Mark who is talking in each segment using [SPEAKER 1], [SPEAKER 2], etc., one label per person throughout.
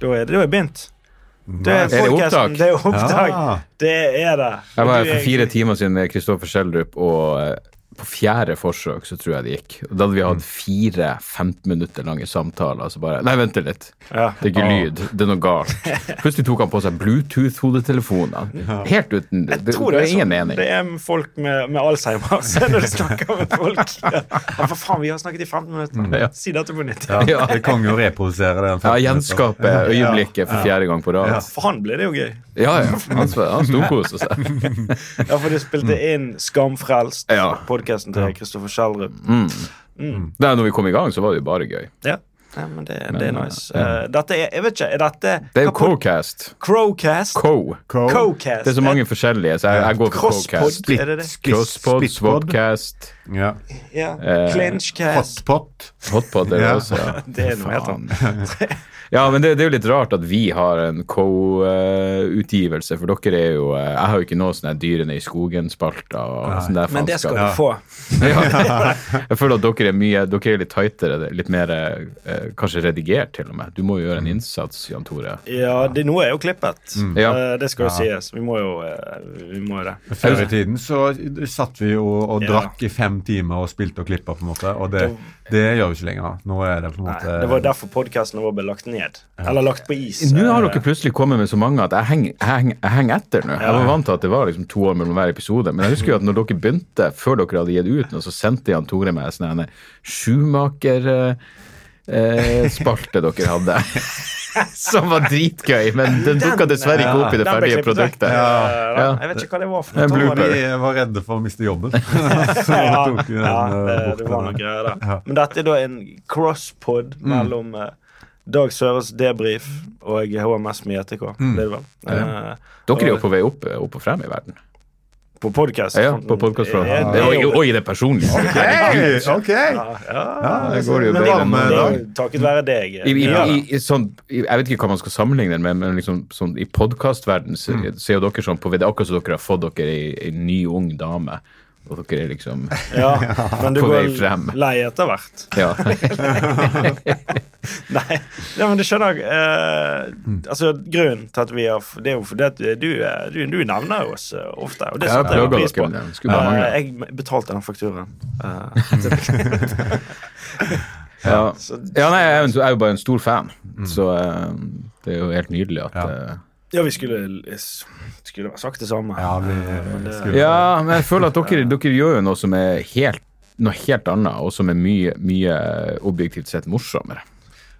[SPEAKER 1] Da er det jo begynt. Det
[SPEAKER 2] Er
[SPEAKER 1] er,
[SPEAKER 2] det
[SPEAKER 1] podcasten,
[SPEAKER 2] opptak?
[SPEAKER 1] det er opptak.
[SPEAKER 2] Ah.
[SPEAKER 1] Det er det.
[SPEAKER 3] Jeg
[SPEAKER 1] Du
[SPEAKER 3] var her
[SPEAKER 1] er-
[SPEAKER 3] for fire timer siden med Kristoffer Schjelderup, og eh, på fjerde forsøk så tror jeg det gikk. Og da hadde vi
[SPEAKER 1] Mm.
[SPEAKER 3] hatt fire 15 minutter lange samtaler, så bare Nei, vent litt.
[SPEAKER 1] Ja.
[SPEAKER 3] Det er ikke lyd. Det er noe galt. Plutselig tok han på seg Bluetooth-hodetelefoner. Helt uten Det, det,
[SPEAKER 1] tror
[SPEAKER 3] det
[SPEAKER 1] det er
[SPEAKER 3] er
[SPEAKER 1] sånn-
[SPEAKER 3] ingen mening.
[SPEAKER 1] Det er folk med, med Alzheimer så når du snakker med folk. Ja, for faen, vi har snakket i 15 minutter.
[SPEAKER 3] Mm, Ja.
[SPEAKER 1] Si dette på nytt.
[SPEAKER 2] Ja,
[SPEAKER 3] Ja.
[SPEAKER 2] Det kan jo reprodusere den.
[SPEAKER 3] Ja, gjenskape øyeblikket for fjerde gang på rad.
[SPEAKER 1] For han ble det jo gøy.
[SPEAKER 3] Ja, ja. Han, han storkoser seg.
[SPEAKER 1] Ja, for du spilte inn Skamfrelst,
[SPEAKER 3] Mm. Ja. Mm.
[SPEAKER 1] podkasten til Kristoffer Schjelderup.
[SPEAKER 3] Nei, når vi kom i gang, så var det jo bare gøy.
[SPEAKER 1] Ja. Nei, men det, det er nice. Eh, dette er Jeg vet ikke, er dette
[SPEAKER 3] Det er
[SPEAKER 1] hva
[SPEAKER 3] jo
[SPEAKER 1] pod-
[SPEAKER 3] Cocast.
[SPEAKER 1] Crowcast?
[SPEAKER 3] Co.
[SPEAKER 1] Crowcast.
[SPEAKER 3] Det er så mange forskjellige, så jeg, jeg går for
[SPEAKER 1] Crosspod,
[SPEAKER 3] Cocast.
[SPEAKER 1] er det det?
[SPEAKER 3] Crosspod,
[SPEAKER 2] Splitpod.
[SPEAKER 3] Swapcast,
[SPEAKER 2] Ja.
[SPEAKER 1] Ja.
[SPEAKER 3] Eh,
[SPEAKER 1] Clinchcast.
[SPEAKER 2] Hotpot.
[SPEAKER 3] Hotpod er det
[SPEAKER 2] Ja.
[SPEAKER 3] også, ja.
[SPEAKER 1] Det er noe helt
[SPEAKER 3] Faen. Ja, men det, det er jo litt rart at vi har en co-utgivelse, for dere er jo eh, Jeg har jo ikke noe sånn her Dyrene i skogen-spalter og sånn der
[SPEAKER 1] Men det skal
[SPEAKER 3] faenskap.
[SPEAKER 1] du få.
[SPEAKER 3] Ja. Jeg føler at dere er mye Dere er litt tightere, litt mer eh, kanskje redigert til og med. Du må jo gjøre en innsats, Jan Tore.
[SPEAKER 1] Ja, det, nå er jo klippet.
[SPEAKER 3] Ja.
[SPEAKER 1] Eh, det skal jo sies. Vi må jo eh, vi må jo det.
[SPEAKER 2] Før i tiden så satt vi jo og
[SPEAKER 1] Ja.
[SPEAKER 2] drakk i fem timer og spilte og klippa, på en måte. Og det, det gjør vi ikke lenger. Nå er det på en
[SPEAKER 1] Nei,
[SPEAKER 2] måte
[SPEAKER 1] det var derfor podkasten vår ble lagt ned. Eller lagt på is.
[SPEAKER 3] Nå har
[SPEAKER 1] Eh,
[SPEAKER 3] dere plutselig kommet med så mange at jeg henger, jeg henger, jeg henger etter nå. Jeg var vant til at det var liksom to år mellom hver episode, men jeg husker jo at når dere begynte, før dere hadde gitt ut noe, så sendte Jan Tore meg sånn en sjumaker-spalte eh, dere hadde. Som var dritgøy, men den dukka dessverre ikke opp i det
[SPEAKER 1] den ble
[SPEAKER 3] ferdige
[SPEAKER 1] klippet vekk.
[SPEAKER 3] produktet.
[SPEAKER 1] Eh, nei,
[SPEAKER 3] Ja.
[SPEAKER 1] Jeg vet ikke hva det var for
[SPEAKER 3] En
[SPEAKER 1] noe.
[SPEAKER 3] blooper.
[SPEAKER 2] Vi var redde for å miste jobben. så
[SPEAKER 1] Ja,
[SPEAKER 2] tok vi den
[SPEAKER 1] ja,
[SPEAKER 2] eh,
[SPEAKER 1] det,
[SPEAKER 2] bort.
[SPEAKER 1] det var noe greier der.
[SPEAKER 2] Ja.
[SPEAKER 1] Men dette er da en crosspod
[SPEAKER 3] Mm.
[SPEAKER 1] mellom eh, Dag Søres debrief og HMS med JTK.
[SPEAKER 3] Mm.
[SPEAKER 1] Det er det vel. Eh,
[SPEAKER 3] Dere er jo på vei opp, opp og frem i verden.
[SPEAKER 1] på podkast.
[SPEAKER 3] Ja, på podkastfronten.
[SPEAKER 1] det er
[SPEAKER 3] Og,
[SPEAKER 1] jo-
[SPEAKER 3] og i det personlige.
[SPEAKER 2] Hey, ok!
[SPEAKER 1] Ja,
[SPEAKER 3] det går jo
[SPEAKER 1] men det,
[SPEAKER 3] bedre
[SPEAKER 2] enn
[SPEAKER 1] det er jo
[SPEAKER 2] Dag.
[SPEAKER 1] takket være deg.
[SPEAKER 3] I, i,
[SPEAKER 1] Ja, da.
[SPEAKER 3] i, i, sånn, i, jeg vet ikke hva man skal sammenligne det med, men liksom, sånn, i podkastverdenen så,
[SPEAKER 1] Mm.
[SPEAKER 3] så er jo dere sånn på Det er akkurat som dere har fått dere ei, ei ny, ung dame. Og dere er liksom
[SPEAKER 1] ja, men du
[SPEAKER 3] På vei
[SPEAKER 1] går
[SPEAKER 3] frem.
[SPEAKER 1] lei etter hvert.
[SPEAKER 3] Ja.
[SPEAKER 1] Nei, ja, men du skjønner eh,
[SPEAKER 3] Mm.
[SPEAKER 1] Altså, grunnen til at vi har Det er jo fordi at du, eh, du, du nevner oss eh, ofte, og det
[SPEAKER 3] Jeg
[SPEAKER 1] setter jeg
[SPEAKER 3] plager
[SPEAKER 1] pris
[SPEAKER 3] dere
[SPEAKER 1] på.
[SPEAKER 3] med det. Skulle bare mangle.
[SPEAKER 1] Eh, jeg betalte den fakturaen. eh,
[SPEAKER 3] ja.
[SPEAKER 1] så, Mm.
[SPEAKER 3] ja, nei, jeg er jo en- jeg er jo bare en stor fan, så eh, det er jo helt nydelig at
[SPEAKER 2] Ja.
[SPEAKER 3] eh,
[SPEAKER 1] ja, vi skulle, skulle ha sagt det samme.
[SPEAKER 2] Ja, vi
[SPEAKER 1] Men det-
[SPEAKER 2] skulle
[SPEAKER 3] Ja, men jeg føler at dere, dere gjør jo noe som er helt noe helt annet, og som er mye, mye objektivt sett morsommere.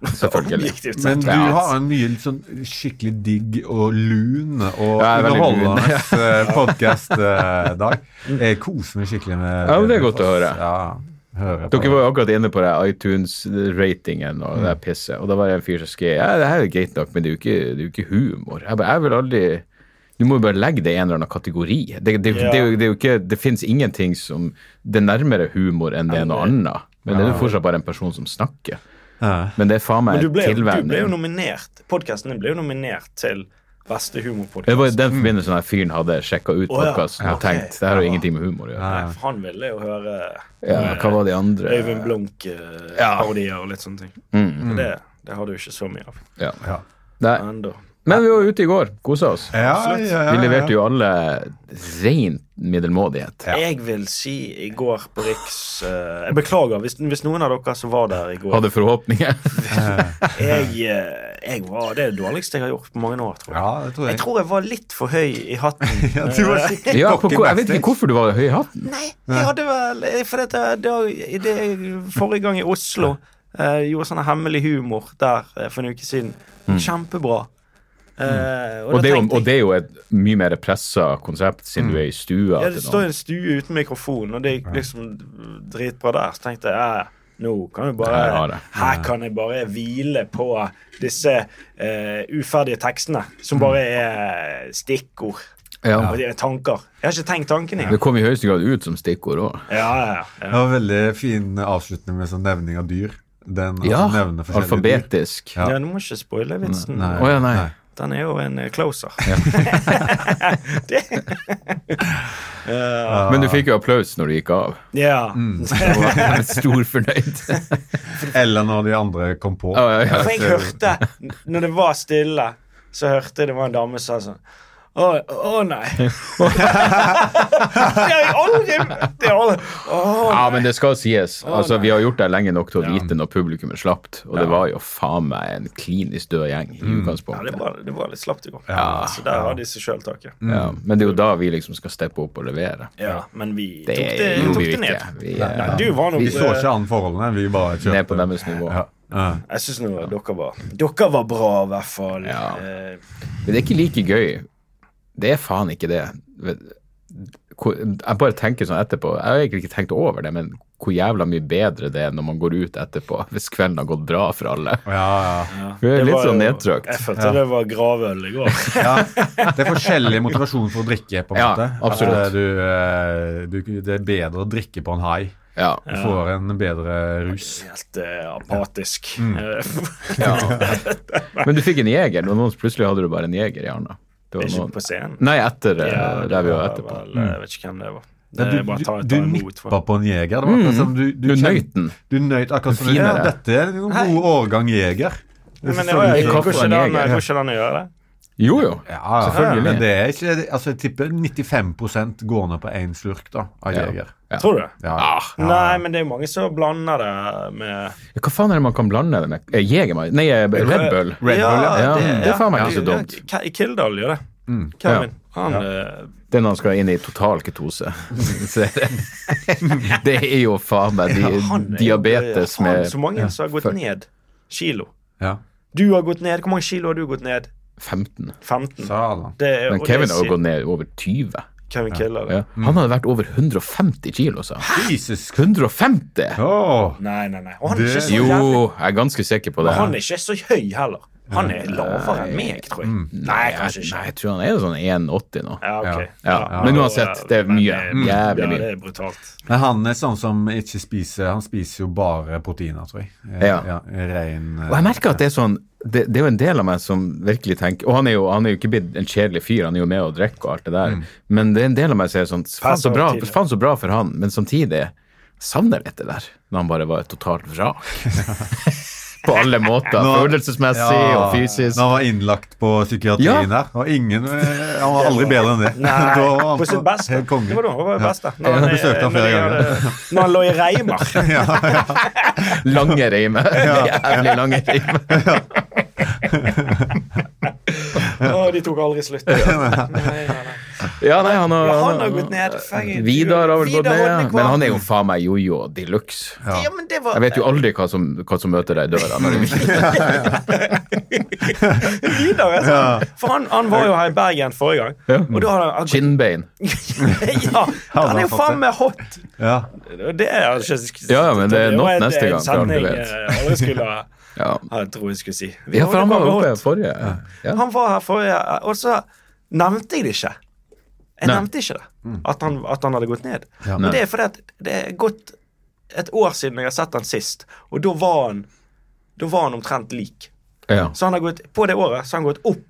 [SPEAKER 3] Selvfølgelig.
[SPEAKER 1] Objektivt
[SPEAKER 2] Men
[SPEAKER 1] sett.
[SPEAKER 2] du har en mye litt sånn skikkelig digg og lun og
[SPEAKER 3] Ja, jeg er veldig
[SPEAKER 2] underholdende eh, podkast-dag. Jeg koser meg skikkelig med
[SPEAKER 3] Ja, men det er godt å høre.
[SPEAKER 2] Ja, høre på
[SPEAKER 3] Dere var jo akkurat inne på det iTunes-ratingen og
[SPEAKER 1] Mm.
[SPEAKER 3] det der pisset. Og da var det en fyr som skrev ja, det her er greit nok, men det er jo ikke, det er jo ikke humor. Jeg, bare, jeg vil aldri Du må jo bare legge det i en eller annen kategori. Det, det, det,
[SPEAKER 1] Ja.
[SPEAKER 3] det, er jo- det, er jo ikke, det finnes ingenting som Det er nærmere humor enn det er noe annet. Men det er jo fortsatt bare en person som snakker.
[SPEAKER 2] Ja.
[SPEAKER 3] Men det er faen meg
[SPEAKER 1] Men du ble, du ble jo
[SPEAKER 3] tilvenning.
[SPEAKER 1] nominert. Podkasten din ble jo nominert til beste humorpodkast.
[SPEAKER 3] Det var i den forbindelse den fyren hadde sjekka ut
[SPEAKER 1] Å, ja.
[SPEAKER 3] podkasten og
[SPEAKER 1] Ja, ok.
[SPEAKER 3] tenkt det her har jo ingenting med humor å gjøre.
[SPEAKER 1] Nei, Eh, for han ville jo høre eh,
[SPEAKER 3] Ja, hva var de andre?
[SPEAKER 1] Øyvind Blunk-parodier og litt sånne ting. Og Det, det har du ikke så mye av
[SPEAKER 3] Ja.
[SPEAKER 2] Ja.
[SPEAKER 3] Mm. Nei.
[SPEAKER 1] ennå.
[SPEAKER 3] Men vi var ute i går, kosa oss.
[SPEAKER 2] Ja, ja, ja, ja.
[SPEAKER 3] Vi leverte jo alle ren middelmådighet.
[SPEAKER 1] Jeg vil si i går på Riks eh, Jeg beklager hvis, hvis noen av dere som var der i går
[SPEAKER 3] Hadde forhåpninger.
[SPEAKER 1] jeg, eh, jeg var Det er det dårligste jeg har gjort på mange år, tror jeg.
[SPEAKER 2] Ja, det tror jeg.
[SPEAKER 1] Jeg tror jeg var litt for høy i hatten.
[SPEAKER 2] Ja, du var skikkelig
[SPEAKER 3] Ja, på,
[SPEAKER 2] cocky
[SPEAKER 3] jeg vet
[SPEAKER 2] backstage.
[SPEAKER 3] ikke hvorfor du var høy i hatten.
[SPEAKER 1] Nei, jeg hadde vel eh, For det, det, i det, forrige gang i Oslo eh, gjorde sånn hemmelig humor der eh, for en uke siden. Kjempebra. Eh,
[SPEAKER 3] Mm. Og
[SPEAKER 1] da
[SPEAKER 3] det, er jo,
[SPEAKER 1] tenkte jeg-
[SPEAKER 3] og det er jo et mye mer pressa konsept siden du er i stua.
[SPEAKER 1] Ja, det
[SPEAKER 3] til noen.
[SPEAKER 1] står i en stue uten mikrofon, og det er liksom dritbra der. Så tenkte jeg ja, nå kan jeg bare
[SPEAKER 3] Her har det.
[SPEAKER 1] Her kan jeg bare hvile på disse eh, uferdige tekstene, som bare er stikkord
[SPEAKER 3] Mm. Ja.
[SPEAKER 1] og det er tanker. Jeg har ikke tenkt tankene
[SPEAKER 3] Det
[SPEAKER 1] engang.
[SPEAKER 3] kom i høyeste grad ut som stikkord òg.
[SPEAKER 1] Ja, ja, ja.
[SPEAKER 2] Det var veldig fin avslutning med sånn nevning av dyr. Den altså,
[SPEAKER 3] Ja,
[SPEAKER 2] nevner forskjellige dyr.
[SPEAKER 3] alfabetisk. Å
[SPEAKER 2] Ja.
[SPEAKER 1] ja, du må ikke spoile vitsen.
[SPEAKER 3] ja, nei.
[SPEAKER 1] Brett han er jo en eh, closer. det. Eh,
[SPEAKER 3] Men du fikk jo applaus når du gikk av.
[SPEAKER 1] ja.
[SPEAKER 3] Og jeg er stor fornøyd.
[SPEAKER 2] Eller når de andre kom på.
[SPEAKER 3] Ja, ja, ja.
[SPEAKER 1] For jeg hørte, når det var stille, så hørte jeg det var en dame som sa sånn å, å nei. det har jeg aldri Det har jeg aldri Å,
[SPEAKER 3] Ja, men det skal sies. Altså,
[SPEAKER 1] nei.
[SPEAKER 3] vi har gjort det lenge nok til å vite når publikum er slapt, og det var jo faen meg en klinisk død gjeng i
[SPEAKER 2] Mm.
[SPEAKER 1] Ja, det
[SPEAKER 3] utgangspunktet.
[SPEAKER 1] var, det var litt slapt i går. så der har de seg sjøl taket.
[SPEAKER 3] Ja, men det er jo da vi liksom skal steppe opp og levere.
[SPEAKER 1] Ja, men vi
[SPEAKER 3] Det
[SPEAKER 1] tok det,
[SPEAKER 3] gjorde
[SPEAKER 1] tok
[SPEAKER 3] vi jo
[SPEAKER 1] det ned.
[SPEAKER 3] ikke. Vi er
[SPEAKER 1] Nei, du var nok
[SPEAKER 2] Vi så
[SPEAKER 1] eh,
[SPEAKER 2] ikke an forholdene, vi bare kjørte.
[SPEAKER 3] ned på deres nivå.
[SPEAKER 2] Ja. Ja.
[SPEAKER 1] Jeg syns nå dere var Dere var bra, i hvert fall.
[SPEAKER 3] Ja.
[SPEAKER 1] Eh,
[SPEAKER 3] Men det er ikke like gøy. Det er faen ikke det. Vet- hvor- Jeg bare tenker sånn etterpå. Jeg har egentlig ikke tenkt over det, men hvor jævla mye bedre det er når man går ut etterpå, hvis kvelden har gått bra for alle.
[SPEAKER 2] Ja, ja.
[SPEAKER 3] Vi er
[SPEAKER 1] det
[SPEAKER 3] litt
[SPEAKER 1] var
[SPEAKER 3] sånn
[SPEAKER 1] jo-
[SPEAKER 3] nedtrykt.
[SPEAKER 1] Jeg følte det var gravøl i går.
[SPEAKER 2] ja. Det er forskjellig motivasjon for å drikke, på en
[SPEAKER 3] Ja,
[SPEAKER 2] måte. At,
[SPEAKER 3] absolutt.
[SPEAKER 2] eh, Du, eh, du, det er bedre å drikke på en high.
[SPEAKER 3] Ja.
[SPEAKER 2] Du får en bedre rus.
[SPEAKER 1] Helt eh, apatisk.
[SPEAKER 3] Mm.
[SPEAKER 1] Eh,
[SPEAKER 3] Men du fikk en jeger, og noen, plutselig hadde du bare en jeger i Arna. Det var
[SPEAKER 1] ikke
[SPEAKER 3] noen...
[SPEAKER 1] på scenen.
[SPEAKER 3] Nei, etter
[SPEAKER 1] Ja,
[SPEAKER 3] eh,
[SPEAKER 1] det
[SPEAKER 3] revyen
[SPEAKER 1] var
[SPEAKER 3] etterpå.
[SPEAKER 1] vel, eh, Jeg vet ikke hvem det var.
[SPEAKER 2] Ja,
[SPEAKER 1] Det
[SPEAKER 2] du
[SPEAKER 1] er bare å ta, ta
[SPEAKER 2] du, du
[SPEAKER 1] imot for
[SPEAKER 2] nippa på en jeger. Det var akkurat som du, du,
[SPEAKER 3] Mm. Du
[SPEAKER 2] kjen-
[SPEAKER 3] nøyt den.
[SPEAKER 2] Du nøyt akkurat som du
[SPEAKER 3] Fin er
[SPEAKER 2] ja,
[SPEAKER 3] det.
[SPEAKER 2] Dette er en god årgang jeger.
[SPEAKER 1] Men
[SPEAKER 2] Det er
[SPEAKER 1] det var-
[SPEAKER 2] selvfølgelig-
[SPEAKER 3] jeg-
[SPEAKER 1] går ikke det an-
[SPEAKER 3] Kaffe og en
[SPEAKER 1] går ikke det an å gjøre det?
[SPEAKER 3] Jo, jo.
[SPEAKER 2] ja,
[SPEAKER 3] Selvfølgelig.
[SPEAKER 2] selvfølgelig. Men det er ikke, altså, jeg tipper 95 går ned på én slurk da, av
[SPEAKER 3] Ja.
[SPEAKER 2] jeger.
[SPEAKER 3] Ja.
[SPEAKER 1] Tror du det?
[SPEAKER 2] Ja.
[SPEAKER 3] Ah,
[SPEAKER 1] Nei, men det er jo mange som blander det med
[SPEAKER 3] hva faen er det man kan blande det med? Eh, Jegermeister? Nei, eh, Red Bull.
[SPEAKER 2] Red Bull, ja.
[SPEAKER 3] Ja, det er faen meg ikke så
[SPEAKER 1] Ja,
[SPEAKER 3] dumt.
[SPEAKER 1] Ke- Kildahl gjør det.
[SPEAKER 2] Mm.
[SPEAKER 1] Kevin. Han eh,
[SPEAKER 3] Den han skal inn i total ketose. Så er det- det er jo faen meg di
[SPEAKER 1] han er-
[SPEAKER 3] diabetes
[SPEAKER 1] faen,
[SPEAKER 3] med
[SPEAKER 1] Så mange som har gått
[SPEAKER 3] fuck.
[SPEAKER 1] ned kilo.
[SPEAKER 2] Ja.
[SPEAKER 1] Du har gått ned. Hvor mange kilo har du gått ned?
[SPEAKER 3] 15.
[SPEAKER 1] 15.
[SPEAKER 2] Satan.
[SPEAKER 1] Det er,
[SPEAKER 3] Men
[SPEAKER 1] og
[SPEAKER 3] Kevin
[SPEAKER 1] det
[SPEAKER 3] har
[SPEAKER 1] er Mm.
[SPEAKER 3] jo gått ned over 20.
[SPEAKER 1] sin- Kevin Kildahl.
[SPEAKER 3] Ja. Han hadde vært over 150 kilo, sa han.
[SPEAKER 2] Jesus.
[SPEAKER 3] 150!
[SPEAKER 2] Åh.
[SPEAKER 1] Nei, nei, nei. Og han er
[SPEAKER 2] Det-
[SPEAKER 1] ikke så jævlig
[SPEAKER 3] Jo, jeg er ganske sikker på
[SPEAKER 1] Og han
[SPEAKER 3] det.
[SPEAKER 1] er ikke så høy heller. Han er lavere enn meg, tror jeg.
[SPEAKER 2] Mm.
[SPEAKER 1] Nei, kanskje
[SPEAKER 3] Nei,
[SPEAKER 1] ikke.
[SPEAKER 3] jeg tror han er sånn 1,80 nå.
[SPEAKER 1] Ja, ok.
[SPEAKER 3] Ja, men uansett, det er
[SPEAKER 1] Men
[SPEAKER 3] mye.
[SPEAKER 1] det er-
[SPEAKER 3] Jævlig mye.
[SPEAKER 1] Ja, det er brutalt.
[SPEAKER 2] Men han er sånn som ikke spiser Han spiser jo bare proteiner, tror jeg. Eh,
[SPEAKER 3] Ja.
[SPEAKER 2] Rein eh,
[SPEAKER 3] Og jeg merker at det er sånn det, det er jo en del av meg som virkelig tenker Og han er jo, han er jo ikke blitt en kjedelig fyr, han er jo med og drikker og alt det der, men det er en del av meg som er sånn Faen så bra,
[SPEAKER 1] Passiv-aktiv.
[SPEAKER 3] faen så bra for han, men samtidig savner litt det der, når han bare var et totalt vrak. På alle måter.
[SPEAKER 2] Nå-
[SPEAKER 3] Følelsesmessig og fysisk.
[SPEAKER 2] Når han var innlagt på psykiatrien
[SPEAKER 3] Ja.
[SPEAKER 2] her. Og ingen eh, Han var aldri bedre enn det.
[SPEAKER 1] Nei,
[SPEAKER 2] Da var han
[SPEAKER 1] på sitt beste.
[SPEAKER 2] helt konge.
[SPEAKER 1] Det eh, var da han var best, da. Når
[SPEAKER 2] Jeg
[SPEAKER 1] han,
[SPEAKER 2] besøkte han
[SPEAKER 1] når
[SPEAKER 2] flere
[SPEAKER 1] de
[SPEAKER 2] ganger.
[SPEAKER 1] hadde- Når han lå i Reimar.
[SPEAKER 3] Lange reimer. Jævlig lange reimer.
[SPEAKER 1] Å, de tok aldri slutt. Nei, nei, nei.
[SPEAKER 3] Ja, nei, han har,
[SPEAKER 1] Ja, han har gått ned. Fucking-
[SPEAKER 3] Vidar har vel gått
[SPEAKER 1] Vidar
[SPEAKER 3] ned,
[SPEAKER 1] Hodnekvam.
[SPEAKER 3] men han er jo faen meg jojo de luxe.
[SPEAKER 2] Ja.
[SPEAKER 1] Ja, men det var
[SPEAKER 3] Jeg vet jo aldri hva som, hva som møter deg i døra. Når du
[SPEAKER 1] Vidar er sånn. For han, han var jo her i Bergen forrige gang,
[SPEAKER 3] Ja.
[SPEAKER 1] og da hadde han
[SPEAKER 3] Skinnbein.
[SPEAKER 1] Ja, han er jo faen meg hot.
[SPEAKER 2] Ja.
[SPEAKER 1] Det er jeg ikke
[SPEAKER 3] Ja, ja, men det er
[SPEAKER 1] var
[SPEAKER 3] nok
[SPEAKER 1] en-
[SPEAKER 3] neste
[SPEAKER 1] en
[SPEAKER 3] gang, for alt du
[SPEAKER 1] setning
[SPEAKER 3] vet.
[SPEAKER 1] jeg aldri skulle ha
[SPEAKER 3] Ja.
[SPEAKER 1] jeg tror jeg skulle si. Vi
[SPEAKER 3] ja, for han var
[SPEAKER 1] overkom
[SPEAKER 3] oppe
[SPEAKER 1] hot.
[SPEAKER 3] forrige. Ja.
[SPEAKER 1] Han var her forrige, og så nevnte jeg det ikke. Jeg
[SPEAKER 3] Nei.
[SPEAKER 1] nevnte ikke det, at han, at han hadde gått ned.
[SPEAKER 2] Ja.
[SPEAKER 1] Men det er fordi at det er gått et år siden jeg har sett han sist, og da var han da var han omtrent lik.
[SPEAKER 3] Ja.
[SPEAKER 1] Så han har gått, på det året så har han gått opp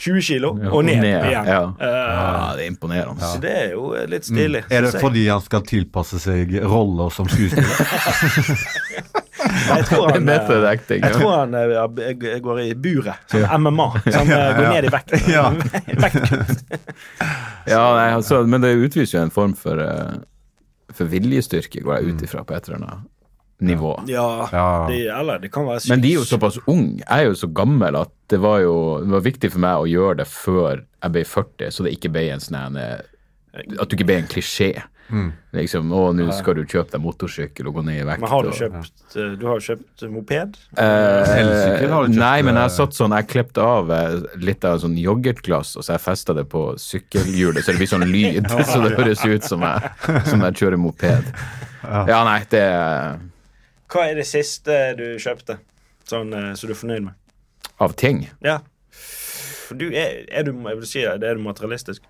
[SPEAKER 1] 20 kilo
[SPEAKER 3] Ja,
[SPEAKER 1] og ned, igjen.
[SPEAKER 3] Ja. Mm.
[SPEAKER 1] Eh,
[SPEAKER 3] ja, det er imponerende.
[SPEAKER 1] Så det er jo litt stilig.
[SPEAKER 2] Er
[SPEAKER 1] synes
[SPEAKER 2] det
[SPEAKER 1] jeg.
[SPEAKER 2] fordi han skal tilpasse seg roller som skuespiller?
[SPEAKER 1] Jeg tror
[SPEAKER 3] Det er
[SPEAKER 1] han,
[SPEAKER 3] method
[SPEAKER 1] eh,
[SPEAKER 3] acting.
[SPEAKER 1] jeg
[SPEAKER 3] Ja.
[SPEAKER 1] tror han eh, b- g- går i buret, sånn som MMA. Som eh, går ned i vekt.
[SPEAKER 2] Ja.
[SPEAKER 1] Vektkutt.
[SPEAKER 3] Ja, nei, altså, men det utviser jo en form for, eh, for viljestyrke, går jeg ut ifra, på et eller annet nivå.
[SPEAKER 1] Ja.
[SPEAKER 2] Ja.
[SPEAKER 1] De, eller det kan være
[SPEAKER 3] Men de er jo såpass unge. Jeg er jo så gammel at det var jo det var viktig for meg å gjøre det før jeg ble 40, så det ikke ble en sånn en, eh, At du ikke ble en klisjé. Liksom, 'Å, nå skal du kjøpe deg motorsykkel og gå ned i vekt'.
[SPEAKER 1] Mm. Men har du
[SPEAKER 3] og-
[SPEAKER 1] kjøpt eh, Du har jo kjøpt moped?
[SPEAKER 3] Eh,
[SPEAKER 2] Elsykkel har du kjøpt,
[SPEAKER 3] Nei, men jeg har
[SPEAKER 2] eh,
[SPEAKER 3] satt sånn, jeg klippte av eh, litt av sånn yoghurtglass, og så jeg festa det på sykkelhjulet, så det blir sånn lyd, så det høres ut som jeg, som jeg kjører moped. Ja, nei, det
[SPEAKER 1] Hva er det siste du kjøpte Sånn eh, så du er fornøyd med?
[SPEAKER 3] Av ting.
[SPEAKER 1] Ja. For du er, er du, jeg vil si, det er du materialistisk?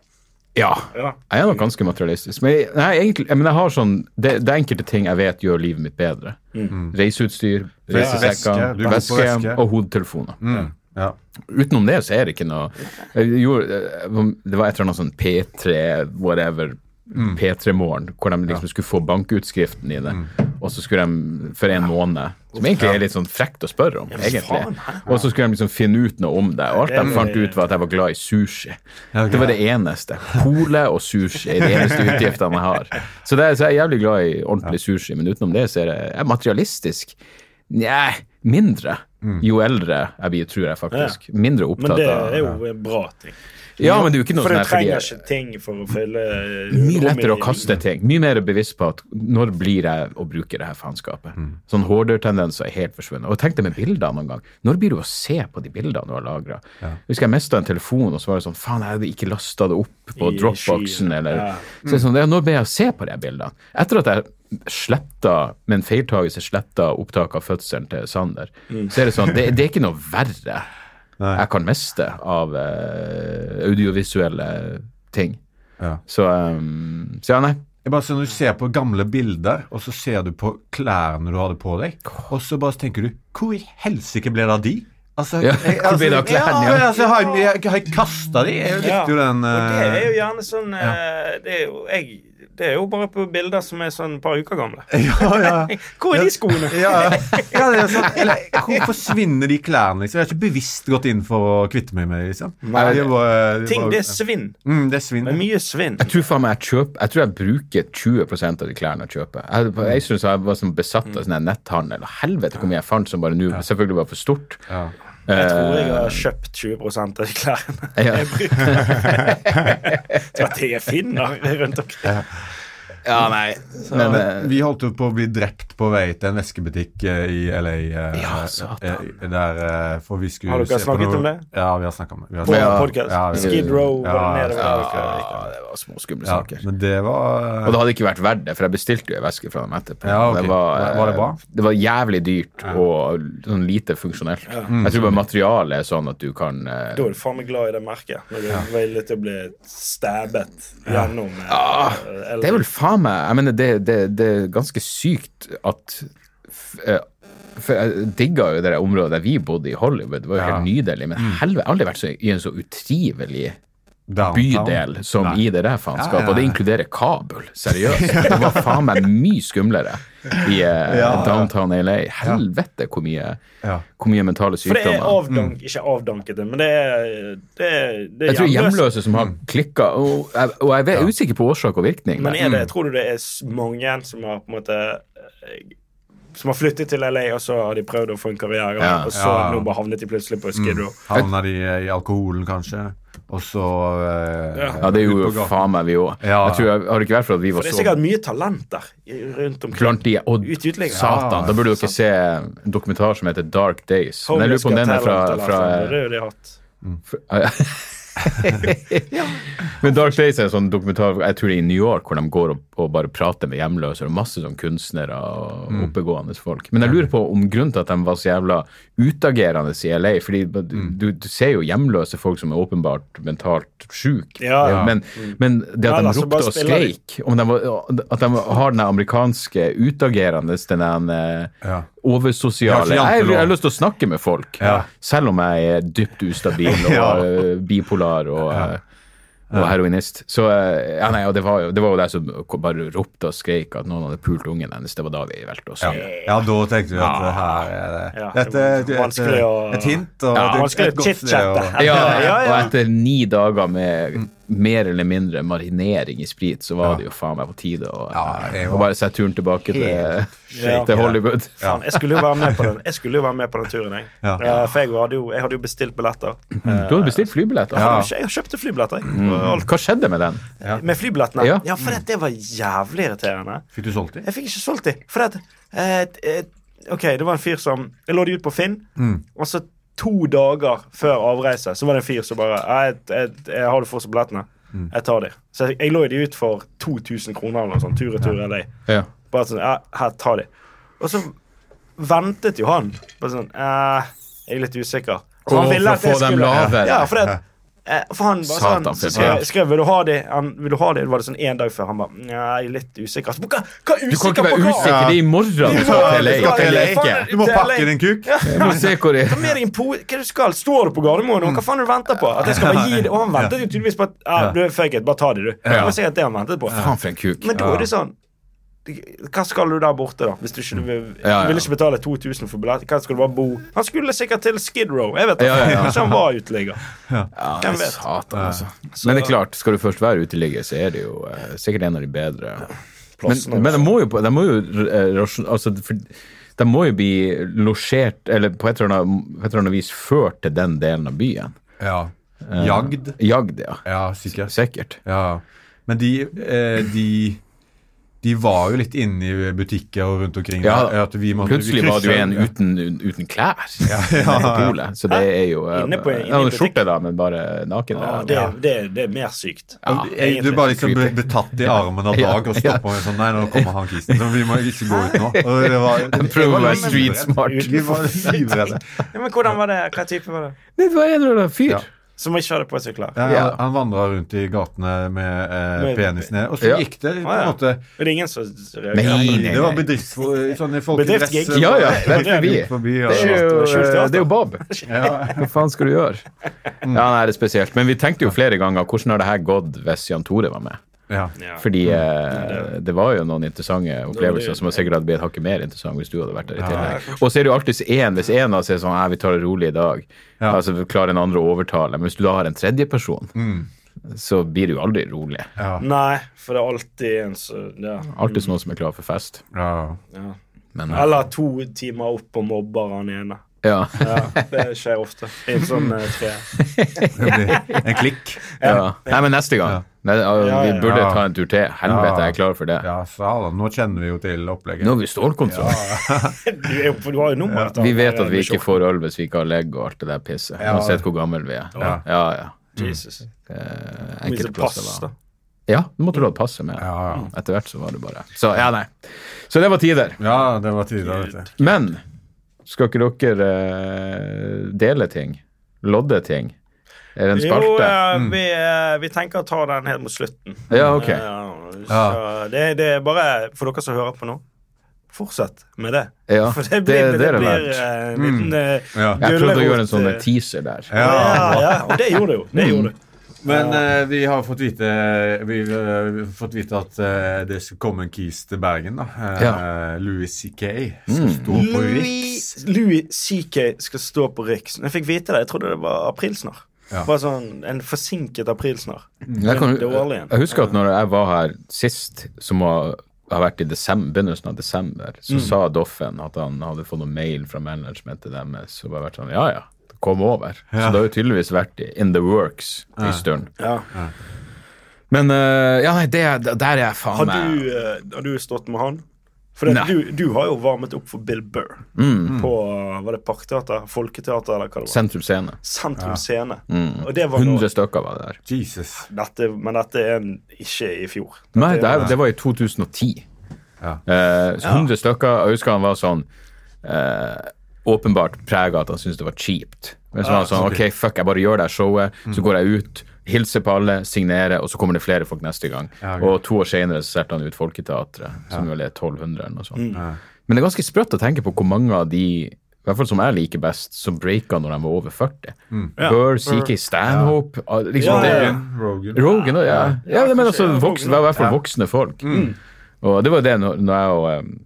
[SPEAKER 3] Ja.
[SPEAKER 1] Ja.
[SPEAKER 3] Jeg er nok ganske materialistisk. Men jeg, nei, egentlig, men jeg har sånn det, det er enkelte ting jeg vet gjør livet mitt bedre. Reiseutstyr,
[SPEAKER 2] Mm. Veske,
[SPEAKER 3] reisesekker,
[SPEAKER 2] du går på
[SPEAKER 3] veske
[SPEAKER 2] veske. Mm.
[SPEAKER 3] og hodetelefoner.
[SPEAKER 2] Ja.
[SPEAKER 3] Utenom det så er det ikke noe jeg gjorde, Det var et eller annet sånn P3 whatever
[SPEAKER 2] Mm.
[SPEAKER 3] P3-morgen, hvor de liksom skulle få bankutskriften i det. Og så skulle de for en måned Som egentlig er litt sånn frekt å spørre om,
[SPEAKER 1] Ja, men faen,
[SPEAKER 3] egentlig.
[SPEAKER 1] hæ?
[SPEAKER 3] Og så skulle de liksom finne ut noe om det. Og alt
[SPEAKER 1] Ja, det-
[SPEAKER 3] de fant ut, var at jeg var glad i sushi.
[SPEAKER 2] Ja, ok.
[SPEAKER 3] Det var det eneste. Pole og sushi er de eneste utgiftene jeg har. Så, det, er- så jeg er jævlig glad i ordentlig sushi, men utenom det så er det jeg er materialistisk. Nei, mindre.
[SPEAKER 2] Mm.
[SPEAKER 3] Jo eldre jeg blir, tror jeg faktisk. Mindre
[SPEAKER 1] Men
[SPEAKER 3] opptatt
[SPEAKER 1] det
[SPEAKER 3] av
[SPEAKER 1] er jo en bra ting.
[SPEAKER 3] Ja, men det er jo ikke noe
[SPEAKER 1] For
[SPEAKER 3] sånn
[SPEAKER 1] du
[SPEAKER 3] her fordi
[SPEAKER 1] trenger
[SPEAKER 3] jeg-
[SPEAKER 1] ikke ting for å fylle eh,
[SPEAKER 3] mye lettere å kaste ting. Mye mer bevisst på at når blir jeg å bruke det her faenskapet? Sånn hoarder-tendenser er helt forsvunnet. Og tenk deg med bilder noen gang. Når blir du å se på de bildene du har lagra? Husker jeg mista en telefon, og så var det sånn Faen, jeg hadde ikke lasta det opp på
[SPEAKER 1] I
[SPEAKER 3] dropboxen,
[SPEAKER 1] skyen,
[SPEAKER 3] eller
[SPEAKER 1] ja.
[SPEAKER 3] så det er sånn, det er, Når ble jeg å se på de her bildene? Etter at jeg sletta, med en feiltagelse sletta opptak av fødselen til Sander,
[SPEAKER 1] Mm.
[SPEAKER 3] så er det sånn Det, det er ikke noe verre
[SPEAKER 2] Nei.
[SPEAKER 3] jeg kan miste av eh, audiovisuelle ting.
[SPEAKER 2] Ja.
[SPEAKER 3] Så, um, så ja, nei.
[SPEAKER 2] Jeg bare, så når du ser på gamle bilder, og så ser du på klærne du hadde på deg, og så bare tenker du Hvor i helsike ble det av de? Altså,
[SPEAKER 3] Ja, hvor ble det av klærne,
[SPEAKER 2] ja,
[SPEAKER 3] ja?
[SPEAKER 2] altså, jeg har, jeg, jeg har kasta de. Jeg likte jo den
[SPEAKER 1] Og det er jo
[SPEAKER 2] eh,
[SPEAKER 1] gjerne sånn eh, det, er jo, jeg, det er jo bare på bilder som er sånn et par uker gamle.
[SPEAKER 2] ja, ja.
[SPEAKER 1] Hvor er de skoene?
[SPEAKER 2] Ja, ja. ja det er sånn, eller, hvor forsvinner de klærne, liksom? Jeg har ikke bevisst gått inn for å kvitte meg med dem, liksom.
[SPEAKER 1] Nei.
[SPEAKER 2] det er bare, det er
[SPEAKER 1] Ting,
[SPEAKER 2] bare-
[SPEAKER 1] det er svinn.
[SPEAKER 2] mm, det er svinn.
[SPEAKER 1] Det er mye svinn.
[SPEAKER 3] Jeg tror, faen meg jeg, kjøper, jeg tror jeg bruker 20 av de klærne jeg kjøper. Jeg,
[SPEAKER 2] Mm.
[SPEAKER 3] jeg synes jeg var sånn besatt av sånn her netthandel. og Helvete hvor mye jeg fant som bare nå selvfølgelig var for stort. Eh,
[SPEAKER 2] Ja.
[SPEAKER 1] Jeg tror jeg har kjøpt 20 av de klærne
[SPEAKER 3] Ja.
[SPEAKER 1] jeg bruker. Det er det jeg finner rundt omkring.
[SPEAKER 3] Ja, nei. Men,
[SPEAKER 2] Men
[SPEAKER 3] eh,
[SPEAKER 2] vi holdt jo på å bli drept på vei til en veskebutikk eh, i LA. eh,
[SPEAKER 3] Ja, satan.
[SPEAKER 2] eh, Der, eh, for vi skulle
[SPEAKER 1] Har dere
[SPEAKER 2] se på
[SPEAKER 1] snakket
[SPEAKER 2] noe-
[SPEAKER 1] om det?
[SPEAKER 2] Ja, vi har snakket om det. Vi har
[SPEAKER 1] På
[SPEAKER 2] snakket-
[SPEAKER 1] podcast. Skid Row, var det nedover
[SPEAKER 2] ja,
[SPEAKER 1] der?
[SPEAKER 3] ja, det var små skumle
[SPEAKER 2] ja,
[SPEAKER 3] saker.
[SPEAKER 2] men det var eh,
[SPEAKER 3] Og det hadde ikke vært verdt det, for jeg bestilte jo ei veske fra dem etterpå.
[SPEAKER 2] Ja, ok.
[SPEAKER 3] det, var, eh,
[SPEAKER 2] Var det bra?
[SPEAKER 3] det var jævlig dyrt og sånn lite funksjonelt.
[SPEAKER 2] Mm.
[SPEAKER 3] Jeg tror bare materialet er sånn at du kan eh,
[SPEAKER 1] Da er du faen meg glad i det merket. Når du er villig til å bli stabbet gjennom eh, eller-
[SPEAKER 3] Ah, Det er vel faen meg Jeg mener, det, det, det er ganske sykt at f- eh, For jeg digga jo det der området der vi bodde i Hollywood. Det var jo helt nydelig. Men
[SPEAKER 2] Mm.
[SPEAKER 3] helvete, jeg har aldri vært så, i en så utrivelig
[SPEAKER 2] downtown.
[SPEAKER 3] bydel som
[SPEAKER 2] Nei.
[SPEAKER 3] i det der faenskapet.
[SPEAKER 2] Ja, ja, ja.
[SPEAKER 3] Og det inkluderer Kabul. Seriøst. Det var faen meg mye skumlere i eh,
[SPEAKER 2] Ja, ja.
[SPEAKER 3] downtown LA. Helvete hvor mye,
[SPEAKER 2] Ja.
[SPEAKER 3] hvor mye mentale
[SPEAKER 1] For det er
[SPEAKER 3] sykdommer.
[SPEAKER 1] avdank, ikke avdankete, men det er, det er, det er
[SPEAKER 3] Jeg tror
[SPEAKER 1] hjemløse.
[SPEAKER 3] hjemløse som har klikka og, jeg- og jeg er usikker på årsak og virkning.
[SPEAKER 1] Men
[SPEAKER 3] der.
[SPEAKER 1] er det, tror du det er s- mange som har på en måte eh, som har flyttet til LA, og så har de prøvd å få en karriere,
[SPEAKER 3] Ja. Mm.
[SPEAKER 1] og så
[SPEAKER 2] Ja.
[SPEAKER 1] nå bare havnet de plutselig på Skid Row.
[SPEAKER 2] Mm. Havna de eh, i alkoholen, kanskje. Og så eh,
[SPEAKER 1] Ja.
[SPEAKER 3] Ja, det
[SPEAKER 2] ut på
[SPEAKER 3] gjorde jo
[SPEAKER 2] gaten.
[SPEAKER 3] faen meg vi òg.
[SPEAKER 2] Ja.
[SPEAKER 3] Jeg tror jeg- Har det ikke vært for at vi var
[SPEAKER 1] For det er
[SPEAKER 3] så
[SPEAKER 1] sikkert mye talenter i- rundt omkring.
[SPEAKER 3] blant de Og
[SPEAKER 1] Ut Ah, i utlegget.
[SPEAKER 3] satan,
[SPEAKER 2] Ja,
[SPEAKER 3] da burde du ikke se en dokumentar som heter Dark Days. Men jeg lurer på om den er fra,
[SPEAKER 1] Homeless talent,
[SPEAKER 3] fra
[SPEAKER 1] sånn. Det er jo de har hatt.
[SPEAKER 3] Men Dark Days er en sånn dokumentar jeg tror det er i New York hvor de går og, og bare prater med hjemløse og masse sånn kunstnere og
[SPEAKER 1] Mm.
[SPEAKER 3] oppegående folk. Men jeg lurer på om grunnen til at de var så jævla utagerende i LA fordi
[SPEAKER 1] Mm.
[SPEAKER 3] du, du ser jo hjemløse folk som er åpenbart mentalt sjuke,
[SPEAKER 1] Ja, ja.
[SPEAKER 3] men, men det at
[SPEAKER 1] Eller
[SPEAKER 3] de
[SPEAKER 1] så bare
[SPEAKER 3] ropte og
[SPEAKER 1] spiller de.
[SPEAKER 3] skreik om de var, At de har den amerikanske utagerende, den der, eh,
[SPEAKER 2] Ja.
[SPEAKER 3] oversosiale
[SPEAKER 2] Det er
[SPEAKER 3] jeg,
[SPEAKER 2] ikke
[SPEAKER 3] jeg,
[SPEAKER 2] jantelov.
[SPEAKER 3] har lyst til å snakke med folk,
[SPEAKER 2] Ja.
[SPEAKER 3] selv om jeg er dypt ustabil og
[SPEAKER 2] Ja.
[SPEAKER 3] eh, bipolar og, eh, og heroinist. Så eh, ja, nei, og det var jo det var jo der som bare ropte og skreik at noen hadde pult ungen hennes. Det var da vi velte oss.
[SPEAKER 2] Ja. ja, da tenkte vi at eh, her er det
[SPEAKER 1] Ja.
[SPEAKER 2] Dette er et, et,
[SPEAKER 1] Vanskelig å-
[SPEAKER 2] et hint og
[SPEAKER 1] Ja,
[SPEAKER 2] et,
[SPEAKER 1] vanskelig
[SPEAKER 2] et
[SPEAKER 1] å
[SPEAKER 2] godt sted.
[SPEAKER 1] chit-chatte.
[SPEAKER 2] å-
[SPEAKER 3] Ja,
[SPEAKER 1] Ja, ja.
[SPEAKER 3] Og etter ni dager med mer eller mindre marinering i sprit, så var det jo faen meg på tide å
[SPEAKER 2] Ja, jeg
[SPEAKER 3] å
[SPEAKER 2] var
[SPEAKER 3] bare sette turen tilbake til, eh,
[SPEAKER 1] Ja.
[SPEAKER 3] til Hollywood.
[SPEAKER 1] Faen, jeg skulle jo være med på den Jeg skulle jo være med på den turen, jeg.
[SPEAKER 2] Ja.
[SPEAKER 1] Eh, For jeg hadde jo, jeg hadde jo bestilt billetter.
[SPEAKER 3] Mm, Du hadde bestilt flybilletter. Mm.
[SPEAKER 1] Hadde jo ikke- Jeg kjøpte flybilletter, jeg. Og
[SPEAKER 3] Hva skjedde med den?
[SPEAKER 1] alt- Med flybillettene.
[SPEAKER 3] Ja.
[SPEAKER 1] Ja, for det, det var jævlig irriterende.
[SPEAKER 2] Fikk du solgt dem?
[SPEAKER 1] Jeg fikk ikke solgt de. For at, eh, eh, ok, det var en fyr som Jeg lå de ut på Finn, og så to dager før avreise så var det en fyr som bare «Nei, jeg, jeg, jeg har du fortsatt billettene. Jeg tar de. Så jeg, jeg lå de ut for 2000 kroner eller noe sånt. Tur-retur tur, LA.
[SPEAKER 3] Ja.
[SPEAKER 1] Bare sånn, ja, her, ta de. Og så ventet jo han. Bare sånn, eh, jeg er litt usikker. Så
[SPEAKER 3] Og for å få dem
[SPEAKER 1] skulle-
[SPEAKER 3] lavere.
[SPEAKER 1] Ja, for det, Eh, For han bare
[SPEAKER 3] Satan,
[SPEAKER 1] sånn, så skrev,
[SPEAKER 3] Fredrik.
[SPEAKER 1] skrev vil du ha de? Han, vil du ha de? Det var det sånn en dag før. Han bare Nei, litt usikker. Så, hva, hva er
[SPEAKER 3] Du kan
[SPEAKER 1] usikker
[SPEAKER 3] ikke
[SPEAKER 1] på
[SPEAKER 3] være
[SPEAKER 1] hva?
[SPEAKER 3] usikker. Det er i morgen du skal
[SPEAKER 1] Ja,
[SPEAKER 3] til LA.
[SPEAKER 1] du skal til
[SPEAKER 3] Til
[SPEAKER 1] LA.
[SPEAKER 3] leke.
[SPEAKER 2] Du må
[SPEAKER 1] Det er
[SPEAKER 2] pakke
[SPEAKER 1] lei.
[SPEAKER 2] din kuk.
[SPEAKER 3] Du må se hvor jeg
[SPEAKER 1] Ta med deg en po Hva er det du skal? Står du på Gardermoen? Og hva faen er det du venter på? At jeg skal bare gi det? Og han ventet jo tydeligvis på at ja, du er fake it, bare ta det, du. Det var sikkert det han ventet på.
[SPEAKER 3] Faen, for en kuk.
[SPEAKER 1] Men da er det sånn hva skal du der borte, da? Hvis du ikke du vil,
[SPEAKER 3] Ja, ja.
[SPEAKER 1] vil ikke betale 2000 for billett? Hva skal du bare bo Han skulle sikkert til Skid Row. Jeg vet ikke.
[SPEAKER 3] Ja, ja, ja.
[SPEAKER 1] Kanskje han var uteligger.
[SPEAKER 3] Ja,
[SPEAKER 1] Hvem vet?
[SPEAKER 3] satan, altså. Men det er klart, skal du først være uteligger, så er det jo eh, sikkert en av de bedre. Men,
[SPEAKER 1] Plassene,
[SPEAKER 3] men de må jo, på- de må jo eh, rasjon- altså, for, de må jo bli losjert, eller på et eller, annet, på et eller annet vis ført til den delen av byen.
[SPEAKER 2] Ja. Jagd.
[SPEAKER 3] Jagd, ja.
[SPEAKER 2] Ja, sikkert.
[SPEAKER 3] Sikkert.
[SPEAKER 2] Ja. Men de, eh, de De var jo litt inne i butikker og rundt omkring.
[SPEAKER 3] Ja,
[SPEAKER 2] der, at vi måtte- vi
[SPEAKER 3] Plutselig var du
[SPEAKER 2] krysset-
[SPEAKER 3] en uten, uten klær. Polet, Så det er jo eh,
[SPEAKER 1] Inne på- inne i
[SPEAKER 3] ja, en
[SPEAKER 1] butikk.
[SPEAKER 3] skjorte, da, men bare naken.
[SPEAKER 1] Ja,
[SPEAKER 3] Ja,
[SPEAKER 1] det, det, det er mer sykt.
[SPEAKER 2] Ja,
[SPEAKER 1] egentlig.
[SPEAKER 2] du bare liksom ble betatt i armen av
[SPEAKER 3] Ja,
[SPEAKER 2] Dag og stoppa med sånn Nei, nå kommer han kisen. Så vi må ikke gå ut nå. Og det var,
[SPEAKER 3] Prøv
[SPEAKER 1] Ja,
[SPEAKER 3] å være
[SPEAKER 1] men-
[SPEAKER 3] street smart.
[SPEAKER 2] Vi var
[SPEAKER 3] sånn.
[SPEAKER 2] livredde.
[SPEAKER 1] Ja, men hvordan var det? Hva type var det?
[SPEAKER 3] Det var en eller annen fyr.
[SPEAKER 2] Ja.
[SPEAKER 1] Som ikke hadde på seg klær.
[SPEAKER 2] Ja,
[SPEAKER 3] Ja.
[SPEAKER 2] Han vandra rundt i gatene med eh,
[SPEAKER 1] Med-
[SPEAKER 2] penis ned, og så
[SPEAKER 3] Ja.
[SPEAKER 2] gikk det på
[SPEAKER 1] Ah,
[SPEAKER 2] en
[SPEAKER 1] ja.
[SPEAKER 2] måte
[SPEAKER 1] Men det er ingen som
[SPEAKER 3] Nei, nei, nei.
[SPEAKER 2] Det var bedrifts... Sånne folk i dress,
[SPEAKER 1] Bedriftsgig.
[SPEAKER 3] Ja, ja,
[SPEAKER 2] eh,
[SPEAKER 3] rett forbi.
[SPEAKER 2] gikk forbi og,
[SPEAKER 3] Det er jo,
[SPEAKER 1] Skjult- skjult
[SPEAKER 3] eh,
[SPEAKER 1] teater.
[SPEAKER 3] det er jo Bob.
[SPEAKER 2] ja.
[SPEAKER 3] Hva faen skal du gjøre? Ja, nei, det er spesielt. Men vi tenkte jo flere ganger hvordan har det her gått hvis Jan Tore var med?
[SPEAKER 2] Ja.
[SPEAKER 1] Ja.
[SPEAKER 3] Fordi eh, det var jo noen interessante opplevelser
[SPEAKER 1] det-
[SPEAKER 3] som sikkert hadde blitt hakket mer interessant hvis du hadde vært der i tillegg. Og så er det jo alltid én hvis én av oss er sånn «Nei, vi tar det rolig i dag.
[SPEAKER 2] Ja.
[SPEAKER 3] Altså klarer en andre å overtale. Men hvis du da har en tredjeperson,
[SPEAKER 2] Mm.
[SPEAKER 3] så blir det jo aldri rolig.
[SPEAKER 2] Ja.
[SPEAKER 1] Nei, for det er alltid en som ja.
[SPEAKER 3] Alltid noen som er klar for fest.
[SPEAKER 2] Ja.
[SPEAKER 1] ja.
[SPEAKER 3] Men eh,
[SPEAKER 1] Eller to timer opp og mobber han ene.
[SPEAKER 3] ja.
[SPEAKER 1] Ja, det skjer ofte. I en sånn eh, tre.
[SPEAKER 2] Det blir en klikk.
[SPEAKER 3] ja. Nei, men neste gang. Nei,
[SPEAKER 1] Ja,
[SPEAKER 3] vi
[SPEAKER 1] ja, ja.
[SPEAKER 3] burde ta en tur til.
[SPEAKER 2] Ja.
[SPEAKER 3] Helvete, jeg er klar for det.
[SPEAKER 2] Ja, salen. Nå kjenner vi jo til opplegget.
[SPEAKER 3] Nå har vi stålkontroll.
[SPEAKER 1] Du, er jo, for du har jo nummeret. til
[SPEAKER 3] Vi
[SPEAKER 1] han
[SPEAKER 3] vet
[SPEAKER 1] der,
[SPEAKER 3] at vi
[SPEAKER 1] eh,
[SPEAKER 3] ikke
[SPEAKER 1] Bishop.
[SPEAKER 3] får øl hvis vi ikke har legg og alt det der pisset.
[SPEAKER 2] Ja.
[SPEAKER 3] Uansett hvor gammel vi er.
[SPEAKER 2] Ja.
[SPEAKER 3] ja. ja.
[SPEAKER 1] Jesus.
[SPEAKER 3] Eh,
[SPEAKER 1] Mye
[SPEAKER 3] enkelte
[SPEAKER 1] til pass,
[SPEAKER 3] plasser
[SPEAKER 1] da.
[SPEAKER 3] var Ja, nå måtte du ha passet med.
[SPEAKER 2] Ja, ja.
[SPEAKER 3] Etter hvert så var det bare Så ja, nei. Så det var tider.
[SPEAKER 2] Ja, det var tidligere, vet du.
[SPEAKER 3] Men skal ikke dere eh, dele ting? Lodde ting? Er det en
[SPEAKER 1] Jo,
[SPEAKER 3] spalte?
[SPEAKER 1] eh, vi, eh, vi tenker å ta den helt mot slutten.
[SPEAKER 3] Ja, ok.
[SPEAKER 1] Eh, så
[SPEAKER 2] Ja.
[SPEAKER 1] det, det er bare for dere som hører på nå, fortsett med det.
[SPEAKER 3] Ja,
[SPEAKER 1] for det
[SPEAKER 3] det-
[SPEAKER 1] blir, det,
[SPEAKER 3] det er det
[SPEAKER 1] blir
[SPEAKER 3] verdt. Mm.
[SPEAKER 1] eh, en liten eh,
[SPEAKER 2] Ja.
[SPEAKER 3] Jeg prøvde å gjøre en
[SPEAKER 1] gulrot,
[SPEAKER 3] sånn
[SPEAKER 1] eh,
[SPEAKER 3] teaser der.
[SPEAKER 1] Ja,
[SPEAKER 2] Ja.
[SPEAKER 1] ja, og det gjorde det jo. Det gjorde det.
[SPEAKER 2] Men eh, vi har fått vite, vi, eh, vi har fått vite at eh, det skal komme en kis til Bergen. da. Eh,
[SPEAKER 3] Ja. Mm.
[SPEAKER 2] Louis C.K. skal
[SPEAKER 3] Oh,
[SPEAKER 2] stå på Riks.
[SPEAKER 1] Louis, Louis CK skal stå på Riks. Når jeg fikk vite det, jeg trodde det var aprilsnarr.
[SPEAKER 2] Ja.
[SPEAKER 1] Bare sånn en forsinket aprilsnarr.
[SPEAKER 3] Jeg, kan,
[SPEAKER 1] Dårlig en.
[SPEAKER 3] jeg husker at når jeg var her sist, som har, har vært i desember, begynnelsen av desember, så
[SPEAKER 1] Mm.
[SPEAKER 3] sa Doffen at han hadde fått noen mail fra managementet deres og bare vært sånn Ja, ja, kom over. Så det har jo tydeligvis vært i- in the works en stund.
[SPEAKER 1] Ja.
[SPEAKER 3] Men eh, ja, nei, det, der er jeg faen
[SPEAKER 1] Har
[SPEAKER 3] meg
[SPEAKER 1] du, eh, har du stått med han? For det,
[SPEAKER 3] Nei. Mm.
[SPEAKER 1] du, du har jo varmet opp for Bill Burr
[SPEAKER 2] Mm.
[SPEAKER 1] på eh, var det Parkteater, Folketeater eller hva det var.
[SPEAKER 3] Sentrum Scene.
[SPEAKER 1] Sentrum Scene.
[SPEAKER 3] Mm.
[SPEAKER 1] Og det var nå
[SPEAKER 3] 100 stykker var det der.
[SPEAKER 2] Jesus.
[SPEAKER 1] dette, Men dette er en, ikke i fjor.
[SPEAKER 3] Nei, det, er- det var i 2010.
[SPEAKER 2] Ja.
[SPEAKER 3] Eh, så 100 stykker. og Jeg husker han var sånn eh, Åpenbart prega at han syntes det var kjipt. Men så var han sånn OK, Mm. fuck, jeg bare gjør det her showet, så går jeg ut, hilser på alle, signerer, og så kommer det flere folk neste gang.
[SPEAKER 2] Ja, ok.
[SPEAKER 3] Og to år senere så solgte han ut Folketeatret, som vel er 1200 eller noe sånt.
[SPEAKER 1] Mm.
[SPEAKER 3] Men det er ganske sprøtt å tenke på hvor mange av de i hvert fall som jeg liker best, som breaka når de var over 40. Burr, CK, Stanhope ah, liksom,
[SPEAKER 1] Ja, ja, ja.
[SPEAKER 3] Det,
[SPEAKER 2] Rogan.
[SPEAKER 3] Rogan, ja. ja. ja, men altså,
[SPEAKER 1] kanskje
[SPEAKER 3] voksne, det var i hvert fall voksne folk. Mm. Og det var det når, når jeg og em,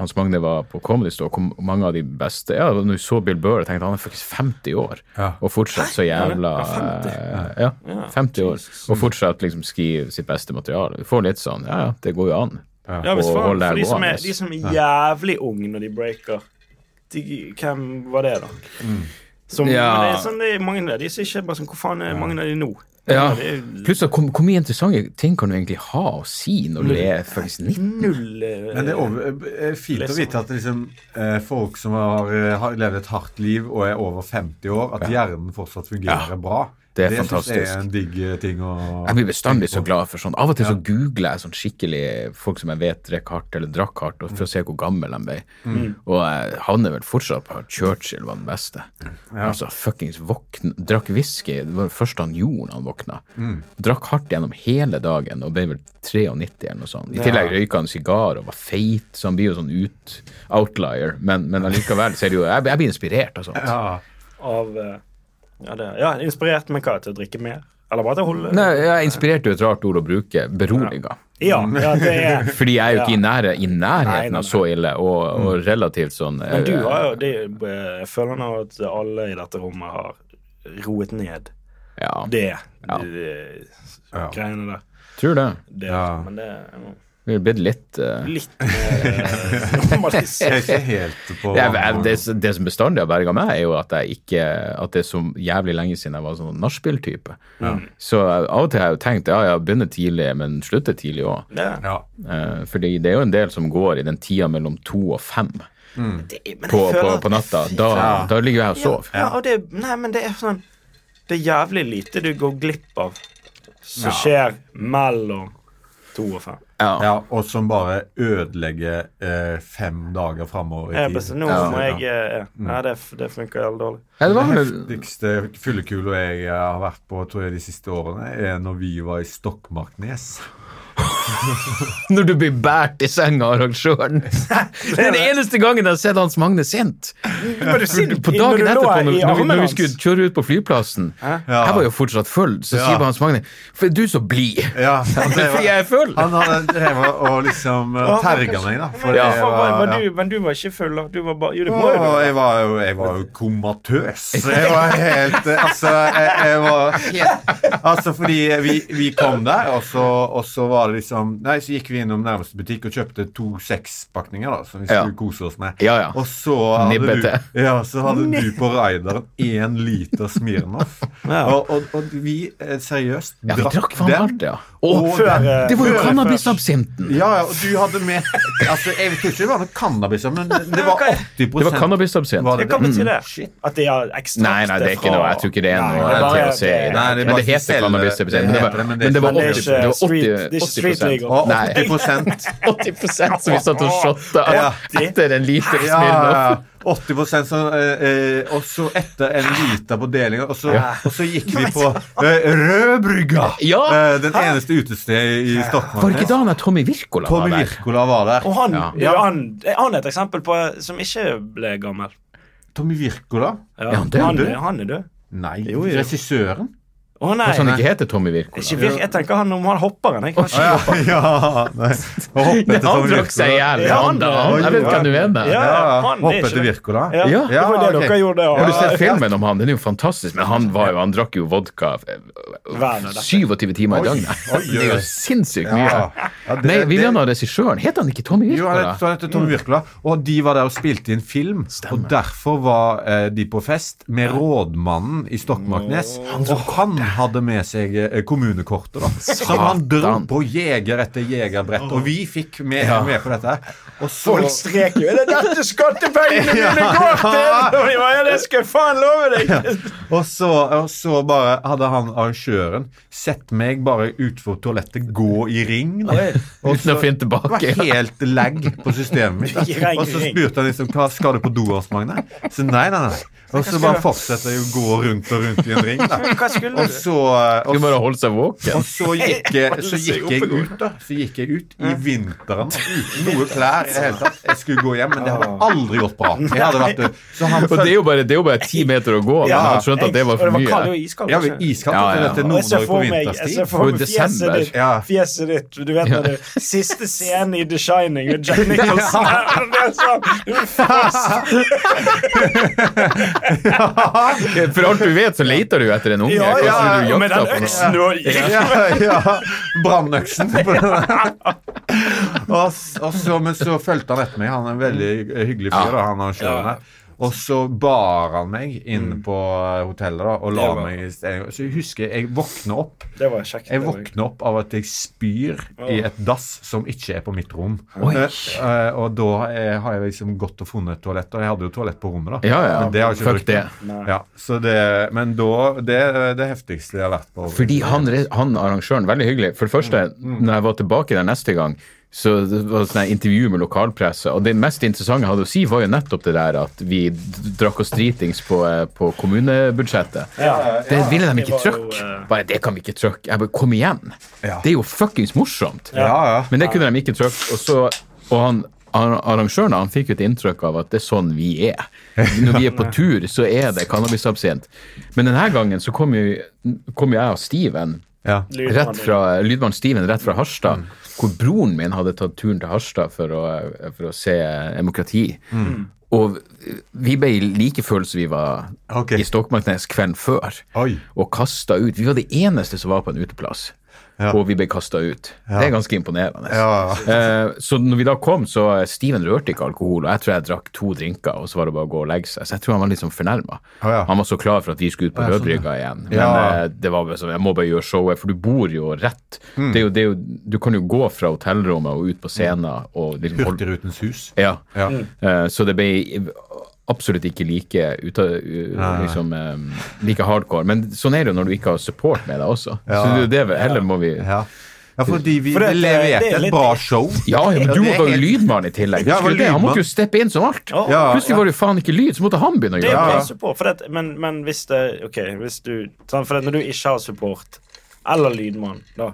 [SPEAKER 3] Hans Magne var på Comedy Store, kom mange av de beste ja, Når vi så Bill Burr, jeg tenkte han er faktisk 50 år
[SPEAKER 2] Ja.
[SPEAKER 3] og fortsatt så jævla eh, Ja, 50 år. Og fortsatt liksom skrive sitt beste materiale. Vi får litt sånn Ja, ja, det går jo an.
[SPEAKER 1] Ja, hvis
[SPEAKER 3] Og
[SPEAKER 1] faen,
[SPEAKER 3] holde
[SPEAKER 1] for de
[SPEAKER 3] det
[SPEAKER 1] som, er,
[SPEAKER 3] gående.
[SPEAKER 1] de som er jævlig unge når de breaker de, Hvem var det, da?
[SPEAKER 2] Mm.
[SPEAKER 1] Som,
[SPEAKER 3] Ja.
[SPEAKER 1] men det er sånn, det er mange av de som ikke er bare sånn Hvor faen er mange av de nå?
[SPEAKER 3] Ja.
[SPEAKER 1] Det er
[SPEAKER 3] Plutselig, hvor, hvor mye interessante ting kan du egentlig ha å si når du er faktisk 90?
[SPEAKER 1] null eh,
[SPEAKER 2] Men det er over, eh, fint å vite at liksom, eh, folk som har, eh, har levd et hardt liv og er over 50 år, at hjernen fortsatt fungerer bra.
[SPEAKER 3] Det er
[SPEAKER 2] Det synes jeg er
[SPEAKER 3] fantastisk.
[SPEAKER 2] en digg eh, ting å
[SPEAKER 3] Jeg blir bestandig så glad for sånn. Av og til så googler jeg sånn skikkelig folk som jeg vet drikker hardt eller drakk hardt, og for å se hvor gammel de ble. Og jeg havner vel fortsatt på at Churchill var den beste. Altså, fuckings våkn... Drakk whisky, det var det første han gjorde når han våkna. Drakk hardt gjennom hele dagen og ble vel 93 eller noe sånt. I tillegg røyka han sigar og var feit, så han blir jo sånn ut outlier, men, men allikevel så er det jo Jeg, jeg blir inspirert av sånt.
[SPEAKER 2] Ja.
[SPEAKER 1] Av eh, ja, det, ja, inspirert, men hva? Til å drikke mer? Eller bare til å holde
[SPEAKER 3] Nei, jeg inspirerte jo et rart ord å bruke, beroliga.
[SPEAKER 1] Ja,
[SPEAKER 3] Mm.
[SPEAKER 1] ja, det er
[SPEAKER 3] Fordi jeg er jo ikke i, nære, i
[SPEAKER 1] Nei, nei,
[SPEAKER 3] nærheten
[SPEAKER 1] nei. Mm.
[SPEAKER 3] av så ille, og, og relativt sånn
[SPEAKER 1] Men du
[SPEAKER 3] eh,
[SPEAKER 1] har jo det, eh, Jeg føler nå at alle i dette rommet har roet ned
[SPEAKER 3] Ja,
[SPEAKER 1] det.
[SPEAKER 3] Ja.
[SPEAKER 1] de-
[SPEAKER 2] Ja.
[SPEAKER 1] Greiene der.
[SPEAKER 3] tror det.
[SPEAKER 1] Det,
[SPEAKER 2] Ja.
[SPEAKER 1] Men det er jo
[SPEAKER 3] Vi er blitt litt eh,
[SPEAKER 1] litt mer normalisert.
[SPEAKER 2] Jeg er ikke helt på
[SPEAKER 3] jeg, jeg, eh, det, det som bestandig har berga meg, er jo at jeg ikke At det er så jævlig lenge siden jeg var sånn nachspiel-type. Så jeg- av og til har jeg jo tenkt ja, jeg begynner tidlig, men slutter tidlig òg.
[SPEAKER 1] Det,
[SPEAKER 2] Ja.
[SPEAKER 3] Eh, fordi det er jo en del som går i den tida mellom to og fem
[SPEAKER 1] det, men jeg
[SPEAKER 3] Mm. på, på,
[SPEAKER 1] føler at-
[SPEAKER 3] på natta. Da, da ligger jeg og sover.
[SPEAKER 1] Ja, og det, nei, men det er sånn Det er jævlig lite du går glipp av som skjer mellom to og fem.
[SPEAKER 3] Ja.
[SPEAKER 2] ja, og som bare ødelegger eh, fem dager framover i
[SPEAKER 1] Jeg,
[SPEAKER 2] tid.
[SPEAKER 1] bare- nå må jeg eh, Nei, det, det funker jævlig dårlig.
[SPEAKER 3] Ja, det
[SPEAKER 2] Det
[SPEAKER 3] var vel
[SPEAKER 2] heftigste fyllekula jeg eh, har vært på tror jeg, de siste årene, er når vi var i Stokmarknes.
[SPEAKER 3] når du blir båret i senga av arrangøren. Det er den eneste gangen jeg har sett Hans Magne sint. På dagen etterpå, når, når, vi, når vi skulle kjøre ut på flyplassen
[SPEAKER 2] Ja.
[SPEAKER 3] Jeg var jo fortsatt full, så
[SPEAKER 2] Ja.
[SPEAKER 3] sier Hans Magne For er du så blid!
[SPEAKER 2] Ja, han drev-
[SPEAKER 3] Fordi jeg er full!
[SPEAKER 2] Han hadde drevet og liksom eh,
[SPEAKER 1] Å,
[SPEAKER 2] terga
[SPEAKER 1] kanskje-
[SPEAKER 2] meg, da.
[SPEAKER 1] Men,
[SPEAKER 2] For jeg
[SPEAKER 1] var,
[SPEAKER 2] var,
[SPEAKER 1] var
[SPEAKER 2] ja.
[SPEAKER 1] du, men du var ikke full, da? Du var bare Jo, det må jo
[SPEAKER 2] Å,
[SPEAKER 1] du.
[SPEAKER 2] jeg var jo jeg var jo komatøs. Jeg var helt eh, Altså, jeg, jeg var Altså, fordi vi, vi kom der, og så, og så var det liksom Nei, så gikk vi innom nærmeste butikk og kjøpte to sekspakninger, da, som vi
[SPEAKER 3] Ja.
[SPEAKER 2] skulle kose oss med.
[SPEAKER 3] Ja, ja.
[SPEAKER 2] Og så hadde,
[SPEAKER 3] Nibbete.
[SPEAKER 2] du, ja, så hadde du på raideren én liter Smirnoff.
[SPEAKER 1] Ja.
[SPEAKER 2] Og, og, og vi eh, seriøst
[SPEAKER 3] Ja, vi drakk faen
[SPEAKER 2] den.
[SPEAKER 3] alt, ja. Og
[SPEAKER 2] Og
[SPEAKER 1] Før,
[SPEAKER 2] den.
[SPEAKER 1] eh,
[SPEAKER 3] det var jo
[SPEAKER 1] før-
[SPEAKER 3] cannabisabsinten!
[SPEAKER 2] Ja, ja, og du hadde med Altså, Jeg tror ikke det var noe cannabis, men det var 80
[SPEAKER 3] Det var cannabisabsint.
[SPEAKER 2] Var
[SPEAKER 1] Hva
[SPEAKER 2] det
[SPEAKER 1] kan bety det?
[SPEAKER 2] Shit.
[SPEAKER 1] At de har ekstrakt
[SPEAKER 3] Mm. Nei, nei, det er ikke noe. Jeg tror ikke det er
[SPEAKER 1] Nei,
[SPEAKER 3] noe
[SPEAKER 1] det er bare-
[SPEAKER 3] THC. i det.
[SPEAKER 2] Nei, det er
[SPEAKER 3] Men
[SPEAKER 2] bare
[SPEAKER 3] det heter
[SPEAKER 2] selve-
[SPEAKER 3] cannabisabsint.
[SPEAKER 2] det
[SPEAKER 3] Men det
[SPEAKER 2] heter det,
[SPEAKER 3] var,
[SPEAKER 2] men det
[SPEAKER 3] men det var
[SPEAKER 1] Men det er
[SPEAKER 3] 80,
[SPEAKER 1] ikke
[SPEAKER 3] det var 80,
[SPEAKER 1] street- det er ikke street legal.
[SPEAKER 2] Og
[SPEAKER 3] Nei.
[SPEAKER 2] 80
[SPEAKER 3] 80 som vi satt og shotta
[SPEAKER 2] Ja.
[SPEAKER 3] etter en liter
[SPEAKER 2] ja, ja,
[SPEAKER 3] Smirnoff. Ah.
[SPEAKER 2] ja. 80 så, eh, eh, Og så etter en liter på delinga, og, så- og så gikk vi på eh, Rødbrygga!
[SPEAKER 3] Ja.
[SPEAKER 2] Eh, den eneste utestedet i Stockholm.
[SPEAKER 3] Var det ikke da han der Tommy Wirkola var
[SPEAKER 2] Tommy
[SPEAKER 3] der?
[SPEAKER 2] Wirkola var der.
[SPEAKER 1] Og han,
[SPEAKER 3] Ja.
[SPEAKER 1] ja. han, han er et eksempel på eh, som ikke ble gammel.
[SPEAKER 2] Tommy Wirkola?
[SPEAKER 1] Ja,
[SPEAKER 3] Er han død?
[SPEAKER 1] Han, han er død.
[SPEAKER 2] Nei,
[SPEAKER 1] Jo, jo.
[SPEAKER 2] regissøren?
[SPEAKER 1] Å nei.
[SPEAKER 3] Kanskje han sånn ikke heter Tommy Wirkola?
[SPEAKER 1] Ikke virk, jeg tenker han om han hopperen. Jeg,
[SPEAKER 2] Å,
[SPEAKER 1] kanskje.
[SPEAKER 2] ja, ja, nei. Og hoppet
[SPEAKER 3] Nei,
[SPEAKER 2] etter
[SPEAKER 3] han
[SPEAKER 2] Tommy
[SPEAKER 3] drakk seg i
[SPEAKER 2] Wirkola.
[SPEAKER 3] hjel.
[SPEAKER 1] Ja,
[SPEAKER 3] han da.
[SPEAKER 2] han-
[SPEAKER 3] Jeg vet hva du
[SPEAKER 1] Ja,
[SPEAKER 3] mener.
[SPEAKER 2] Ja,
[SPEAKER 1] han er
[SPEAKER 2] hoppet
[SPEAKER 1] ikke
[SPEAKER 2] etter
[SPEAKER 1] det.
[SPEAKER 2] Wirkola.
[SPEAKER 1] Ja,
[SPEAKER 3] Ja.
[SPEAKER 1] det var det
[SPEAKER 2] Ja, ok.
[SPEAKER 1] dere gjorde. og-
[SPEAKER 3] Har du sett filmen om han? Den er jo fantastisk. Men han, var jo, han drakk jo vodka eh,
[SPEAKER 1] Hver dag, dette.
[SPEAKER 3] 27 timer i døgnet.
[SPEAKER 2] oi, oi.
[SPEAKER 3] Det er jo sinnssykt
[SPEAKER 2] Ja.
[SPEAKER 3] mye.
[SPEAKER 2] Ja, det-
[SPEAKER 3] Nei, vi
[SPEAKER 2] det-
[SPEAKER 3] mener regissøren. Heter han ikke Tommy
[SPEAKER 2] Jo, han
[SPEAKER 3] Wirkola?
[SPEAKER 2] het- han heter
[SPEAKER 3] Mm.
[SPEAKER 2] Tommy Wirkola, og de var der og spilte inn film. Og derfor var eh, de på fest med rådmannen i Stokmarknes. Og han hadde med seg eh, kommunekortet, da. Som han dro
[SPEAKER 3] Satan.
[SPEAKER 2] på jeger etter jegerbrett. Og vi fikk med, med på dette. her. Og så
[SPEAKER 1] Folk strek jo. Er det dette skattepengene mine går til?! Og de bare, ja, det skal jeg faen love deg!
[SPEAKER 2] Og så, og så bare hadde han arrangøren sett meg bare utfor toalettet gå i ring. Da. Og
[SPEAKER 3] Uten å finne tilbake.
[SPEAKER 2] Det var helt lag på systemet mitt.
[SPEAKER 1] I ring,
[SPEAKER 2] Og så
[SPEAKER 1] i ring.
[SPEAKER 2] spurte han liksom hva skal du på do, Hans Magne? Så nei, nei, nei. Og så bare fortsetter jeg å gå rundt og rundt i en ring. Da.
[SPEAKER 1] Hva skulle
[SPEAKER 2] Og
[SPEAKER 1] du?
[SPEAKER 2] så, og,
[SPEAKER 3] Skulle bare holdt seg våken.
[SPEAKER 2] og så, gikk, jeg- så gikk jeg ut, da. Så gikk jeg ut i vinteren uten noe klær i det hele tatt. Jeg skulle gå hjem, men det hadde
[SPEAKER 1] Ah.
[SPEAKER 2] aldri gått bra. Jeg hadde vært, så han
[SPEAKER 3] Og det er jo bare, det er jo bare ti meter å gå. Men
[SPEAKER 1] Ja,
[SPEAKER 3] han skjønte at det var
[SPEAKER 1] og
[SPEAKER 3] for
[SPEAKER 1] Det var kaldt
[SPEAKER 3] mye.
[SPEAKER 1] og iskaldt.
[SPEAKER 2] Ja,
[SPEAKER 1] også.
[SPEAKER 2] men iskaldt
[SPEAKER 3] Ja, ja,
[SPEAKER 2] ja, til
[SPEAKER 3] ja.
[SPEAKER 1] Og jeg ser
[SPEAKER 2] Nord-Norge på
[SPEAKER 1] for meg, jeg ser
[SPEAKER 2] vinterstid.
[SPEAKER 1] for
[SPEAKER 3] Og
[SPEAKER 1] meg fjeset
[SPEAKER 3] desember.
[SPEAKER 1] ditt.
[SPEAKER 2] Ja.
[SPEAKER 1] Fjeset ditt. Du vet når det siste scenen i The Shining med Jack Nicholson Det er sånn, du er fast.
[SPEAKER 3] For alt du vet, så leter du etter en unge.
[SPEAKER 1] Ja,
[SPEAKER 3] Hva
[SPEAKER 1] ja,
[SPEAKER 3] skulle du
[SPEAKER 1] ja, med
[SPEAKER 3] jakta
[SPEAKER 1] den
[SPEAKER 3] på nå?
[SPEAKER 1] øksen og
[SPEAKER 2] Ja, ja. Brannøksen. på den der. og, s- og så, men så fulgte han etter meg. Han er en veldig hyggelig fyr.
[SPEAKER 3] Ja.
[SPEAKER 2] da, Han har kjørt
[SPEAKER 1] Ja. Mm.
[SPEAKER 2] her. Og så bar han meg inn på hotellet da, og la
[SPEAKER 1] Det var-
[SPEAKER 2] meg i stedet. Så jeg husker jeg våkner opp.
[SPEAKER 1] Det var kjekt.
[SPEAKER 2] Jeg
[SPEAKER 1] det var
[SPEAKER 2] våkner opp av at jeg spyr i et dass som ikke er på mitt rom.
[SPEAKER 3] Oi.
[SPEAKER 2] Eh, eh, og da eh, har jeg liksom gått og funnet et toalett. Og jeg hadde jo toalett på rommet, da.
[SPEAKER 3] Ja, ja.
[SPEAKER 2] Men det har jeg ikke
[SPEAKER 3] Fuck
[SPEAKER 2] brukt.
[SPEAKER 3] det.
[SPEAKER 1] Nei.
[SPEAKER 2] Ja, så det, men da Det er det heftigste jeg har vært på.
[SPEAKER 3] Fordi han, re- han arrangøren, veldig hyggelig. For det første,
[SPEAKER 1] Mm.
[SPEAKER 3] når jeg var tilbake der neste gang, så det var det intervju med lokalpresse, og det mest interessante jeg hadde å si, var jo nettopp det der at vi d- drakk oss dritings på, eh, på kommunebudsjettet. Det ville de ikke
[SPEAKER 1] det var jo,
[SPEAKER 3] trykke.
[SPEAKER 1] eh,
[SPEAKER 3] Bare, det kan vi ikke trykke. Jeg bare, kom igjen.
[SPEAKER 2] Ja.
[SPEAKER 3] Det er jo fuckings morsomt.
[SPEAKER 2] Ja, ja.
[SPEAKER 3] Men det kunne de ikke trykke. Og, så, og han, han, arrangøren han fikk jo et inntrykk av at det er sånn vi er. Når vi er på tur, så er det cannabisabsint. Men denne gangen så kom jo, kom jo jeg og Steven
[SPEAKER 2] ja.
[SPEAKER 1] lydmann.
[SPEAKER 3] rett fra, lydmann Steven rett fra
[SPEAKER 2] Mm.
[SPEAKER 3] Harstad, hvor broren min hadde tatt turen til Harstad for å, for å se demokrati.
[SPEAKER 2] Mm.
[SPEAKER 3] Og vi ble like fulle som vi var
[SPEAKER 2] Ok.
[SPEAKER 3] i Stokmarknes kvelden før,
[SPEAKER 2] Oi.
[SPEAKER 3] og kasta ut. Vi var de eneste som var på en uteplass,
[SPEAKER 2] Ja.
[SPEAKER 3] og vi ble kasta ut. Det er ganske imponerende.
[SPEAKER 2] Ja.
[SPEAKER 3] Eh, så når vi da kom, så eh, Steven rørte ikke alkohol, og jeg tror jeg drakk to drinker, og så var det bare å gå og legge seg. Så jeg tror han var litt sånn fornærma.
[SPEAKER 2] Å, ja.
[SPEAKER 3] Han var så klar for at vi skulle ut på
[SPEAKER 2] Å, ja, sånn,
[SPEAKER 3] Rødbrygga igjen. Men
[SPEAKER 2] Ja.
[SPEAKER 3] eh, det var bare sånn, jeg må bare gjøre showet, for du bor jo rett.
[SPEAKER 2] Mm.
[SPEAKER 3] Det er jo, det er jo, du kan jo gå fra hotellrommet og ut på scenen og liksom holde
[SPEAKER 2] Hurtigrutens hus.
[SPEAKER 3] ja.
[SPEAKER 2] Ja.
[SPEAKER 3] Eh, Så det ble absolutt ikke like, ut av, u-
[SPEAKER 2] nei.
[SPEAKER 3] liksom, eh, like hardcore. Men sånn er det jo når du ikke har support med deg også.
[SPEAKER 2] Ja.
[SPEAKER 3] Så det er jo det vi- heller må vi
[SPEAKER 2] Ja. ja, fordi vi
[SPEAKER 1] For det-
[SPEAKER 2] leverte
[SPEAKER 1] det er
[SPEAKER 2] et
[SPEAKER 1] litt-
[SPEAKER 2] bra show.
[SPEAKER 3] Ja, men
[SPEAKER 2] Ja,
[SPEAKER 3] du
[SPEAKER 2] det er
[SPEAKER 3] var jo
[SPEAKER 2] helt-
[SPEAKER 3] lydmann i tillegg.
[SPEAKER 2] Ja, jeg var
[SPEAKER 3] Husker du det? Han måtte jo
[SPEAKER 2] lydmann.
[SPEAKER 3] steppe inn som alt.
[SPEAKER 1] Ja,
[SPEAKER 2] Ja,
[SPEAKER 3] Plutselig var det jo faen ikke lyd, så måtte han begynne å
[SPEAKER 1] Det
[SPEAKER 3] gjøre det.
[SPEAKER 2] ja.
[SPEAKER 1] passer på, for det, at- men, men hvis det OK, hvis du sant, For det, at når du ikke har support, eller lydmann, da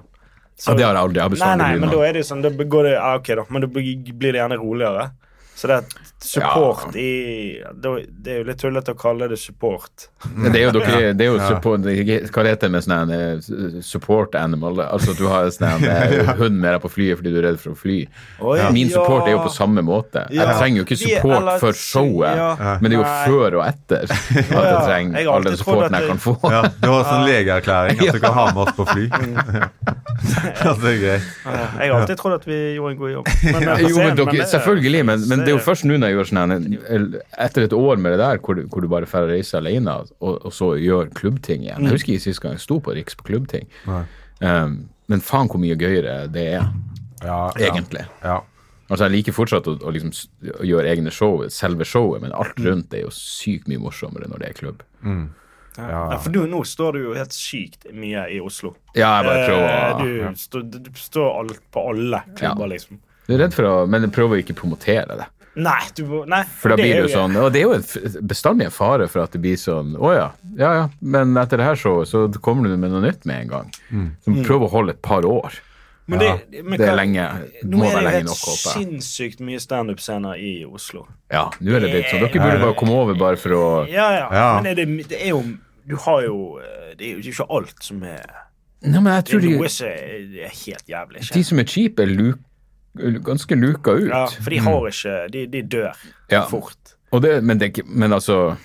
[SPEAKER 1] så,
[SPEAKER 3] Ja, det har jeg aldri. Jeg har
[SPEAKER 1] Nei,
[SPEAKER 3] bestandig
[SPEAKER 1] nei, men da
[SPEAKER 3] lydmann.
[SPEAKER 1] er det jo sånn, da går det ja, OK, da, men da blir blir det gjerne roligere. Så det at support i da- Det er jo litt tullete å kalle det support.
[SPEAKER 3] Det er jo, dere, det er jo support, hva det heter det med sånn en, eh, s- support animal? Altså at du har sånn en eh, hund med deg på flyet fordi du er redd for å fly.
[SPEAKER 1] Oi,
[SPEAKER 3] Min support er jo
[SPEAKER 1] ja.
[SPEAKER 3] på samme måte. Jeg
[SPEAKER 1] Ja.
[SPEAKER 3] trenger jo ikke
[SPEAKER 1] Vi er
[SPEAKER 3] support
[SPEAKER 1] alle-
[SPEAKER 3] for showet,
[SPEAKER 1] Ja.
[SPEAKER 3] men det er jo
[SPEAKER 1] Nei.
[SPEAKER 3] før og etter at jeg
[SPEAKER 1] ja. Jeg
[SPEAKER 3] trenger
[SPEAKER 1] har
[SPEAKER 3] all
[SPEAKER 1] alltid trodd
[SPEAKER 3] den
[SPEAKER 1] at
[SPEAKER 3] supporten jeg
[SPEAKER 1] det-
[SPEAKER 3] kan få.
[SPEAKER 2] Ja, du har sånn legeerklæring at du kan ha med oss på fly. Ja, det er greit.
[SPEAKER 1] Ja, Jeg har alltid trodd at vi gjorde en god jobb. Men, eh, på
[SPEAKER 3] Jo,
[SPEAKER 1] scenen,
[SPEAKER 3] men dere,
[SPEAKER 1] det-
[SPEAKER 3] selvfølgelig, men, men det er jo
[SPEAKER 1] det-
[SPEAKER 3] først nå når jeg gjør sånn her, en- Etter et år med det der, hvor, du- hvor du bare drar reise alene, og, og så gjør klubbting igjen.
[SPEAKER 1] Mm.
[SPEAKER 3] Jeg husker ikke sist gang jeg sto på Riks på klubbting. Um, men faen hvor mye gøyere det er,
[SPEAKER 2] Ja,
[SPEAKER 3] egentlig.
[SPEAKER 2] Ja.
[SPEAKER 3] Altså, jeg liker fortsatt å, å, liksom, s- å gjøre egne show, selve showet, men alt rundt er jo sykt mye morsommere når det er klubb.
[SPEAKER 2] Ja.
[SPEAKER 1] Ja, for du, nå står du jo helt sykt mye i Oslo.
[SPEAKER 3] Ja, jeg bare
[SPEAKER 1] Eh,
[SPEAKER 3] prøver å
[SPEAKER 1] Du, står- du står alt på alle klubber,
[SPEAKER 3] Ja.
[SPEAKER 1] liksom.
[SPEAKER 3] Du er redd for å Men jeg prøver å ikke promotere det.
[SPEAKER 1] Nei, du må Nei.
[SPEAKER 3] For da
[SPEAKER 1] er
[SPEAKER 3] blir det jo
[SPEAKER 1] jo
[SPEAKER 3] sånn Og det er jo en f- bestandig en fare for at det blir sånn Å ja, ja ja, men etter det her showet så kommer du med noe nytt med en gang. Så
[SPEAKER 1] Mm.
[SPEAKER 3] prøv å holde et par år.
[SPEAKER 1] Men det, men
[SPEAKER 3] Det er
[SPEAKER 1] hva-
[SPEAKER 3] lenge.
[SPEAKER 1] Nå
[SPEAKER 3] Må
[SPEAKER 1] er
[SPEAKER 3] være
[SPEAKER 1] det
[SPEAKER 3] lenge
[SPEAKER 1] helt
[SPEAKER 3] nok, håper jeg.
[SPEAKER 1] sinnssykt mye standup-scener i Oslo.
[SPEAKER 3] Ja, nå er det litt sånn. Dere burde bare komme over bare for å
[SPEAKER 1] Ja, ja.
[SPEAKER 2] Ja.
[SPEAKER 1] Men er det, det er jo Du har jo eh, Det er jo ikke alt som er
[SPEAKER 3] Nei, men jeg
[SPEAKER 1] Det er
[SPEAKER 3] tror de,
[SPEAKER 1] noe som er det er helt jævlig.
[SPEAKER 3] de
[SPEAKER 1] kjent.
[SPEAKER 3] som er cheap, er luk, ganske luka
[SPEAKER 1] Ja,
[SPEAKER 3] ut.
[SPEAKER 1] for de har ikke De, de dør
[SPEAKER 3] Ja.
[SPEAKER 1] fort.
[SPEAKER 3] Og det, men, det, er ikke- men altså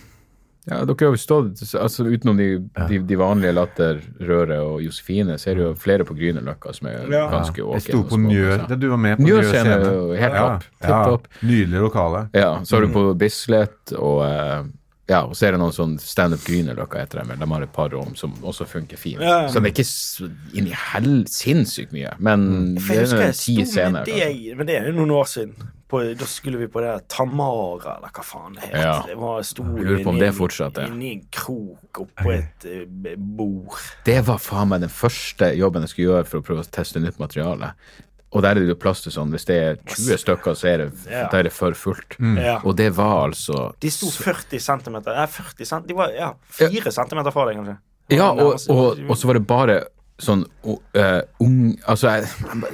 [SPEAKER 3] ja, Dere har jo stått altså, utenom de, de, de vanlige Latter, Røre og Josefine, så er det jo flere på Grünerløkka som er
[SPEAKER 1] Ja.
[SPEAKER 3] ganske
[SPEAKER 2] Jeg
[SPEAKER 3] åken.
[SPEAKER 2] sto
[SPEAKER 3] og
[SPEAKER 2] på
[SPEAKER 3] små
[SPEAKER 2] Njø. Ja,
[SPEAKER 3] plasser.
[SPEAKER 2] Du var med på Njø
[SPEAKER 3] Njø-scene
[SPEAKER 2] scene.
[SPEAKER 3] er jo helt
[SPEAKER 2] Ja,
[SPEAKER 3] topp. Helt topp.
[SPEAKER 2] Nydelig lokale.
[SPEAKER 3] Ja, så har
[SPEAKER 1] Mm.
[SPEAKER 3] du på Bislett, og eh, ja, og så er det noen sånn standup Grünerløkka heter de vel. De har et par rom som også funker fint.
[SPEAKER 1] Ja.
[SPEAKER 3] Så det er ikke så inn i hel sinnssykt mye, men
[SPEAKER 1] For
[SPEAKER 3] det
[SPEAKER 1] jeg
[SPEAKER 3] er
[SPEAKER 1] husker
[SPEAKER 3] noen
[SPEAKER 1] jeg
[SPEAKER 3] ti
[SPEAKER 1] sto med
[SPEAKER 3] scener. altså. kanskje.
[SPEAKER 1] deg Men det er jo noen år siden. På, da skulle vi på det her Tamara, eller hva faen det het.
[SPEAKER 3] Ja.
[SPEAKER 1] Det var stor
[SPEAKER 3] Jeg lurer på om
[SPEAKER 1] inni
[SPEAKER 3] det
[SPEAKER 1] en-
[SPEAKER 3] fortsatt er.
[SPEAKER 1] Inni en krok oppå et eh, b- bord.
[SPEAKER 3] Det var faen meg den første jobben jeg skulle gjøre for å prøve å teste nytt materiale. Og der er det jo plass til sånn, hvis det er 20 stykker, så er det,
[SPEAKER 1] Ja. Mm.
[SPEAKER 3] da er det for fullt.
[SPEAKER 1] Ja.
[SPEAKER 3] Mm. Og det var altså
[SPEAKER 1] De sto 40 cm Nei, 40 cm De var ja, 4 cm fra deg, kanskje.
[SPEAKER 3] Ja, og,
[SPEAKER 1] nærmest-
[SPEAKER 3] og, og så var det bare sånn o- eh, ung Altså, jeg,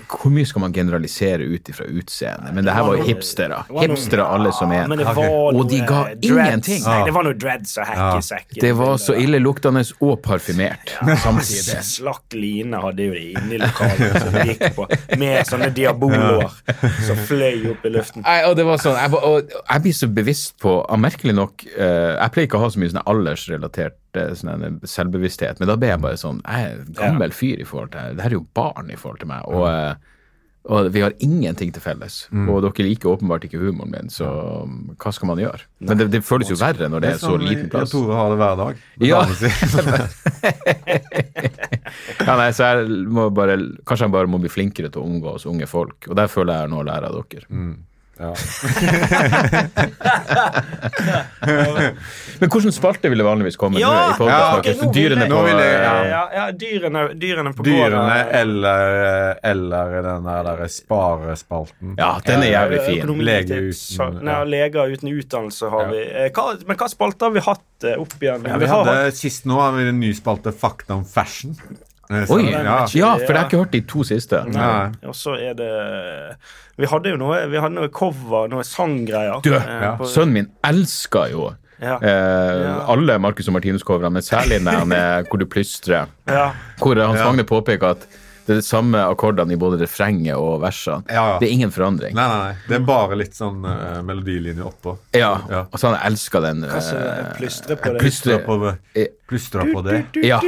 [SPEAKER 3] hvor mye skal man generalisere ut ifra utseende? Men det her var jo hipstere.
[SPEAKER 1] Det var noe-
[SPEAKER 3] Hipstere alle som
[SPEAKER 1] Ja,
[SPEAKER 3] er.
[SPEAKER 1] men det var
[SPEAKER 3] Og
[SPEAKER 1] noe
[SPEAKER 3] de ga
[SPEAKER 1] dreads.
[SPEAKER 3] ingenting.
[SPEAKER 1] Nei, det var noe dreads og hekkesekken.
[SPEAKER 3] Det var så illeluktende og parfymert samtidig.
[SPEAKER 1] Slakk line hadde jo de inne i lokalet som de gikk på, med sånne diaboloer som fløy opp i luften.
[SPEAKER 3] Nei, og det var sånn, jeg, var- og jeg blir så bevisst på ah, Merkelig nok eh, Jeg pleier ikke å ha så mye sånn aldersrelatert eh, sånn en
[SPEAKER 2] Mm.
[SPEAKER 3] selvbevissthet, men da ble jeg bare sånn Jeg er en gammel fyr i forhold til Det her er jo barn i forhold til meg. Og, eh, Og vi har ingenting til felles. Og dere liker åpenbart ikke humoren min, så um, hva skal man gjøre? Men det, det føles jo verre når det er så
[SPEAKER 2] sånn,
[SPEAKER 3] liten plass.
[SPEAKER 2] Jeg tror jeg har det hver dag. med
[SPEAKER 3] Ja.
[SPEAKER 2] damen sin.
[SPEAKER 3] Ja, nei, så jeg må bare, Kanskje jeg bare må bli flinkere til å omgås unge folk. Og der føler jeg jeg har noe å lære av dere.
[SPEAKER 2] Mm. ja.
[SPEAKER 3] Men hvilken spalte ville vanligvis komme
[SPEAKER 1] Ja!
[SPEAKER 3] nå? i podcast,
[SPEAKER 2] Ja,
[SPEAKER 3] Markus?
[SPEAKER 1] nå vil jeg-
[SPEAKER 3] Dyrene
[SPEAKER 2] nå
[SPEAKER 3] på eh,
[SPEAKER 2] vil jeg-
[SPEAKER 1] Ja,
[SPEAKER 2] Ja.
[SPEAKER 1] ja, ja dyrene, dyrene på
[SPEAKER 2] Dyrene
[SPEAKER 1] gården.
[SPEAKER 2] eller, eller den der, der sparespalten.
[SPEAKER 3] Ja, den er jævlig fin.
[SPEAKER 1] Økonomi-
[SPEAKER 2] Lege
[SPEAKER 1] tips,
[SPEAKER 2] uten-
[SPEAKER 1] så- nei,
[SPEAKER 2] ja.
[SPEAKER 1] Leger uten utdannelse har
[SPEAKER 2] Ja.
[SPEAKER 1] vi. Eh, Hva, men hva spalter har vi hatt eh, opp igjen?
[SPEAKER 2] Ja, vi
[SPEAKER 1] har
[SPEAKER 2] hadde,
[SPEAKER 1] hatt-
[SPEAKER 2] sist nå har vi en ny spalte Fakta om fashion. Eh, så-
[SPEAKER 3] Oi!
[SPEAKER 2] Ja.
[SPEAKER 3] Ja, for jeg har ikke hørt de to siste.
[SPEAKER 2] Nei.
[SPEAKER 1] Og så er det Vi hadde jo noe Vi hadde noe cover, noe sanggreier.
[SPEAKER 3] Du,
[SPEAKER 1] eh,
[SPEAKER 2] ja,
[SPEAKER 1] på-
[SPEAKER 3] Sønnen min elsker jo
[SPEAKER 1] Ja.
[SPEAKER 3] eh, alle Marcus og Martinus-coverne, men særlig den eh, hvor du plystrer.
[SPEAKER 1] ja.
[SPEAKER 3] Hvor Hans Magne påpeker at det er de samme akkordene i både refrenget og versene.
[SPEAKER 2] Ja, ja.
[SPEAKER 3] Det er ingen forandring.
[SPEAKER 2] Nei, nei, nei. Det er bare litt sånn eh, melodilinje oppå.
[SPEAKER 3] Ja,
[SPEAKER 2] Ja.
[SPEAKER 3] altså Han elsker den. eh,
[SPEAKER 1] Altså, jeg plystrer på det.
[SPEAKER 2] Plystra
[SPEAKER 3] plystre-
[SPEAKER 2] på
[SPEAKER 3] eh,
[SPEAKER 2] det. Plystra på det.
[SPEAKER 3] Ja.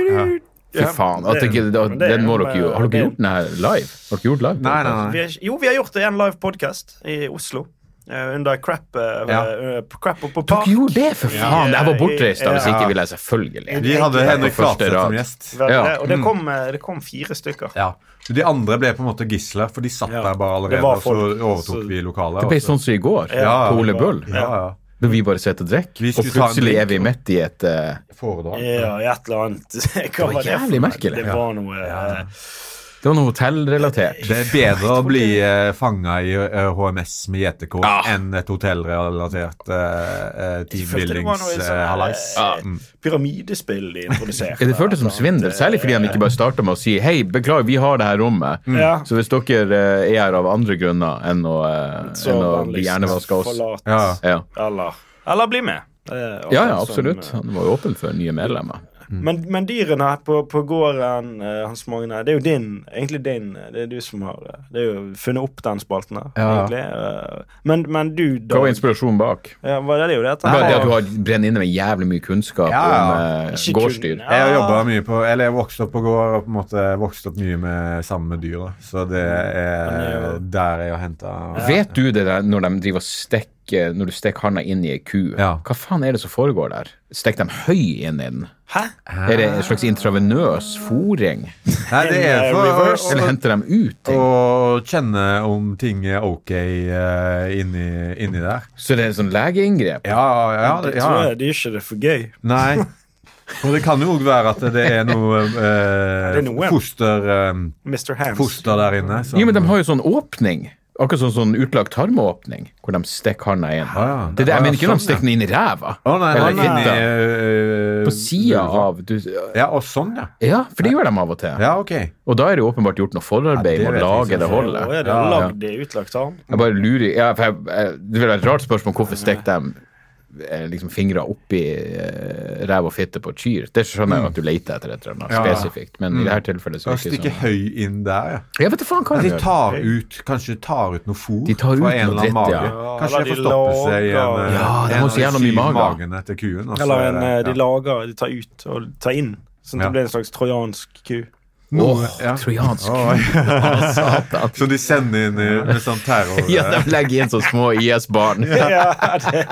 [SPEAKER 3] Fy
[SPEAKER 1] Ja,
[SPEAKER 3] faen. At
[SPEAKER 1] det-
[SPEAKER 3] ikke, at,
[SPEAKER 1] men det er
[SPEAKER 3] den må
[SPEAKER 1] en,
[SPEAKER 3] dere jo
[SPEAKER 1] eh,
[SPEAKER 3] Har
[SPEAKER 1] det
[SPEAKER 3] dere
[SPEAKER 1] er-
[SPEAKER 3] gjort den her live? Har dere gjort live?
[SPEAKER 2] Nei, nei,
[SPEAKER 1] Vi
[SPEAKER 2] nei.
[SPEAKER 1] har, jo, vi har gjort det i en live podcast i Oslo. eh, under crap, eh,
[SPEAKER 2] Ja.
[SPEAKER 1] eh, crap oppå
[SPEAKER 3] Dere
[SPEAKER 1] park.
[SPEAKER 3] gjorde det, for faen! Jeg var bortreist da, hvis
[SPEAKER 1] Ja.
[SPEAKER 3] ikke ville jeg selvfølgelig
[SPEAKER 2] Vi hadde Henrik
[SPEAKER 3] På første
[SPEAKER 2] Flatseth som
[SPEAKER 3] rad.
[SPEAKER 2] gjest.
[SPEAKER 1] Vel,
[SPEAKER 3] Ja. Mm.
[SPEAKER 1] det- Og det kom, eh, det kom fire stykker.
[SPEAKER 2] Ja. De andre ble på en måte gisler, for de satt
[SPEAKER 1] Ja.
[SPEAKER 2] der
[SPEAKER 1] Det
[SPEAKER 2] bare allerede,
[SPEAKER 1] var
[SPEAKER 2] og så
[SPEAKER 1] folk,
[SPEAKER 2] overtok
[SPEAKER 1] så-
[SPEAKER 2] vi lokalet.
[SPEAKER 3] Det
[SPEAKER 2] og
[SPEAKER 3] ble
[SPEAKER 2] så-
[SPEAKER 3] sånn som i går,
[SPEAKER 2] Ja.
[SPEAKER 3] på Ole Bull.
[SPEAKER 2] Ja, ja.
[SPEAKER 3] Når vi bare sitter og
[SPEAKER 2] Vi
[SPEAKER 3] drikker, og
[SPEAKER 2] skulle ta en
[SPEAKER 3] plutselig
[SPEAKER 2] drink.
[SPEAKER 3] er vi midt i et eh,
[SPEAKER 2] Foredrag.
[SPEAKER 1] Ja, i et eller annet. Hva
[SPEAKER 3] var
[SPEAKER 1] var det? for
[SPEAKER 3] jævlig
[SPEAKER 1] noe?
[SPEAKER 3] merkelig.
[SPEAKER 1] Det var noe eh,
[SPEAKER 3] Det var noe hotellrelatert.
[SPEAKER 2] Det er bedre å bli uh, fanga i eh, HMS med JTK
[SPEAKER 3] Ja.
[SPEAKER 2] enn et hotellrelatert uh,
[SPEAKER 1] følte det var noe sånn, eh,
[SPEAKER 2] teambuildings-hallais. Mm.
[SPEAKER 1] Pyramidespill de introduserte. Eh,
[SPEAKER 3] Ja, Det føltes som svindel, særlig fordi han Mm. ikke bare starta med å si Hei, beklager, vi har det her rommet.
[SPEAKER 2] Mm.
[SPEAKER 1] Ja.
[SPEAKER 3] Så hvis dere eh, er her av andre grunner enn å, eh,
[SPEAKER 1] Så
[SPEAKER 3] enn å bli
[SPEAKER 1] vanligst
[SPEAKER 2] sånn
[SPEAKER 3] hjernevaska oss
[SPEAKER 1] forlat.
[SPEAKER 2] ja.
[SPEAKER 3] ja.
[SPEAKER 1] Eller, eller bli med. Eh,
[SPEAKER 3] ja, ja,
[SPEAKER 1] akkurat
[SPEAKER 2] sånn,
[SPEAKER 1] som, eh,
[SPEAKER 3] absolutt. Han var jo åpen for nye medlemmer.
[SPEAKER 2] Mm.
[SPEAKER 1] Men, men dyrene her på, på gården, eh, Hans Magne, det er jo din, egentlig din. eh, Det er du som har eh, Det er jo funnet opp den spalten her,
[SPEAKER 2] Ja.
[SPEAKER 1] egentlig. eh, Men, men du,
[SPEAKER 3] Hva
[SPEAKER 1] da
[SPEAKER 3] var inspirasjonen bak?
[SPEAKER 1] ja, var Det det er jo det at
[SPEAKER 3] Det er
[SPEAKER 1] her
[SPEAKER 3] det at du
[SPEAKER 1] var-
[SPEAKER 3] har brenner inne med jævlig mye kunnskap
[SPEAKER 2] Ja, ja.
[SPEAKER 3] om eh,
[SPEAKER 1] Ikke kun-
[SPEAKER 3] gårdsdyr.
[SPEAKER 1] Ja.
[SPEAKER 2] Jeg har jobbet mye på Eller jeg vokste opp på gård og på en måte vokste opp mye med sammen med dyra. Så det
[SPEAKER 1] Mm.
[SPEAKER 2] er der jeg har henta
[SPEAKER 3] Vet du det der når de driver og stekker Når du stekker handa inn i ei ku?
[SPEAKER 2] Ja.
[SPEAKER 3] Hva faen er det som foregår der? Stekker de høy inn i den?
[SPEAKER 1] Hæ?
[SPEAKER 3] Er det en slags intravenøs fòring?
[SPEAKER 2] Nei, det er
[SPEAKER 1] In, uh, reverse.
[SPEAKER 2] for
[SPEAKER 3] Eller
[SPEAKER 2] å,
[SPEAKER 3] henter de ut
[SPEAKER 2] å,
[SPEAKER 3] ting?
[SPEAKER 2] å kjenne om ting er ok eh, inni, inni der.
[SPEAKER 3] Så det er et sånn legeinngrep?
[SPEAKER 2] Ja, ja,
[SPEAKER 1] Det
[SPEAKER 2] ja.
[SPEAKER 1] tror jeg det er ikke det er for gøy.
[SPEAKER 2] Nei. Og det kan jo òg være at det er noe eh,
[SPEAKER 1] Det er noe.
[SPEAKER 2] foster, eh,
[SPEAKER 1] Mr. Hands.
[SPEAKER 2] foster der inne. som-
[SPEAKER 3] Jo, men de har jo sånn åpning. Akkurat sånn, sånn utlagt tarmåpning, hvor de stikker handa inn.
[SPEAKER 2] Ah, ja.
[SPEAKER 3] Det, er det,
[SPEAKER 2] Ah,
[SPEAKER 3] jeg mener ikke når
[SPEAKER 2] sånn,
[SPEAKER 3] de stikker den inn i ræva.
[SPEAKER 2] Å nei, nei,
[SPEAKER 3] Eller
[SPEAKER 2] nei,
[SPEAKER 3] fitta.
[SPEAKER 2] inni, eh,
[SPEAKER 3] På sida av du,
[SPEAKER 2] Ja, og sånn, ja.
[SPEAKER 3] Ja, for det gjør de av og til.
[SPEAKER 2] Ja, ok.
[SPEAKER 3] Og da er det jo åpenbart gjort noe forarbeid
[SPEAKER 2] Ja, det
[SPEAKER 3] med
[SPEAKER 2] vet
[SPEAKER 3] å
[SPEAKER 2] jeg
[SPEAKER 3] lage
[SPEAKER 2] ikke.
[SPEAKER 3] det
[SPEAKER 1] Ja,
[SPEAKER 3] holdet.
[SPEAKER 1] er det
[SPEAKER 2] Ja, ja.
[SPEAKER 1] lagd i utlagt tarm?
[SPEAKER 3] Jeg bare lurer ja, for jeg, jeg, Det vil være et rart spørsmål hvorfor stekte de eh, liksom fingra oppi eh, ræv og fitte på et kyr. Det skjønner jeg at du leter etter et eller annet
[SPEAKER 2] Mm. Ja, Mm. ja.
[SPEAKER 3] spesifikt, men i dette tilfellet så
[SPEAKER 2] Og
[SPEAKER 3] er det
[SPEAKER 2] stikke
[SPEAKER 3] ikke sånn.
[SPEAKER 2] høy inn der, ja.
[SPEAKER 3] Jeg vet da faen hva de
[SPEAKER 2] De
[SPEAKER 3] gjør.
[SPEAKER 2] tar ut, kanskje tar ut noe fôr
[SPEAKER 3] De tar ut
[SPEAKER 2] fra en
[SPEAKER 3] noe
[SPEAKER 2] eller annen
[SPEAKER 3] dritt,
[SPEAKER 2] mage.
[SPEAKER 3] ja.
[SPEAKER 2] Kanskje
[SPEAKER 1] eller
[SPEAKER 2] det
[SPEAKER 1] de
[SPEAKER 2] forstopper seg i en,
[SPEAKER 1] lager-
[SPEAKER 2] eh,
[SPEAKER 3] Ja, det
[SPEAKER 2] en
[SPEAKER 3] må
[SPEAKER 2] av
[SPEAKER 3] så jævla
[SPEAKER 2] syv
[SPEAKER 3] mye mage.
[SPEAKER 2] magene til kuen. og så
[SPEAKER 1] Eller
[SPEAKER 2] er
[SPEAKER 1] en,
[SPEAKER 2] det-
[SPEAKER 1] eh, de
[SPEAKER 2] ja.
[SPEAKER 1] lager, de tar ut og tar inn. Sånn at
[SPEAKER 2] Ja.
[SPEAKER 1] det blir en slags trojansk ku.
[SPEAKER 3] Åh,
[SPEAKER 2] ja.
[SPEAKER 3] trojansk
[SPEAKER 2] Oi.
[SPEAKER 3] Å, satan.
[SPEAKER 2] Så de sender inn i, med sånn terror
[SPEAKER 3] Ja, de legger inn så små IS-barn.
[SPEAKER 1] Ja, det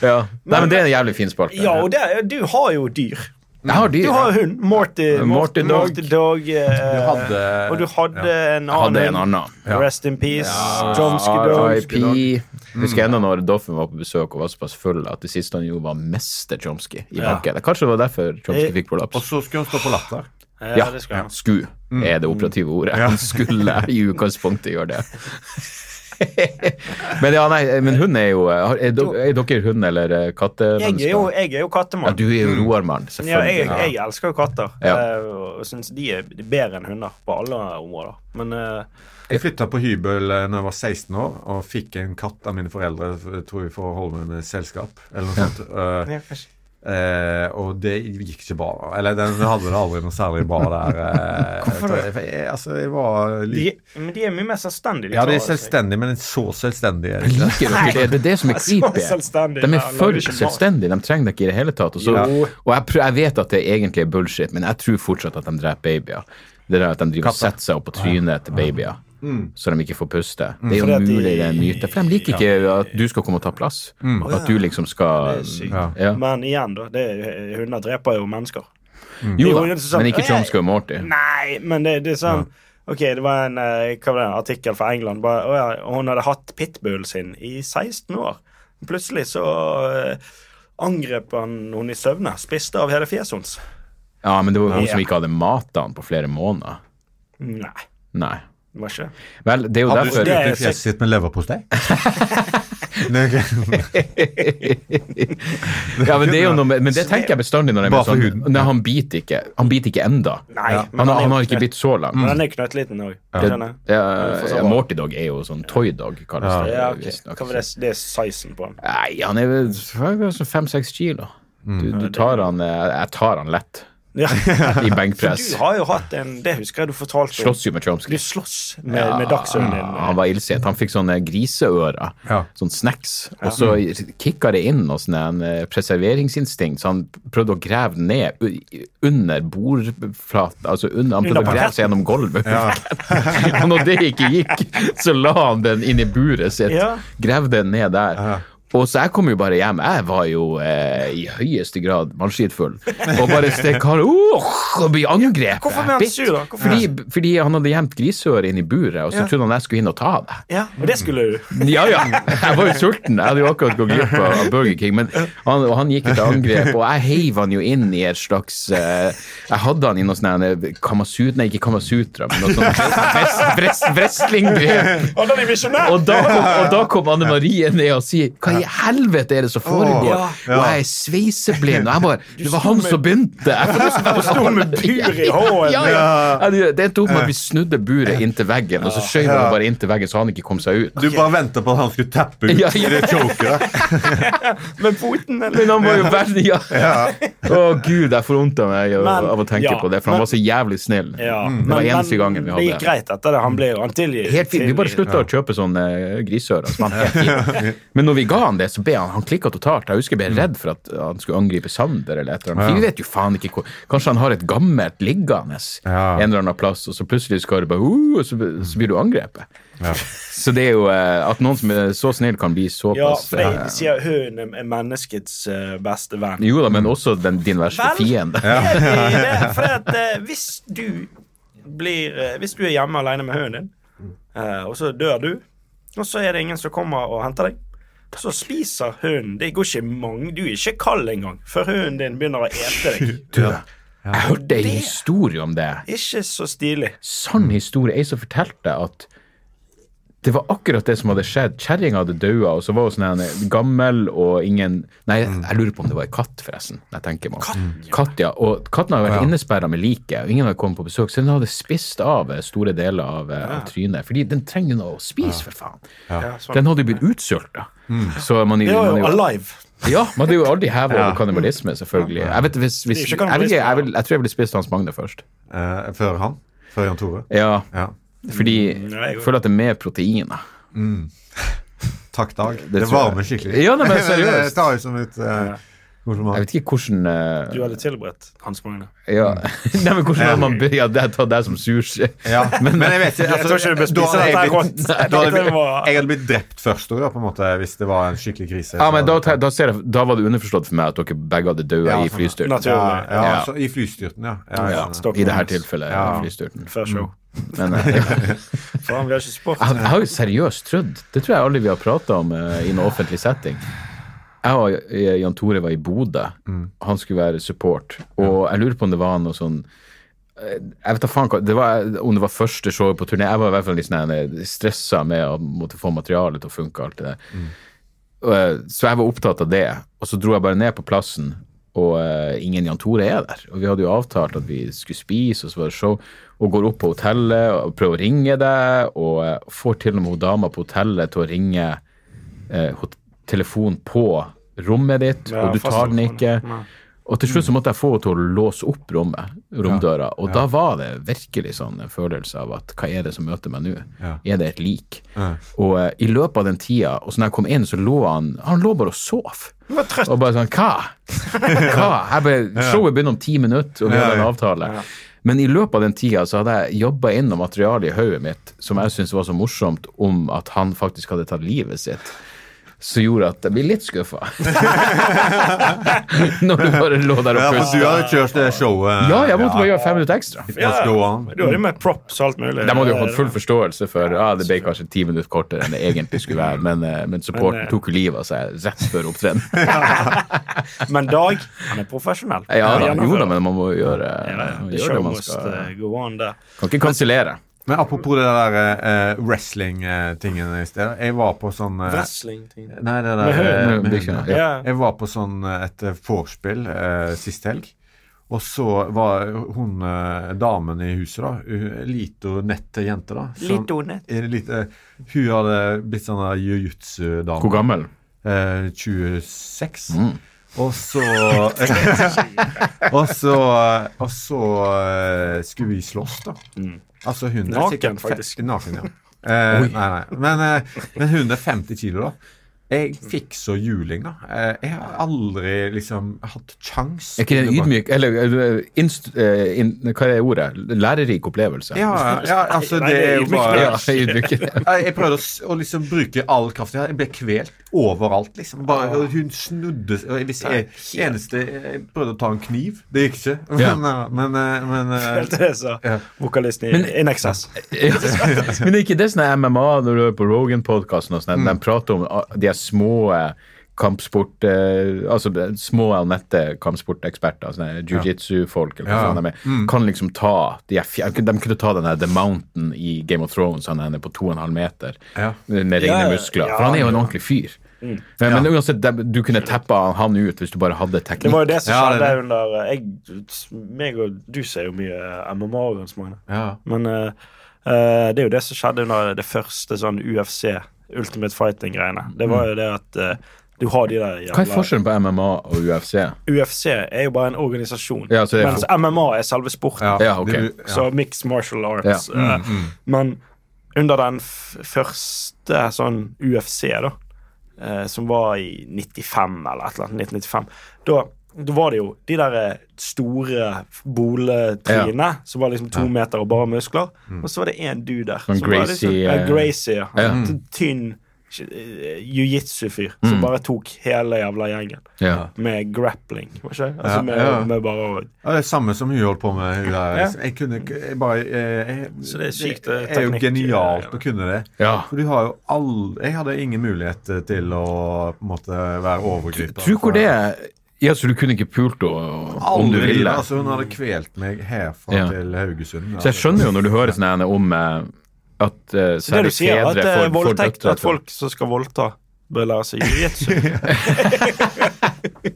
[SPEAKER 3] Ja. Nei, men det er en jævlig fin spalte.
[SPEAKER 1] Ja, og det, du har jo dyr.
[SPEAKER 3] Jeg har
[SPEAKER 1] Du har
[SPEAKER 3] dyr.
[SPEAKER 1] jo hund. Morty,
[SPEAKER 3] Morty Dog.
[SPEAKER 1] eh,
[SPEAKER 2] Du hadde-
[SPEAKER 1] og du hadde en
[SPEAKER 3] Jeg hadde
[SPEAKER 1] annen.
[SPEAKER 3] en annen. Ah,
[SPEAKER 2] Ja.
[SPEAKER 1] Rest in peace. Ja.
[SPEAKER 3] RIP. Husker jeg ennå når Doffen var på besøk og var såpass full at det siste han gjorde, var å meste Chomsky i markedet. Kanskje det var derfor Chomsky
[SPEAKER 1] Eh,
[SPEAKER 3] fikk
[SPEAKER 2] Og
[SPEAKER 3] prolaps.
[SPEAKER 2] så skulle hun stå på latter.
[SPEAKER 3] Ja,
[SPEAKER 1] det skal jeg.
[SPEAKER 3] sku
[SPEAKER 1] Mm.
[SPEAKER 3] er det operative ordet. Han skulle i utgangspunktet gjøre det. men ja, nei, men hund er jo eh, har- Er, do- er dere hund- eller eh,
[SPEAKER 1] Jeg er jo,
[SPEAKER 3] kattemennesker?
[SPEAKER 1] jeg er jo
[SPEAKER 3] Ja,
[SPEAKER 1] kattemann.
[SPEAKER 3] du er jo roarmann,
[SPEAKER 1] Mm. Ja, jeg,
[SPEAKER 3] selvfølgelig.
[SPEAKER 1] jeg elsker jo katter,
[SPEAKER 3] Ja.
[SPEAKER 1] eh, og syns de er bedre enn hunder på alle områder. Men eh,
[SPEAKER 2] Jeg flytta på hybel eh, når jeg var 16 år, og fikk en katt av mine foreldre f- tror jeg, for å holde meg med selskap. Eller noe sånt. Eh,
[SPEAKER 1] ja, kanskje-
[SPEAKER 2] eh, og det gikk ikke bra. da. Eller den hadde det aldri noe særlig bra der. eh, tror jeg. For jeg, altså, jeg var
[SPEAKER 1] de,
[SPEAKER 2] litt
[SPEAKER 1] men de er mye mer selvstendige.
[SPEAKER 2] Ja, de er
[SPEAKER 1] tar seg-
[SPEAKER 2] selvstendige, men så selvstendige er de ikke.
[SPEAKER 3] Liker dere det? Det er det som er
[SPEAKER 1] Så
[SPEAKER 3] creepy.
[SPEAKER 1] selvstendig.
[SPEAKER 3] De
[SPEAKER 1] Ja,
[SPEAKER 3] er
[SPEAKER 1] lager
[SPEAKER 3] for
[SPEAKER 1] ikke mat.
[SPEAKER 3] selvstendige. De trenger dere ikke i det hele tatt. Og, så,
[SPEAKER 2] Ja.
[SPEAKER 3] og jeg, prø- jeg vet at det egentlig er bullshit, men jeg tror fortsatt at de dreper babyer. Det der at de driver og
[SPEAKER 2] Katter.
[SPEAKER 3] setter seg opp på trynet til babyer. Så de ikke får puste. Det er
[SPEAKER 1] Mm.
[SPEAKER 3] jo
[SPEAKER 1] Fordi at de- Mm.
[SPEAKER 3] mulig det er en myte. For de liker ikke at du skal komme og ta plass. At du liksom skal
[SPEAKER 1] Det er sykt.
[SPEAKER 3] ja.
[SPEAKER 1] Men igjen, da. Det, er- hunder dreper jo mennesker.
[SPEAKER 3] Jo da,
[SPEAKER 1] Det er jo sånn-
[SPEAKER 3] men ikke Tromsø og Morty.
[SPEAKER 1] Nei, men det, det er sånn Ok, det var en eh, hva var det, artikkel fra England. Bare, å ja, hun hadde hatt pitbullen sin i 16 år. Plutselig så eh, angrep han henne i søvne. Spiste av hele fjeset hennes.
[SPEAKER 3] Ja, men det var jo hun
[SPEAKER 1] Ja.
[SPEAKER 3] som ikke hadde matet han på flere måneder.
[SPEAKER 1] Nei,
[SPEAKER 3] Nei.
[SPEAKER 1] det var ikke
[SPEAKER 3] Vel, det er jo
[SPEAKER 2] Hadde du
[SPEAKER 3] derfor
[SPEAKER 1] det er
[SPEAKER 2] sprøytet fjeset sitt med leverpostei? Nei, ok.
[SPEAKER 3] Ja, men det er jo noe med, Men det tenker jeg bestandig når jeg
[SPEAKER 2] Bare
[SPEAKER 3] er
[SPEAKER 2] for
[SPEAKER 3] sånn
[SPEAKER 2] huden.
[SPEAKER 3] Nei, han biter ikke. Han biter ikke enda.
[SPEAKER 1] Nei,
[SPEAKER 2] Ja.
[SPEAKER 1] men
[SPEAKER 3] Han,
[SPEAKER 1] er jo
[SPEAKER 3] han har ikke
[SPEAKER 1] knøtt-
[SPEAKER 3] bitt så langt.
[SPEAKER 1] Men han er jo knøttliten òg.
[SPEAKER 3] Det,
[SPEAKER 1] Ja.
[SPEAKER 3] det, ja, Morty Dog er jo sånn toy dog, kalles det.
[SPEAKER 1] Ja, ok.
[SPEAKER 3] visstnok.
[SPEAKER 1] Hva var det, det er sizen på han.
[SPEAKER 3] Nei, han er vel fem-seks kilo. Du, du tar han eh, Jeg tar han lett
[SPEAKER 1] Ja.
[SPEAKER 3] i benkpress.
[SPEAKER 1] Mm. Du har jo hatt en Det husker jeg du fortalte om.
[SPEAKER 3] Slåss jo med
[SPEAKER 1] Du
[SPEAKER 3] Chomsky.
[SPEAKER 1] slåss med, med dagsønnen din. eh,
[SPEAKER 3] han var illsint. Han fikk sånne griseører,
[SPEAKER 2] Ja.
[SPEAKER 3] sånn snacks, og så kicka det inn noe sånn en eh, preserveringsinstinkt, så han prøvde å grave ned u- under bordflaten, altså under, han prøvde
[SPEAKER 1] Under
[SPEAKER 3] å grave seg gjennom gulvet. og når det ikke gikk, så la han den inn i buret sitt,
[SPEAKER 1] Ja.
[SPEAKER 3] gravde den ned der. Og så jeg kom jo bare hjem, jeg var jo eh, i høyeste grad mannskitfull, og bare stek har, åh, og blir angrepet.
[SPEAKER 1] Hvorfor ble han
[SPEAKER 3] bitt.
[SPEAKER 1] sur da? Hvorfor-
[SPEAKER 3] Fordi, fordi han hadde gjemt grisehår inn i buret, og så
[SPEAKER 1] Ja.
[SPEAKER 3] trodde han jeg skulle inn og ta det.
[SPEAKER 1] Ja, og det skulle du.
[SPEAKER 3] Ja, ja. Jeg var jo sulten. Jeg hadde jo akkurat gått glipp av av Burger King. Men han, og han gikk til angrep, og jeg heiv han jo inn i et slags eh, Jeg hadde han i noe sånn her, eh, kamasut... Nei, ikke kamasutra, men noe sånn wrestling-grep.
[SPEAKER 1] Og da er de misjonære!
[SPEAKER 3] Og da, kom, og da kom Anne Marie ned og sier Hva i helvete er det som foregår?
[SPEAKER 1] Åh,
[SPEAKER 3] Og jeg er sveiseblind. Og jeg bare Det var han som begynte! Jeg
[SPEAKER 1] Sto med bur i hånden.
[SPEAKER 3] ja, ja. ja. Det endte opp med at vi snudde buret inntil veggen, og så skjøv vi det bare inntil veggen så han ikke kom seg ut.
[SPEAKER 2] Du bare venta på at han skulle tappe ut
[SPEAKER 3] Ja,
[SPEAKER 2] ja,
[SPEAKER 3] ja.
[SPEAKER 2] det chokeret.
[SPEAKER 1] Med foten, eller?
[SPEAKER 3] Men han var jo veldig ja. Å gud, jeg får vondt av meg av,
[SPEAKER 1] Men-
[SPEAKER 3] av å tenke
[SPEAKER 1] ja,
[SPEAKER 3] på det, for han
[SPEAKER 1] men-
[SPEAKER 3] var så jævlig snill.
[SPEAKER 1] Ja,
[SPEAKER 3] Mm. Det var eneste gangen vi
[SPEAKER 1] Det gikk
[SPEAKER 3] hadde det.
[SPEAKER 1] greit etter det. Han ble jo han tilgitt.
[SPEAKER 3] Helt fint. Vi bare slutta å kjøpe sånne eh, grisører. Så han helt fint. Men når vi ga han det, så ble han han klikka totalt. Jeg husker jeg ble redd for at han skulle angripe Sander eller et eller annet. For Vi vet jo faen ikke hvor Kanskje han har et gammelt liggende
[SPEAKER 2] Ja.
[SPEAKER 3] en eller annen plass, og så plutselig skal det bare uh, og så, så blir du angrepet. Så det er jo eh, At noen som er så snill, kan bli
[SPEAKER 1] Ja,
[SPEAKER 3] såpass
[SPEAKER 1] for
[SPEAKER 3] eh,
[SPEAKER 1] de sier hunden er menneskets eh, beste venn.
[SPEAKER 3] Jo da, men også den, din verste
[SPEAKER 1] Vel,
[SPEAKER 3] fiende.
[SPEAKER 1] er de det? For at, eh, hvis du blir eh, Hvis du er hjemme alene med hunden din, eh, og så dør du, og så er det ingen som kommer og henter deg, så spiser hunden Det går ikke mange Du er ikke kald engang før hunden din begynner å ete deg.
[SPEAKER 3] Jeg hørte ei historie om det.
[SPEAKER 1] Ikke så stilig.
[SPEAKER 3] Sann historie. Ei som fortalte at det var akkurat det som hadde skjedd. Kjerringa hadde daua, og så var hun sånn en gammel og ingen Nei, jeg lurer på om det var ei katt, forresten. når Jeg tenker meg. om. Mm. Katt, ja. Og katten hadde vært innesperra med liket, og ingen hadde kommet på besøk. Så den hadde spist av eh, store deler av, eh, av trynet. Fordi den trenger jo noe å spise, for faen.
[SPEAKER 1] Ja, sånn.
[SPEAKER 3] Den hadde jo blitt utsulta. Så man,
[SPEAKER 1] Det var
[SPEAKER 3] man,
[SPEAKER 1] jo alive.
[SPEAKER 3] Ja, man hadde jo aldri hevet over kannibalisme, selvfølgelig. Jeg vet, hvis, hvis,
[SPEAKER 1] Det er
[SPEAKER 3] jeg,
[SPEAKER 1] jo ikke
[SPEAKER 3] vet ikke, jeg, vil, jeg tror jeg ville spist Hans Magne først.
[SPEAKER 2] Eh, før han? Før Jan Tore?
[SPEAKER 3] Ja,
[SPEAKER 2] Ja.
[SPEAKER 3] fordi
[SPEAKER 1] nei,
[SPEAKER 3] jeg føler at det er mer proteiner.
[SPEAKER 2] Takk, Dag. Det,
[SPEAKER 3] tror jeg.
[SPEAKER 2] varmer skikkelig.
[SPEAKER 3] Ja, nei, men
[SPEAKER 2] det
[SPEAKER 3] seriøst.
[SPEAKER 2] eh, tar jo som et eh, hvor som
[SPEAKER 3] Jeg
[SPEAKER 2] helst.
[SPEAKER 3] vet ikke hvordan eh,
[SPEAKER 1] Du hadde tilberedt Hans Magne.
[SPEAKER 3] ja. Nei, men hvordan hadde man begynt? Ja, det- ta deg som sushi.
[SPEAKER 2] Ja, men, jeg vet ikke, altså,
[SPEAKER 1] Jeg tror ikke du bør
[SPEAKER 2] da
[SPEAKER 1] spise
[SPEAKER 2] hadde
[SPEAKER 1] dette her
[SPEAKER 2] jeg blitt-
[SPEAKER 1] rått. Jeg tenkte
[SPEAKER 2] da hadde jeg,
[SPEAKER 1] det
[SPEAKER 2] blitt-
[SPEAKER 1] var-
[SPEAKER 2] jeg hadde blitt drept først også, da, på en måte, hvis det var en skikkelig krise.
[SPEAKER 3] Ja, men da, te- da, ser jeg, da var det underforstått for meg at dere begge hadde dødd
[SPEAKER 2] Ja,
[SPEAKER 3] i flystyrt.
[SPEAKER 1] Naturlig.
[SPEAKER 2] ja, ja,
[SPEAKER 3] Ja.
[SPEAKER 2] så I flystyrten, ja. ja,
[SPEAKER 3] Ja,
[SPEAKER 2] jeg skjønner.
[SPEAKER 3] I det her tilfellet
[SPEAKER 2] Ja.
[SPEAKER 3] flystyrten.
[SPEAKER 1] Før show.
[SPEAKER 3] Men, eh,
[SPEAKER 1] Mm. Faen, vi har ikke sport.
[SPEAKER 3] Jeg, jeg har jo seriøst trodd Det tror jeg aldri vi har prata om eh, i en offentlig setting. Jeg og eh, Jan Tore var i Bodø. Han skulle være support. Og jeg lurer på om det var noe sånn eh, jeg vet da faen hva, det var, Om det var første showet på turné Jeg var i hvert fall litt sånn stressa med å måtte få materialet til å funke. alt det der. Og, eh, Så jeg var opptatt av det. Og så dro jeg bare ned på plassen, og eh, ingen Jan Tore er der. Og vi hadde jo avtalt at vi skulle spise, og så var det show. Og går opp på hotellet og prøver å ringe deg, og eh, får til og med hun dama på hotellet til å ringe eh, hot- telefon på rommet ditt,
[SPEAKER 1] Ja,
[SPEAKER 3] og du tar den
[SPEAKER 1] fasttelefonen.
[SPEAKER 3] ikke.
[SPEAKER 1] Nei.
[SPEAKER 3] Og til slutt så måtte jeg få henne til å låse opp rommet, romdøra. Og da var det virkelig sånn en følelse av at hva er det som møter meg nå? Er det et lik? Og eh, i løpet av den tida, og så når jeg kom inn, så lå han Han lå bare og sov.
[SPEAKER 1] Du var trøtt.
[SPEAKER 3] Og bare sånn Hva? Hva? Jeg bare, showet begynner om ti minutter, og vi har en avtale. Men i løpet av den tida så hadde jeg jobba inn noe materiale i hodet mitt som jeg syntes var så morsomt om at han faktisk hadde tatt livet sitt. Som gjorde at jeg blir litt skuffa. Når du bare lå der
[SPEAKER 2] Ja,
[SPEAKER 3] og
[SPEAKER 2] for du
[SPEAKER 3] pusta.
[SPEAKER 2] hadde kjørt det showet.
[SPEAKER 3] Ja, jeg måtte bare gjøre fem minutter ekstra.
[SPEAKER 2] It must go on.
[SPEAKER 1] Du har jo med props og alt mulig.
[SPEAKER 3] De hadde jo fått full forståelse for ja, det ble kanskje ti minutter kortere enn det egentlig skulle være, men, eh, men supporten
[SPEAKER 1] Men, eh,
[SPEAKER 3] tok jo livet av seg rett før opptreden.
[SPEAKER 1] Men Dag, han er profesjonell.
[SPEAKER 3] Ja da,
[SPEAKER 1] Han
[SPEAKER 3] jo da,
[SPEAKER 1] gjennomfører.
[SPEAKER 3] men man må jo gjøre,
[SPEAKER 1] Ja, ja,
[SPEAKER 3] man
[SPEAKER 1] The
[SPEAKER 3] gjør
[SPEAKER 1] show
[SPEAKER 3] det man
[SPEAKER 1] must
[SPEAKER 3] skal.
[SPEAKER 1] eh, go on der.
[SPEAKER 3] Kan ikke kansellere.
[SPEAKER 2] Men apropos det der eh, wrestling-tingen i sted. Jeg var på sånn eh,
[SPEAKER 1] Wrestling-ting.
[SPEAKER 2] Nei, det der
[SPEAKER 1] Med høn.
[SPEAKER 2] eh, med
[SPEAKER 3] Med
[SPEAKER 2] høn,
[SPEAKER 3] bikkjene,
[SPEAKER 2] ja.
[SPEAKER 1] Ja.
[SPEAKER 2] Jeg var på sånn eh, et eh, vorspiel eh, sist helg. Og så var hun eh, damen i huset, da, hun- lito nette jente, da som-
[SPEAKER 1] Litt donet.
[SPEAKER 2] er det litt, eh, Hun hadde blitt sånn der jiu-jitsu-dame.
[SPEAKER 3] Hvor gammel?
[SPEAKER 2] Eh, 26.
[SPEAKER 3] Mm.
[SPEAKER 2] Og så eh, Og så, og så eh, skulle vi slåss, da. Altså hun er
[SPEAKER 1] Naken,
[SPEAKER 2] sikkert fe-
[SPEAKER 1] faktisk.
[SPEAKER 2] Naken, ja. Eh, nei, nei. Men, eh, men hun er 50 kilo, da. Jeg fikk så juling, da. Eh, jeg har aldri liksom hatt kjangs.
[SPEAKER 3] Er ikke det en ydmyk Eller eh, inst, eh, in, hva er ordet? Lærerik opplevelse?
[SPEAKER 2] Ja, ja, altså
[SPEAKER 1] Nei,
[SPEAKER 2] det
[SPEAKER 1] det er
[SPEAKER 2] er jo
[SPEAKER 1] ydmykt,
[SPEAKER 2] bare
[SPEAKER 3] Ja, ydmyk.
[SPEAKER 2] Jeg jeg prøvde å, s- å liksom bruke all kraft jeg hadde. Jeg ble kvelt overalt, liksom. Bare,
[SPEAKER 1] Ah.
[SPEAKER 2] og hun snudde s- og jeg, visste- jeg, eneste, jeg prøvde å ta en kniv. Det gikk ikke.
[SPEAKER 3] Ja.
[SPEAKER 2] Men, eh, men, eh, men eh,
[SPEAKER 1] Følte det, sa
[SPEAKER 2] Ja.
[SPEAKER 1] vokalisten i In Excess.
[SPEAKER 3] Ja. Men er ikke det sånn MMA når du hører på Rogan-podkasten og sånn,
[SPEAKER 2] Mm.
[SPEAKER 3] de prater om ah, de her små eh, kampsport eh, Altså de små og nette kampsporteksperter, sånne jiu-jitsu-folk eller hva
[SPEAKER 2] Ja. Mm.
[SPEAKER 3] faen de er, kan liksom ta de, her, fj- de kunne ta den der The Mountain i Game of Thrones, han er på to og en halv meter
[SPEAKER 2] Ja.
[SPEAKER 3] med rene
[SPEAKER 1] Ja, ja.
[SPEAKER 3] muskler.
[SPEAKER 1] Ja, Mm.
[SPEAKER 3] For han er jo en ordentlig fyr. Men, men uansett, de, du kunne teppa han ut hvis du bare hadde
[SPEAKER 1] Det var jo
[SPEAKER 3] teknikk.
[SPEAKER 1] det som
[SPEAKER 2] Ja, det er
[SPEAKER 1] skjedde under eh, jeg, meg og Du ser jo mye eh, MMA, Jens Magne.
[SPEAKER 2] ja.
[SPEAKER 1] Men eh, eh, det er jo det som skjedde under det første sånn UFC, Ultimate Fighting-greiene. Det var jo det at eh, du har de der
[SPEAKER 3] Mm. Hva er forskjellen på MMA og UFC?
[SPEAKER 1] UFC er jo bare en organisasjon,
[SPEAKER 3] Ja, så det er-
[SPEAKER 1] mens MMA er selve sporten.
[SPEAKER 2] Ja,
[SPEAKER 3] Ja, Mm, ok.
[SPEAKER 2] det- ja.
[SPEAKER 1] Så mixed martial arts. eh, Men under den f første sånn UFC, da, eh, som var i 95 eller et eller annet, 1995, da, da var det jo de der eh, store boletrynene som var liksom to meter og bare muskler, og så var det én dude der.
[SPEAKER 3] Mm. Sånn
[SPEAKER 1] som var liksom-
[SPEAKER 3] Gracie,
[SPEAKER 1] ja,
[SPEAKER 3] eh,
[SPEAKER 1] Gracie, ja.
[SPEAKER 3] ja. Mm.
[SPEAKER 1] En Tynn eh, jiu-jitsu-fyr som bare tok hele jævla gjengen
[SPEAKER 3] Ja.
[SPEAKER 1] med grappling, var ikke det?
[SPEAKER 2] Ja,
[SPEAKER 1] Altså med,
[SPEAKER 2] ja.
[SPEAKER 1] med bare å
[SPEAKER 2] Ja, Det er samme som hun holdt på med. Hun der,
[SPEAKER 1] Ja.
[SPEAKER 2] liksom. Jeg kunne ikke- jeg bare eh, jeg,
[SPEAKER 1] Så det er sykt, eh,
[SPEAKER 2] er jo
[SPEAKER 1] teknikk,
[SPEAKER 2] genialt
[SPEAKER 1] ja.
[SPEAKER 2] å kunne det.
[SPEAKER 3] Ja.
[SPEAKER 2] For du har jo all Jeg hadde ingen mulighet eh, til å på en måte være overgriper.
[SPEAKER 3] Tror hvor det er Ja, så du kunne ikke pult henne om du
[SPEAKER 2] Aldri.
[SPEAKER 3] ville?
[SPEAKER 2] Altså, hun hadde kvelt meg herfra
[SPEAKER 3] Ja.
[SPEAKER 2] til Haugesund. altså.
[SPEAKER 3] Så jeg skjønner jo når du hører sånne her om eh, at eh,
[SPEAKER 1] Det er det
[SPEAKER 3] særlig
[SPEAKER 1] du sier, at,
[SPEAKER 3] fedre
[SPEAKER 1] eh,
[SPEAKER 3] får- får
[SPEAKER 1] voldtekt,
[SPEAKER 3] døtre
[SPEAKER 1] at folk som skal voldta, bør lære seg jiu-jitsu.
[SPEAKER 3] til-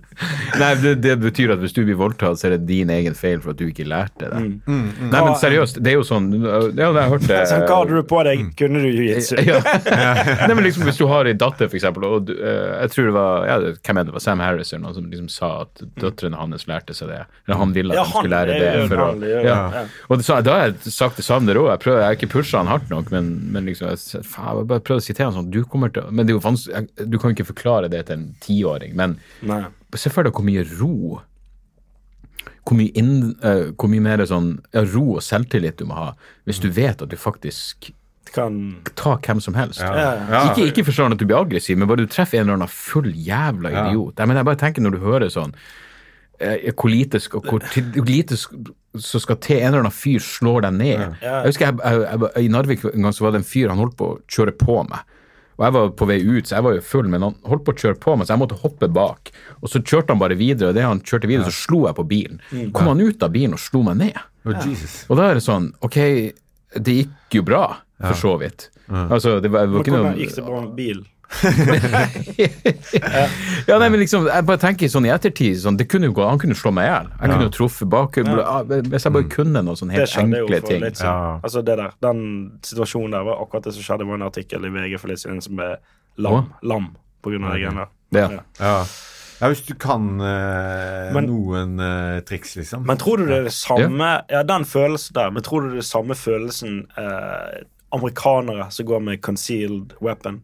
[SPEAKER 3] Nei, det, det betyr at hvis du blir voldtatt, så er det din egen feil for at du ikke lærte
[SPEAKER 1] Mm.
[SPEAKER 3] det.
[SPEAKER 2] Mm.
[SPEAKER 3] Nei, men seriøst, det er jo sånn Ja, da jeg hørte
[SPEAKER 1] Sånn, hva hadde du på deg? Kunne du jiu-jitsu?
[SPEAKER 3] ja. Nei, men liksom, hvis du har en datter, for eksempel, og du, eh, jeg tror det var ja, det- hvem er det, det var Sam Harris eller noen som liksom sa at døtrene hans lærte seg det. Eller han ville at
[SPEAKER 1] Ja,
[SPEAKER 3] de
[SPEAKER 1] han
[SPEAKER 3] skulle lære
[SPEAKER 1] er
[SPEAKER 3] det.
[SPEAKER 1] jo
[SPEAKER 3] For å,
[SPEAKER 1] en vanlig, ja,
[SPEAKER 3] ja.
[SPEAKER 1] ja.
[SPEAKER 3] Og det, sa- da har jeg sagt det samme der òg. Jeg, prøver- jeg har ikke pusha han hardt nok, men, men liksom, jeg, s- faen, jeg bare prøvde å sitere han sånn du kommer til, å- Men det er jo vanskelig, jeg- du kan jo ikke forklare det til en tiåring. Men
[SPEAKER 1] Nei.
[SPEAKER 3] se for deg hvor mye ro hvor mye, inn, eh, hvor mye mer sånn, ja, ro og selvtillit du må ha hvis du vet at du faktisk
[SPEAKER 1] Kan
[SPEAKER 3] ta hvem som helst.
[SPEAKER 2] Ja.
[SPEAKER 3] Ikke, ikke forstår han at du blir aggressiv, men bare du treffer en eller annen full jævla idiot. Jeg, mener, jeg bare tenker når du hører sånn eh, hvor lite, sk- hvor, til- hvor lite sk- som skal til en eller annen fyr slår deg ned. Jeg husker jeg, jeg, jeg, I Narvik en gang så var det en fyr han holdt på å kjøre på meg. Og Jeg var på vei ut, så jeg var jo full, men han holdt på å kjøre på meg, så jeg måtte hoppe bak. Og Så kjørte han bare videre, og det han kjørte videre, så slo jeg på bilen. Kom han ut av bilen og slo meg ned?
[SPEAKER 2] Oh, Jesus.
[SPEAKER 3] Og da er det sånn, ok, det gikk jo bra, for så vidt. Altså, det var, det var
[SPEAKER 1] Men
[SPEAKER 3] ikke noe...
[SPEAKER 1] hvordan gikk det bra med bil?
[SPEAKER 3] Ja, nei, men liksom, jeg bare tenker sånn i ettertid, sånn, det kunne jo gå, han kunne slå meg ihjel. Jeg kunne jo truffet bak... Hvis jeg bare kunne noen sånne
[SPEAKER 1] Mm. Det
[SPEAKER 3] helt
[SPEAKER 1] skjedde jo
[SPEAKER 3] enkle
[SPEAKER 1] for
[SPEAKER 3] ting.
[SPEAKER 1] litt siden.
[SPEAKER 2] Ja.
[SPEAKER 1] Altså det der, Den situasjonen der var akkurat det som skjedde. Det var en artikkel i VG for litt siden som ble lam, lam på grunn av det greiene der.
[SPEAKER 3] Ja.
[SPEAKER 1] Ja.
[SPEAKER 2] Ja. ja, hvis du kan eh,
[SPEAKER 1] Men-
[SPEAKER 2] noen eh, triks, liksom.
[SPEAKER 1] Men tror du det er det samme Ja, den følelsen der, men tror du det er samme følelsen eh, amerikanere som går med concealed weapon?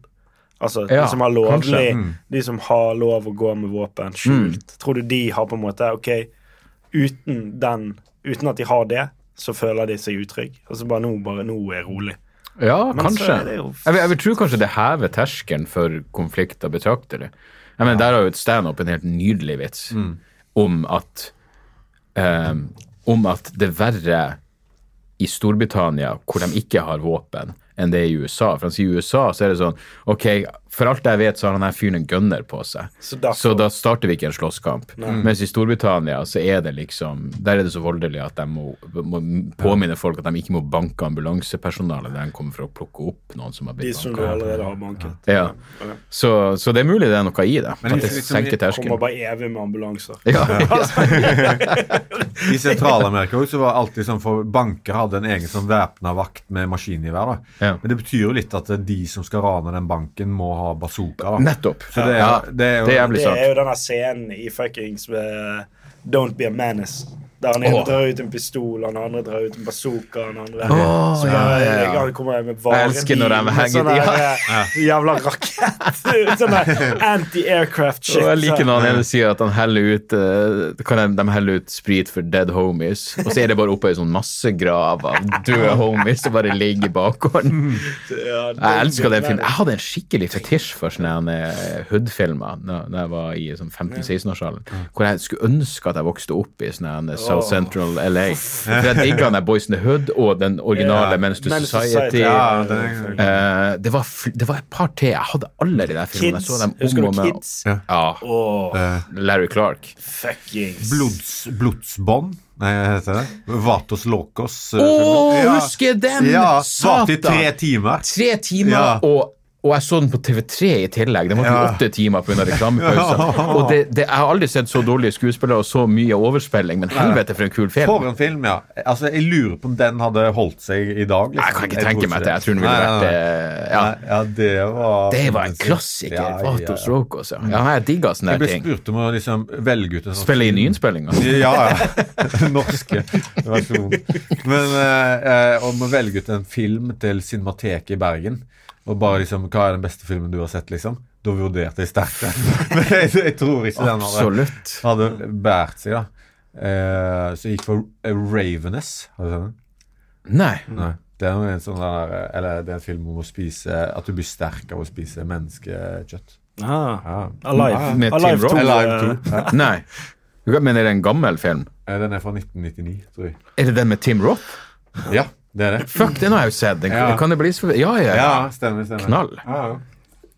[SPEAKER 1] Altså
[SPEAKER 3] Ja,
[SPEAKER 1] de som har
[SPEAKER 3] kanskje, Mm.
[SPEAKER 1] lovlig De som har lov å gå med våpen skjult. Tror du de har på en måte OK, uten den Uten at de har det, så føler de seg utrygge. Og så bare nå, bare, nå er jeg rolig.
[SPEAKER 3] Ja,
[SPEAKER 1] Men så
[SPEAKER 3] kanskje.
[SPEAKER 1] er det jo-
[SPEAKER 3] Jeg, vil- jeg vil tro kanskje det hever terskelen for konflikter betraktelig. Jeg mener, Der har jo et standup en helt nydelig vits
[SPEAKER 1] Mm.
[SPEAKER 3] om at eh, om at det er verre i Storbritannia, hvor de ikke har våpen, enn det er i USA. For han sier i USA så er det sånn Ok, for alt jeg vet, så har han her fyren en gunner på seg.
[SPEAKER 1] Så derfor-
[SPEAKER 3] så da starter vi ikke en slåsskamp.
[SPEAKER 2] Mm.
[SPEAKER 3] Mens i Storbritannia så er det liksom Der er det så voldelig at de må, må påminne folk at de ikke må banke ambulansepersonalet når de kommer for å plukke opp noen som har
[SPEAKER 1] De
[SPEAKER 3] blitt
[SPEAKER 1] som du
[SPEAKER 3] banka.
[SPEAKER 1] allerede har banket.
[SPEAKER 3] Ja. Så, så det er mulig det er noe i det.
[SPEAKER 2] Men
[SPEAKER 3] At det
[SPEAKER 2] liksom-
[SPEAKER 3] senker
[SPEAKER 1] Kommer
[SPEAKER 3] terskelen.
[SPEAKER 1] bare evig med ambulanser.
[SPEAKER 3] Ja, ja.
[SPEAKER 2] I Sentral-Amerika også var det alltid sånn for banker hadde en egen sånn væpna vakt med maskingevær. da.
[SPEAKER 3] Ja.
[SPEAKER 2] Men det betyr jo litt at eh, de som skal rane den banken, må ha bazooka. da.
[SPEAKER 3] Nettopp.
[SPEAKER 2] Så det er-
[SPEAKER 3] ja,
[SPEAKER 2] det er jo-
[SPEAKER 3] det er jævlig
[SPEAKER 1] Det
[SPEAKER 3] sant.
[SPEAKER 1] er jo denne scenen i fuckings eh, Don't Be a Menace. Der han ene
[SPEAKER 3] Åh.
[SPEAKER 1] drar ut en pistol, han andre drar ut en bazooka, han andre
[SPEAKER 3] Åh,
[SPEAKER 1] Så
[SPEAKER 3] ja,
[SPEAKER 1] bare,
[SPEAKER 3] ja, ja.
[SPEAKER 1] Han kommer med varebil
[SPEAKER 3] Jeg elsker når de
[SPEAKER 1] med
[SPEAKER 3] henger
[SPEAKER 1] sånn
[SPEAKER 3] de, ja.
[SPEAKER 1] der, eh, jævla rakett. sånn der anti-aircraft shit.
[SPEAKER 3] Og jeg liker
[SPEAKER 1] Så-
[SPEAKER 3] når han ene sier at han heller ut eh, kan de, de heller ut sprit for dead homies, og så er det bare oppe i sånn massegrav av døde homies som bare ligger i bakgården.
[SPEAKER 1] Ja, Don't
[SPEAKER 3] Jeg
[SPEAKER 1] Be
[SPEAKER 3] elsker
[SPEAKER 1] a
[SPEAKER 3] den filmen.
[SPEAKER 1] Menace.
[SPEAKER 3] Jeg hadde en skikkelig fetisj for sånne eh, hood-filmer da da jeg var i sånn 15-16-årsalderen, hvor jeg skulle ønske at jeg vokste opp i sånne her South Central LA. For jeg digga den der Boys in the Hood og den
[SPEAKER 1] Ja,
[SPEAKER 3] originale Men's to
[SPEAKER 1] Menace to
[SPEAKER 3] Society.
[SPEAKER 2] Ja, det er,
[SPEAKER 3] Eh, det, var fl det var et par til. Jeg hadde alle de der filmene. Jeg
[SPEAKER 1] Kids.
[SPEAKER 3] så dem
[SPEAKER 1] Husker du
[SPEAKER 3] om og med.
[SPEAKER 1] Kids?
[SPEAKER 2] Ja. Eh,
[SPEAKER 3] Ja.
[SPEAKER 1] Åh,
[SPEAKER 3] Larry Clark.
[SPEAKER 1] fuckings.
[SPEAKER 2] blods, blodsbånd. Nei, hva heter det? Vatos locos. eh,
[SPEAKER 3] Å,
[SPEAKER 2] filmen. Ja.
[SPEAKER 3] husker den!
[SPEAKER 2] Ja, varte i tre
[SPEAKER 3] Satan!
[SPEAKER 2] timer.
[SPEAKER 3] Tre timer,
[SPEAKER 2] Ja.
[SPEAKER 3] og, og jeg så den på TV3 i tillegg. Den var til
[SPEAKER 2] Ja.
[SPEAKER 3] åtte timer pga. reklamepauser.
[SPEAKER 2] Ja.
[SPEAKER 3] Og det, det, jeg har aldri sett så dårlige skuespillere og så mye overspilling, men helvete for en kul film.
[SPEAKER 2] For en film, ja. Altså, Jeg lurer på om den hadde holdt seg i dag. liksom.
[SPEAKER 3] Jeg kan ikke tenke
[SPEAKER 2] tror
[SPEAKER 3] meg det. Jeg tror den ville
[SPEAKER 2] Nei, nei,
[SPEAKER 3] vært
[SPEAKER 2] nei.
[SPEAKER 3] eh, ja.
[SPEAKER 2] Nei, ja, det var
[SPEAKER 3] Det var en klassiker.
[SPEAKER 2] Ja, ja, ja.
[SPEAKER 3] Vatos Rokos, ja. ja. Jeg digga
[SPEAKER 2] Jeg
[SPEAKER 3] sånne her
[SPEAKER 2] ble
[SPEAKER 3] ting.
[SPEAKER 2] spurt om å liksom velge ut en sånn
[SPEAKER 3] Spille i nyinnspillinga.
[SPEAKER 2] Ja, ja. Norske versjon. Men eh, eh, om å velge ut en film til Cinemateket i Bergen, og bare liksom Hva er den beste filmen du har sett, liksom? Da vurderte jeg sterkt den. Men jeg, jeg tror ikke den hadde,
[SPEAKER 3] Absolutt.
[SPEAKER 2] hadde båret seg, da. Eh, så jeg gikk for eh, Raveness. Har du sett den?
[SPEAKER 3] Nei.
[SPEAKER 1] Mm.
[SPEAKER 2] Nei. Det er, jo en sånn der, eh, eller, det er en film om å spise At du blir sterk av å spise menneskekjøtt.
[SPEAKER 1] Ah,
[SPEAKER 2] Ja.
[SPEAKER 1] Alive.
[SPEAKER 3] Med Tim
[SPEAKER 1] Alive
[SPEAKER 3] Roth?
[SPEAKER 1] to,
[SPEAKER 2] Alive
[SPEAKER 1] eh,
[SPEAKER 2] to. Ja.
[SPEAKER 3] Nei. Men er det en gammel film?
[SPEAKER 2] Eh, Den er fra 1999, tror jeg.
[SPEAKER 3] Er det den med Tim Roth?
[SPEAKER 2] Ja, det er det.
[SPEAKER 3] Fuck, den har jeg jo sett. Den,
[SPEAKER 2] Ja.
[SPEAKER 3] Kan det bli så Ja, ja. ja.
[SPEAKER 2] Ja, stemmer. stemmer.
[SPEAKER 3] Knall.
[SPEAKER 2] Ja, ja.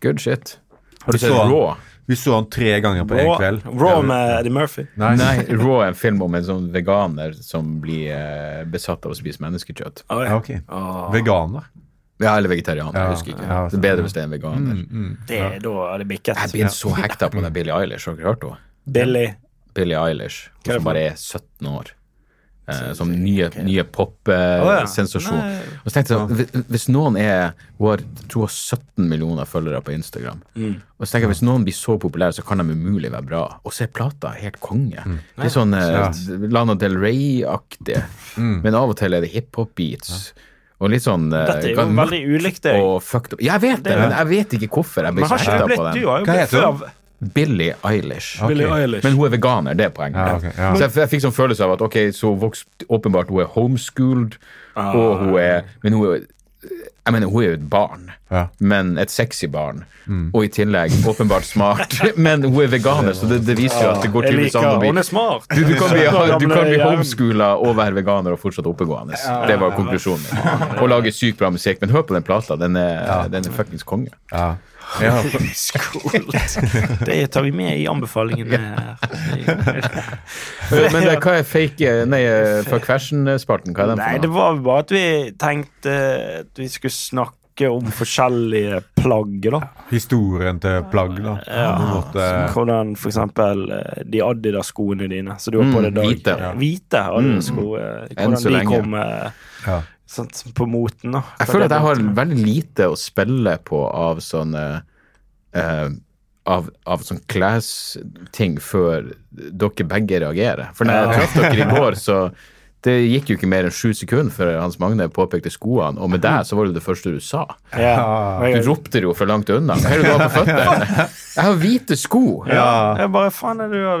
[SPEAKER 3] Good shit. Har
[SPEAKER 2] Vi
[SPEAKER 3] du sett
[SPEAKER 2] så han.
[SPEAKER 3] Raw?
[SPEAKER 2] Vi så han tre ganger på én kveld.
[SPEAKER 1] Raw, Raw med Eddie Murphy.
[SPEAKER 2] Nei.
[SPEAKER 3] Nei, Raw er en film om en sånn veganer som blir eh, besatt av å spise menneskekjøtt.
[SPEAKER 1] Å,
[SPEAKER 2] Ja,
[SPEAKER 1] Ah, ja.
[SPEAKER 2] ok. Veganer.
[SPEAKER 3] Ja, eller vegetarianer,
[SPEAKER 2] Ja,
[SPEAKER 3] jeg husker ikke.
[SPEAKER 2] ja, Mm.
[SPEAKER 3] det er bedre hvis det er en veganer.
[SPEAKER 1] Det, da er det
[SPEAKER 3] Jeg
[SPEAKER 1] bikket.
[SPEAKER 3] ble så hekta på den Billie Eilish, har dere hørt henne?
[SPEAKER 1] Billy.
[SPEAKER 3] Billie Eilish,
[SPEAKER 1] er det
[SPEAKER 3] som
[SPEAKER 1] for
[SPEAKER 3] bare er 17 år. Eh, som nye, nye
[SPEAKER 1] Å, ja.
[SPEAKER 3] pop-sensasjon.
[SPEAKER 1] Nei.
[SPEAKER 3] Og så tenkte jeg sånn, hvis- Hvis noen er Hun har tror jeg, 17 millioner følgere på Instagram.
[SPEAKER 1] Mm.
[SPEAKER 3] Og så tenker jeg, Hvis noen blir så populære, så kan de umulig være bra. Og så er plata helt konge.
[SPEAKER 1] Mm.
[SPEAKER 3] Det er sånn eh, Lana Del Rey-aktig.
[SPEAKER 1] Mm.
[SPEAKER 3] Men av og til er det hiphop-beats. Og litt sånn eh,
[SPEAKER 1] Dette er jo
[SPEAKER 3] gan-
[SPEAKER 1] veldig ulikt deg.
[SPEAKER 3] og fucked up. Jeg vet det, men jeg vet ikke hvorfor liksom, jeg ble
[SPEAKER 1] Men
[SPEAKER 3] så
[SPEAKER 1] har ikke du
[SPEAKER 3] hekta
[SPEAKER 1] blitt,
[SPEAKER 3] på
[SPEAKER 1] du
[SPEAKER 3] den.
[SPEAKER 1] har jo
[SPEAKER 2] Hva
[SPEAKER 1] blitt
[SPEAKER 2] heter hun?
[SPEAKER 1] før
[SPEAKER 3] Billie Eilish.
[SPEAKER 2] Billie
[SPEAKER 1] Billie Eilish.
[SPEAKER 3] Men hun er veganer, det er poenget.
[SPEAKER 2] Ja, ok, ja.
[SPEAKER 3] Så jeg, jeg fikk sånn følelse av at ok, så vokst, åpenbart hun er homeschooled,
[SPEAKER 1] Ah.
[SPEAKER 3] og hun er Men hun er jeg mener, hun er jo et barn,
[SPEAKER 2] Ja.
[SPEAKER 3] men et sexy barn.
[SPEAKER 2] Mm.
[SPEAKER 3] Og i tillegg åpenbart smart, men hun er veganer, så det, det viser jo at det går
[SPEAKER 1] jeg
[SPEAKER 3] tydeligvis an
[SPEAKER 1] liker
[SPEAKER 3] å bli
[SPEAKER 1] Hun er smart.
[SPEAKER 3] du, du kan bli, du kan bli
[SPEAKER 1] Gamle hjernen.
[SPEAKER 3] homeschoola og være veganer og fortsatt oppegående. Det var konklusjonen min. Og lage sykt bra musikk. Men hør på den plata. Den er, den er fuckings konge.
[SPEAKER 2] Ja. Jeg har,
[SPEAKER 1] Det tar vi med i anbefalingen her.
[SPEAKER 3] Men det, hva er fake eh, Nei, fuck fashion-spalten? Hva er den
[SPEAKER 1] Nei,
[SPEAKER 3] for
[SPEAKER 1] det
[SPEAKER 3] noe?
[SPEAKER 1] var vel bare at vi tenkte at vi skulle snakke om forskjellige plagg, da.
[SPEAKER 2] historien til plagg, da. På en måte.
[SPEAKER 1] Hvordan for eksempel eh, de Adidas-skoene dine som du har på
[SPEAKER 3] Mm,
[SPEAKER 1] deg i dag.
[SPEAKER 3] hvite. Mm,
[SPEAKER 1] Ja. Hvite Adidas-sko. eh,
[SPEAKER 3] Enn
[SPEAKER 1] Hvordan
[SPEAKER 3] så
[SPEAKER 1] de
[SPEAKER 3] lenge.
[SPEAKER 1] kom eh,
[SPEAKER 2] Ja.
[SPEAKER 1] sant, på moten, da.
[SPEAKER 3] Jeg føler at jeg har veldig lite å spille på av sånne eh, av, av sånn klesting før dere begge reagerer. For når jeg traff dere i går, så Det gikk jo ikke mer enn sju sekunder før Hans Magne påpekte skoene, og med deg så var det det første du sa.
[SPEAKER 1] Ja.
[SPEAKER 3] Du
[SPEAKER 1] Jeg,
[SPEAKER 3] ropte det jo fra langt unna. Hører du hva på føttene? Jeg har hvite sko!
[SPEAKER 2] Ja.
[SPEAKER 1] jeg bare Faen, er du har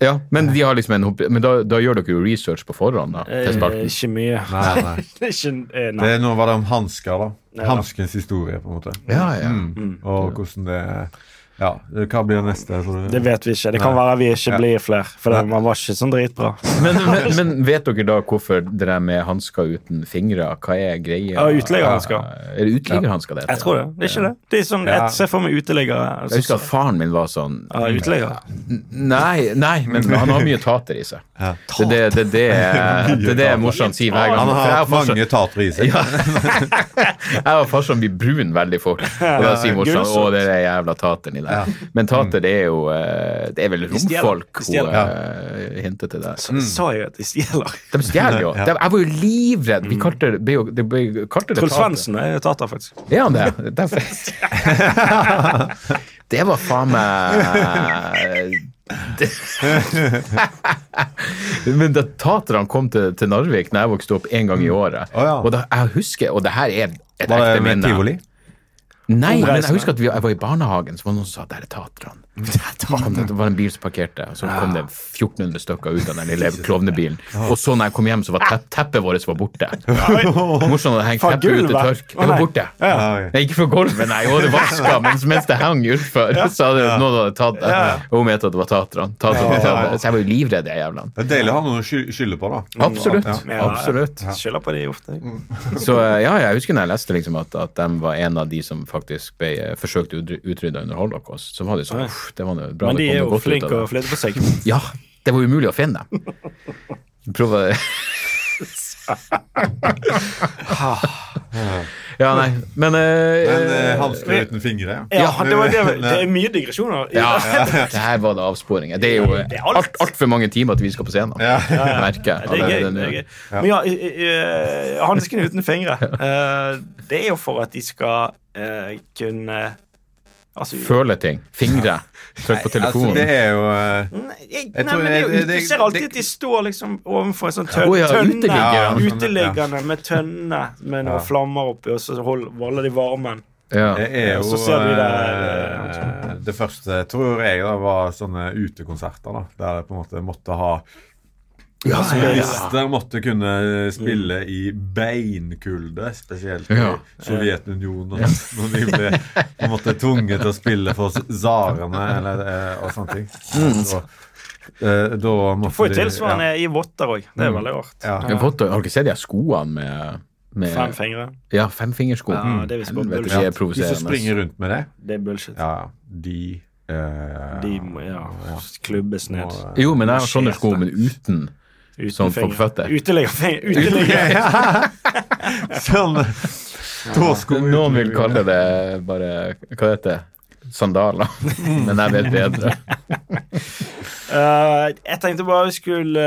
[SPEAKER 3] Ja, men de har liksom en hopp- Men da, da gjør dere jo research på forhånd, da, til
[SPEAKER 1] eh,
[SPEAKER 3] spalten.
[SPEAKER 1] Ikke mye.
[SPEAKER 2] Nei, nei.
[SPEAKER 1] ikke, eh,
[SPEAKER 2] Det,
[SPEAKER 1] nei.
[SPEAKER 2] nå var det om hansker, da.
[SPEAKER 1] Ja.
[SPEAKER 2] Hanskens historie, på en måte.
[SPEAKER 3] Ja, ja.
[SPEAKER 2] Mm. Og hvordan det Ja, hva blir neste? tror du?
[SPEAKER 1] Det vet vi ikke. Det kan
[SPEAKER 2] Nei.
[SPEAKER 1] være vi ikke blir flere, for det, man var ikke sånn dritbra.
[SPEAKER 3] Men, men, men vet dere da hvorfor det der med hansker uten fingre, hva er greia? Eh,
[SPEAKER 1] Ja, utleggerhansker.
[SPEAKER 3] Er det utleggerhansker det heter?
[SPEAKER 1] Jeg tror det. Det er ikke det. Det er sånn, jeg ser for meg uteliggere.
[SPEAKER 3] Jeg husker
[SPEAKER 1] Altså,
[SPEAKER 3] at faren min var sånn
[SPEAKER 1] ja, uteliggere.
[SPEAKER 3] N- Nei, nei, men han har mye tater i seg.
[SPEAKER 2] Ja.
[SPEAKER 3] Det, det, det, det, det, det, det
[SPEAKER 2] tater.
[SPEAKER 3] morsan sier hver gang.
[SPEAKER 2] Han
[SPEAKER 3] For
[SPEAKER 2] har
[SPEAKER 3] jeg
[SPEAKER 2] hatt
[SPEAKER 3] farsan-
[SPEAKER 2] mange tatere i seg.
[SPEAKER 3] Ja. Jeg og farsan blir brun veldig fort. Og da sier morsan
[SPEAKER 1] Gullsott.
[SPEAKER 3] 'Å, det er den jævla tateren i deg'. Men tater, det er jo eh, Det er vel
[SPEAKER 1] stjeler.
[SPEAKER 3] romfolk
[SPEAKER 1] De
[SPEAKER 3] hun
[SPEAKER 1] stjeler.
[SPEAKER 3] eh, hinter til der.
[SPEAKER 1] Så sa jeg at de stjeler.
[SPEAKER 3] De stjeler jo. De, jeg var jo livredd. Vi kalte det, ble jo- det ble- kalte det
[SPEAKER 1] Truls
[SPEAKER 3] tater.
[SPEAKER 1] Mm. Svendsen er tater, faktisk.
[SPEAKER 3] Er han det? Derfor. Det var faen meg Det- Men da taterne kom til, til Narvik når jeg vokste opp en gang i året
[SPEAKER 2] Mm. Å ja.
[SPEAKER 3] Og da, jeg husker, og det her er et
[SPEAKER 2] Var
[SPEAKER 3] ekte
[SPEAKER 2] det med
[SPEAKER 3] minne
[SPEAKER 2] tivoli?
[SPEAKER 3] Nei, men jeg
[SPEAKER 1] Omreisende.
[SPEAKER 3] husker at vi, jeg var i barnehagen, så var det noen som sa der er taterne. Kom Det det var en bil som parkerte, og så kom det 1400 stykker ut av den lille klovnebilen. Og så når jeg kom hjem, så var tepp, teppet vårt var borte. Morsomt hadde hengt
[SPEAKER 1] Fra
[SPEAKER 3] teppet ut til
[SPEAKER 1] gulvet?
[SPEAKER 3] tørk. Det
[SPEAKER 1] Å, nei.
[SPEAKER 3] var borte.
[SPEAKER 2] Ja.
[SPEAKER 3] Nei, ikke fra gulvet, nei. Og det vaska mens, mens det hang utfor. Så hadde noen hadde tatt det. Og hun mente at det var taterne. Taterne, taterne. Så jeg var jo livredd de jævlene.
[SPEAKER 2] Det er deilig å ha noe å sky- skylde på, da.
[SPEAKER 3] Absolutt.
[SPEAKER 1] Mm. Ja.
[SPEAKER 3] Absolutt.
[SPEAKER 1] Skylder på de ofte. jeg.
[SPEAKER 3] Så eh, ja, jeg husker når jeg leste liksom at, at de var en av de som faktisk ble eh, forsøkt utry- utrydda under holocaust. Så var det jo sånn,
[SPEAKER 1] Nei.
[SPEAKER 3] uff, det var noe bra
[SPEAKER 1] Men de
[SPEAKER 3] det kom
[SPEAKER 1] er
[SPEAKER 3] noe
[SPEAKER 1] jo
[SPEAKER 3] godt ut av
[SPEAKER 1] flinke å
[SPEAKER 3] det.
[SPEAKER 1] flytte på seg.
[SPEAKER 3] Ja, det var umulig å finne dem. Prøv å Ja, nei, men, eh,
[SPEAKER 2] Men eh, hansker uten fingre,
[SPEAKER 1] Ja, det, var, det, det er mye digresjoner. i
[SPEAKER 3] Ja,
[SPEAKER 1] det.
[SPEAKER 3] det her var det avsporinger. Det er jo
[SPEAKER 1] Det er
[SPEAKER 3] altfor
[SPEAKER 1] alt.
[SPEAKER 3] alt altfor mange timer til vi skal på scenen.
[SPEAKER 2] Ja.
[SPEAKER 3] Jeg merker
[SPEAKER 1] Det er gøy.
[SPEAKER 3] allerede
[SPEAKER 1] Det
[SPEAKER 3] nå.
[SPEAKER 1] er gøy. Men ja, eh, eh, hanskene uten fingre. eh, Det er jo for at de skal eh, kunne Altså
[SPEAKER 3] Føle ting. Fingre. Trykk på
[SPEAKER 2] Altså,
[SPEAKER 3] telefonen.
[SPEAKER 2] det er jo eh,
[SPEAKER 1] Nei, Mm, jeg, nei
[SPEAKER 2] Jeg tror
[SPEAKER 1] men det, er
[SPEAKER 2] det-
[SPEAKER 1] jo-
[SPEAKER 2] det-
[SPEAKER 1] Du ser alltid at de står liksom overfor en sånn tønne.
[SPEAKER 3] Å ja,
[SPEAKER 1] tønne
[SPEAKER 3] uteliggere.
[SPEAKER 1] uteliggerne med tønne med noen
[SPEAKER 2] Ja.
[SPEAKER 1] flammer oppi, og så hold- holder de varmen.
[SPEAKER 3] Ja.
[SPEAKER 2] Det er
[SPEAKER 1] Og
[SPEAKER 2] jo
[SPEAKER 1] så ser vi
[SPEAKER 2] eh,
[SPEAKER 1] det-
[SPEAKER 2] Det første, tror jeg, da var sånne utekonserter, da. Der jeg på en måte måtte ha
[SPEAKER 3] Ja, ja, ja.
[SPEAKER 2] Solister måtte kunne spille i beinkulde, spesielt i
[SPEAKER 3] Ja.
[SPEAKER 2] Sovjetunionen. Når de ble på en måte tvunget til å spille for tsarene eller, eh, og sånne ting. Så, eh, da måtte
[SPEAKER 1] Mm. Får jo
[SPEAKER 2] de-
[SPEAKER 1] tilsvarende i votter òg. Det er veldig rart.
[SPEAKER 2] Ja.
[SPEAKER 3] Jeg har fått- har dere sett de her skoene med, med
[SPEAKER 1] Fem fingre.
[SPEAKER 3] Ja, femfingersko.
[SPEAKER 1] Ja, det er visst bare
[SPEAKER 3] Helvete,
[SPEAKER 1] bullshit.
[SPEAKER 3] de er
[SPEAKER 2] Ja. De
[SPEAKER 3] provoserende.
[SPEAKER 2] som springer rundt med det,
[SPEAKER 1] Det er bullshit.
[SPEAKER 2] ja, de eh,
[SPEAKER 1] De må ja, klubbes ned.
[SPEAKER 2] må-
[SPEAKER 3] Jo, men jeg har sånne sko, men uten.
[SPEAKER 1] Uten
[SPEAKER 3] Sånn for føtter.
[SPEAKER 1] Uteliggerfingre. Uteligger.
[SPEAKER 2] Sånn tåsko
[SPEAKER 3] Noen vil kalle det bare Hva heter det? Sandaler. Men jeg vet bedre.
[SPEAKER 1] Eh, jeg tenkte bare vi skulle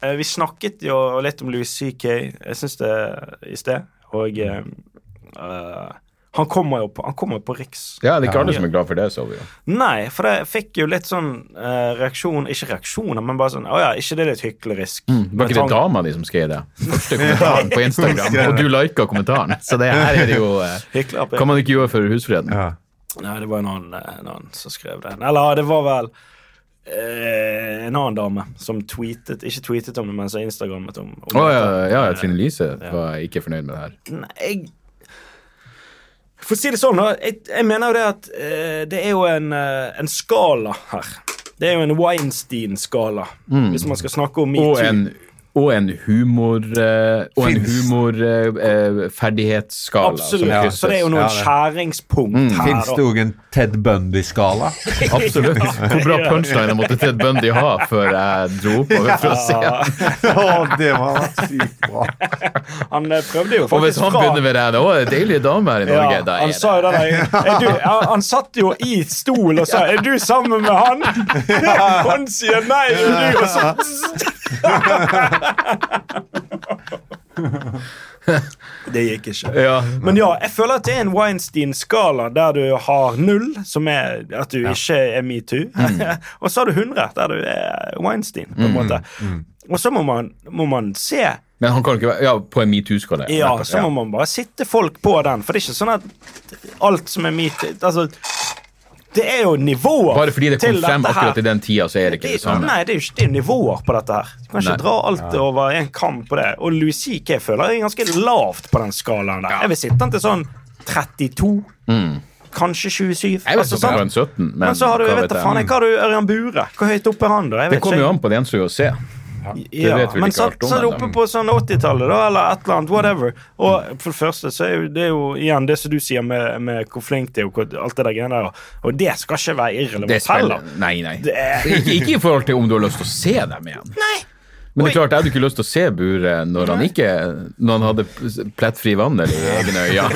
[SPEAKER 1] eh, Vi snakket jo litt om Louis CK, jeg syns det, i sted. Og eh, eh, han kommer jo på, han kommer jo på Riks.
[SPEAKER 3] Ja, det er ikke alle som er glad for det, så vi jo.
[SPEAKER 1] Nei, for jeg fikk jo litt sånn eh, reaksjon Ikke reaksjoner, men bare sånn Å ja, ikke det er litt hyklerisk?
[SPEAKER 3] Mm. Var ikke det dama di som skrev det? Første kommentaren på Instagram, og du lika kommentaren. Så det her er det jo eh,
[SPEAKER 1] Hykler på
[SPEAKER 3] Kan man ikke gjøre for husfreden?
[SPEAKER 2] Ja.
[SPEAKER 1] Nei, det var en annen, eh, en annen som skrev det. Eller det var vel eh, en annen dame som tweetet Ikke tweetet om det, men som instagrammet om, om
[SPEAKER 3] Å ja,
[SPEAKER 1] dette.
[SPEAKER 3] ja, ja, Trine Lise var ikke fornøyd med det her.
[SPEAKER 1] Nei, jeg For å si det sånn, da. Jeg, jeg mener jo det at eh, det er jo en, eh, en skala her. Det er jo en Weinstein-skala, hvis man skal snakke om
[SPEAKER 3] Mm. Og
[SPEAKER 1] metoo.
[SPEAKER 3] en, og en humor... eh, Og en eh, humorferdighetsskala.
[SPEAKER 1] Absolutt. Så det er jo noen
[SPEAKER 2] Ja, det-
[SPEAKER 1] skjæringspunkt
[SPEAKER 3] Mm,
[SPEAKER 1] her.
[SPEAKER 2] Fins
[SPEAKER 1] da.
[SPEAKER 2] det òg en Ted Bundy-skala?
[SPEAKER 3] Absolutt. Hvor bra punchline måtte Ted Bundy ha før jeg dro oppover for å se han?
[SPEAKER 2] Å, det var sykt bra.
[SPEAKER 1] Han eh, prøvde jo
[SPEAKER 3] Og hvis
[SPEAKER 1] faktisk
[SPEAKER 3] han
[SPEAKER 1] fra
[SPEAKER 3] begynner med det, å, deilige damer her i Norge, da
[SPEAKER 1] han
[SPEAKER 3] er
[SPEAKER 1] sa
[SPEAKER 3] det
[SPEAKER 1] jo det der er du, han- Han satt jo i stol og sa 'Er du sammen med han?' Han sier nei, og du og så Det gikk ikke.
[SPEAKER 3] ja.
[SPEAKER 1] Men ja, jeg føler at det er en Weinstein-skala der du har null, som er at
[SPEAKER 3] Mm.
[SPEAKER 1] du
[SPEAKER 3] mm,
[SPEAKER 1] ikke er metoo, og så har du 100, der du er Weinstein, på en måte. Og så må man, må man se.
[SPEAKER 3] Men han kan ikke være Ja, på en metoo-skala.
[SPEAKER 1] Ja,
[SPEAKER 3] nettopp,
[SPEAKER 1] så må man bare sitte folk på den. For det er ikke sånn at alt som er mitt Altså, det er jo nivåer
[SPEAKER 3] Bare fordi det kom
[SPEAKER 1] til
[SPEAKER 3] frem
[SPEAKER 1] dette her.
[SPEAKER 3] akkurat i den tida, så er det ikke det
[SPEAKER 1] Det,
[SPEAKER 3] samme.
[SPEAKER 1] nei, det er jo ikke det er nivåer på dette her. Du kan ikke
[SPEAKER 3] Nei.
[SPEAKER 1] dra alt over en kam på det. Og Louis C.K. føler jeg er ganske lavt på den skalaen der. Jeg vil sitte den til sånn 32, kanskje 27.
[SPEAKER 3] Mm. Jeg vet
[SPEAKER 1] altså
[SPEAKER 3] ikke om det var
[SPEAKER 1] sånn.
[SPEAKER 3] en 17, men,
[SPEAKER 1] Men så har du,
[SPEAKER 3] hva
[SPEAKER 1] jeg vet da faen, jeg, hva har du Ørjan Bure? Hvor høyt oppe er han, da? Jeg
[SPEAKER 3] Det
[SPEAKER 1] vet
[SPEAKER 3] kommer
[SPEAKER 1] ikke.
[SPEAKER 3] jo an på den som vil se. Det
[SPEAKER 1] Ja,
[SPEAKER 3] vet vi vel
[SPEAKER 1] men
[SPEAKER 3] ikke
[SPEAKER 1] så,
[SPEAKER 3] alt om
[SPEAKER 1] så er det
[SPEAKER 3] ennå.
[SPEAKER 1] oppe på sånn 80-tallet, da, eller et eller annet. Whatever. Og for det første så er jo, det er jo igjen det som du sier med, med hvor flink de er, og hvor- alt det der greiene der. Og det skal ikke være
[SPEAKER 3] Det
[SPEAKER 1] irrelevant
[SPEAKER 3] spiller
[SPEAKER 1] heller.
[SPEAKER 3] Nei, nei.
[SPEAKER 1] Det er-
[SPEAKER 3] Ikke, ikke i forhold til om du har lyst til å se dem igjen.
[SPEAKER 1] Nei!
[SPEAKER 3] Men det er klart, jeg hadde ikke lyst til å se buret når han ikke Når han hadde pl- plettfri vandel i egne øyne.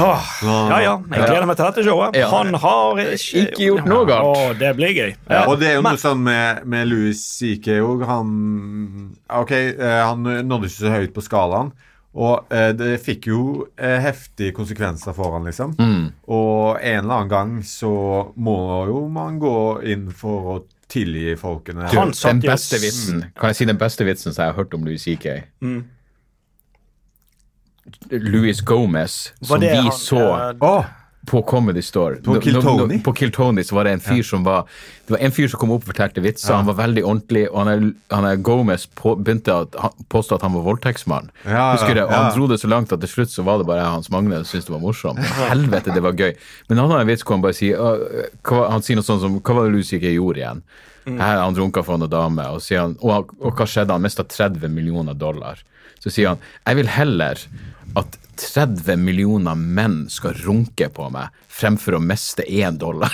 [SPEAKER 1] Åh, ja, ja. Jeg gleder meg til dette showet.
[SPEAKER 3] Ja.
[SPEAKER 1] Han har ikke,
[SPEAKER 3] Ikke gjort noe galt.
[SPEAKER 1] Åh, det blir gøy. Ja.
[SPEAKER 2] Og det er jo
[SPEAKER 1] Men-
[SPEAKER 2] noe sånn med, med Louis CK òg. Han Ok, eh, han nådde ikke så høyt på skalaen. Og eh, det fikk jo eh, heftige konsekvenser for han, liksom. Og en eller annen gang så må jo man gå inn for å tilgi folkene.
[SPEAKER 1] Han satt
[SPEAKER 3] Den
[SPEAKER 1] jo-
[SPEAKER 3] beste vitsen Kan jeg si den beste vitsen som jeg har hørt om Louis CK?
[SPEAKER 1] Mm.
[SPEAKER 3] Louis Gomez,
[SPEAKER 1] Var
[SPEAKER 3] som
[SPEAKER 1] det
[SPEAKER 3] vi
[SPEAKER 1] han,
[SPEAKER 3] så
[SPEAKER 1] eh,
[SPEAKER 2] Åh,
[SPEAKER 3] på Comedy Store. Nå- nå-
[SPEAKER 2] Kill Tony?
[SPEAKER 3] nå- På Kill Tony så var det en fyr som var Det var en fyr som kom opp og fortalte vitser. Han var veldig ordentlig, og han er, han er Gomez på, begynte å han- påstå at han var voldtektsmann.
[SPEAKER 2] Ja,
[SPEAKER 3] Husker du det? Og
[SPEAKER 2] ja.
[SPEAKER 3] han dro det så langt at til slutt så var det bare Hans Magne som syntes det var morsomt. Helvete, det var gøy. Men han har en vits hvor han bare sier «Å, hva, Han sier noe sånt som Hva var det Louis ikke gjorde igjen? Her, han runka for noen dame, og, sier han, og, han- og hva skjedde? Han mista 30 millioner dollar. Så sier han Jeg vil heller at 30 millioner menn skal runke på meg fremfor å miste én dollar.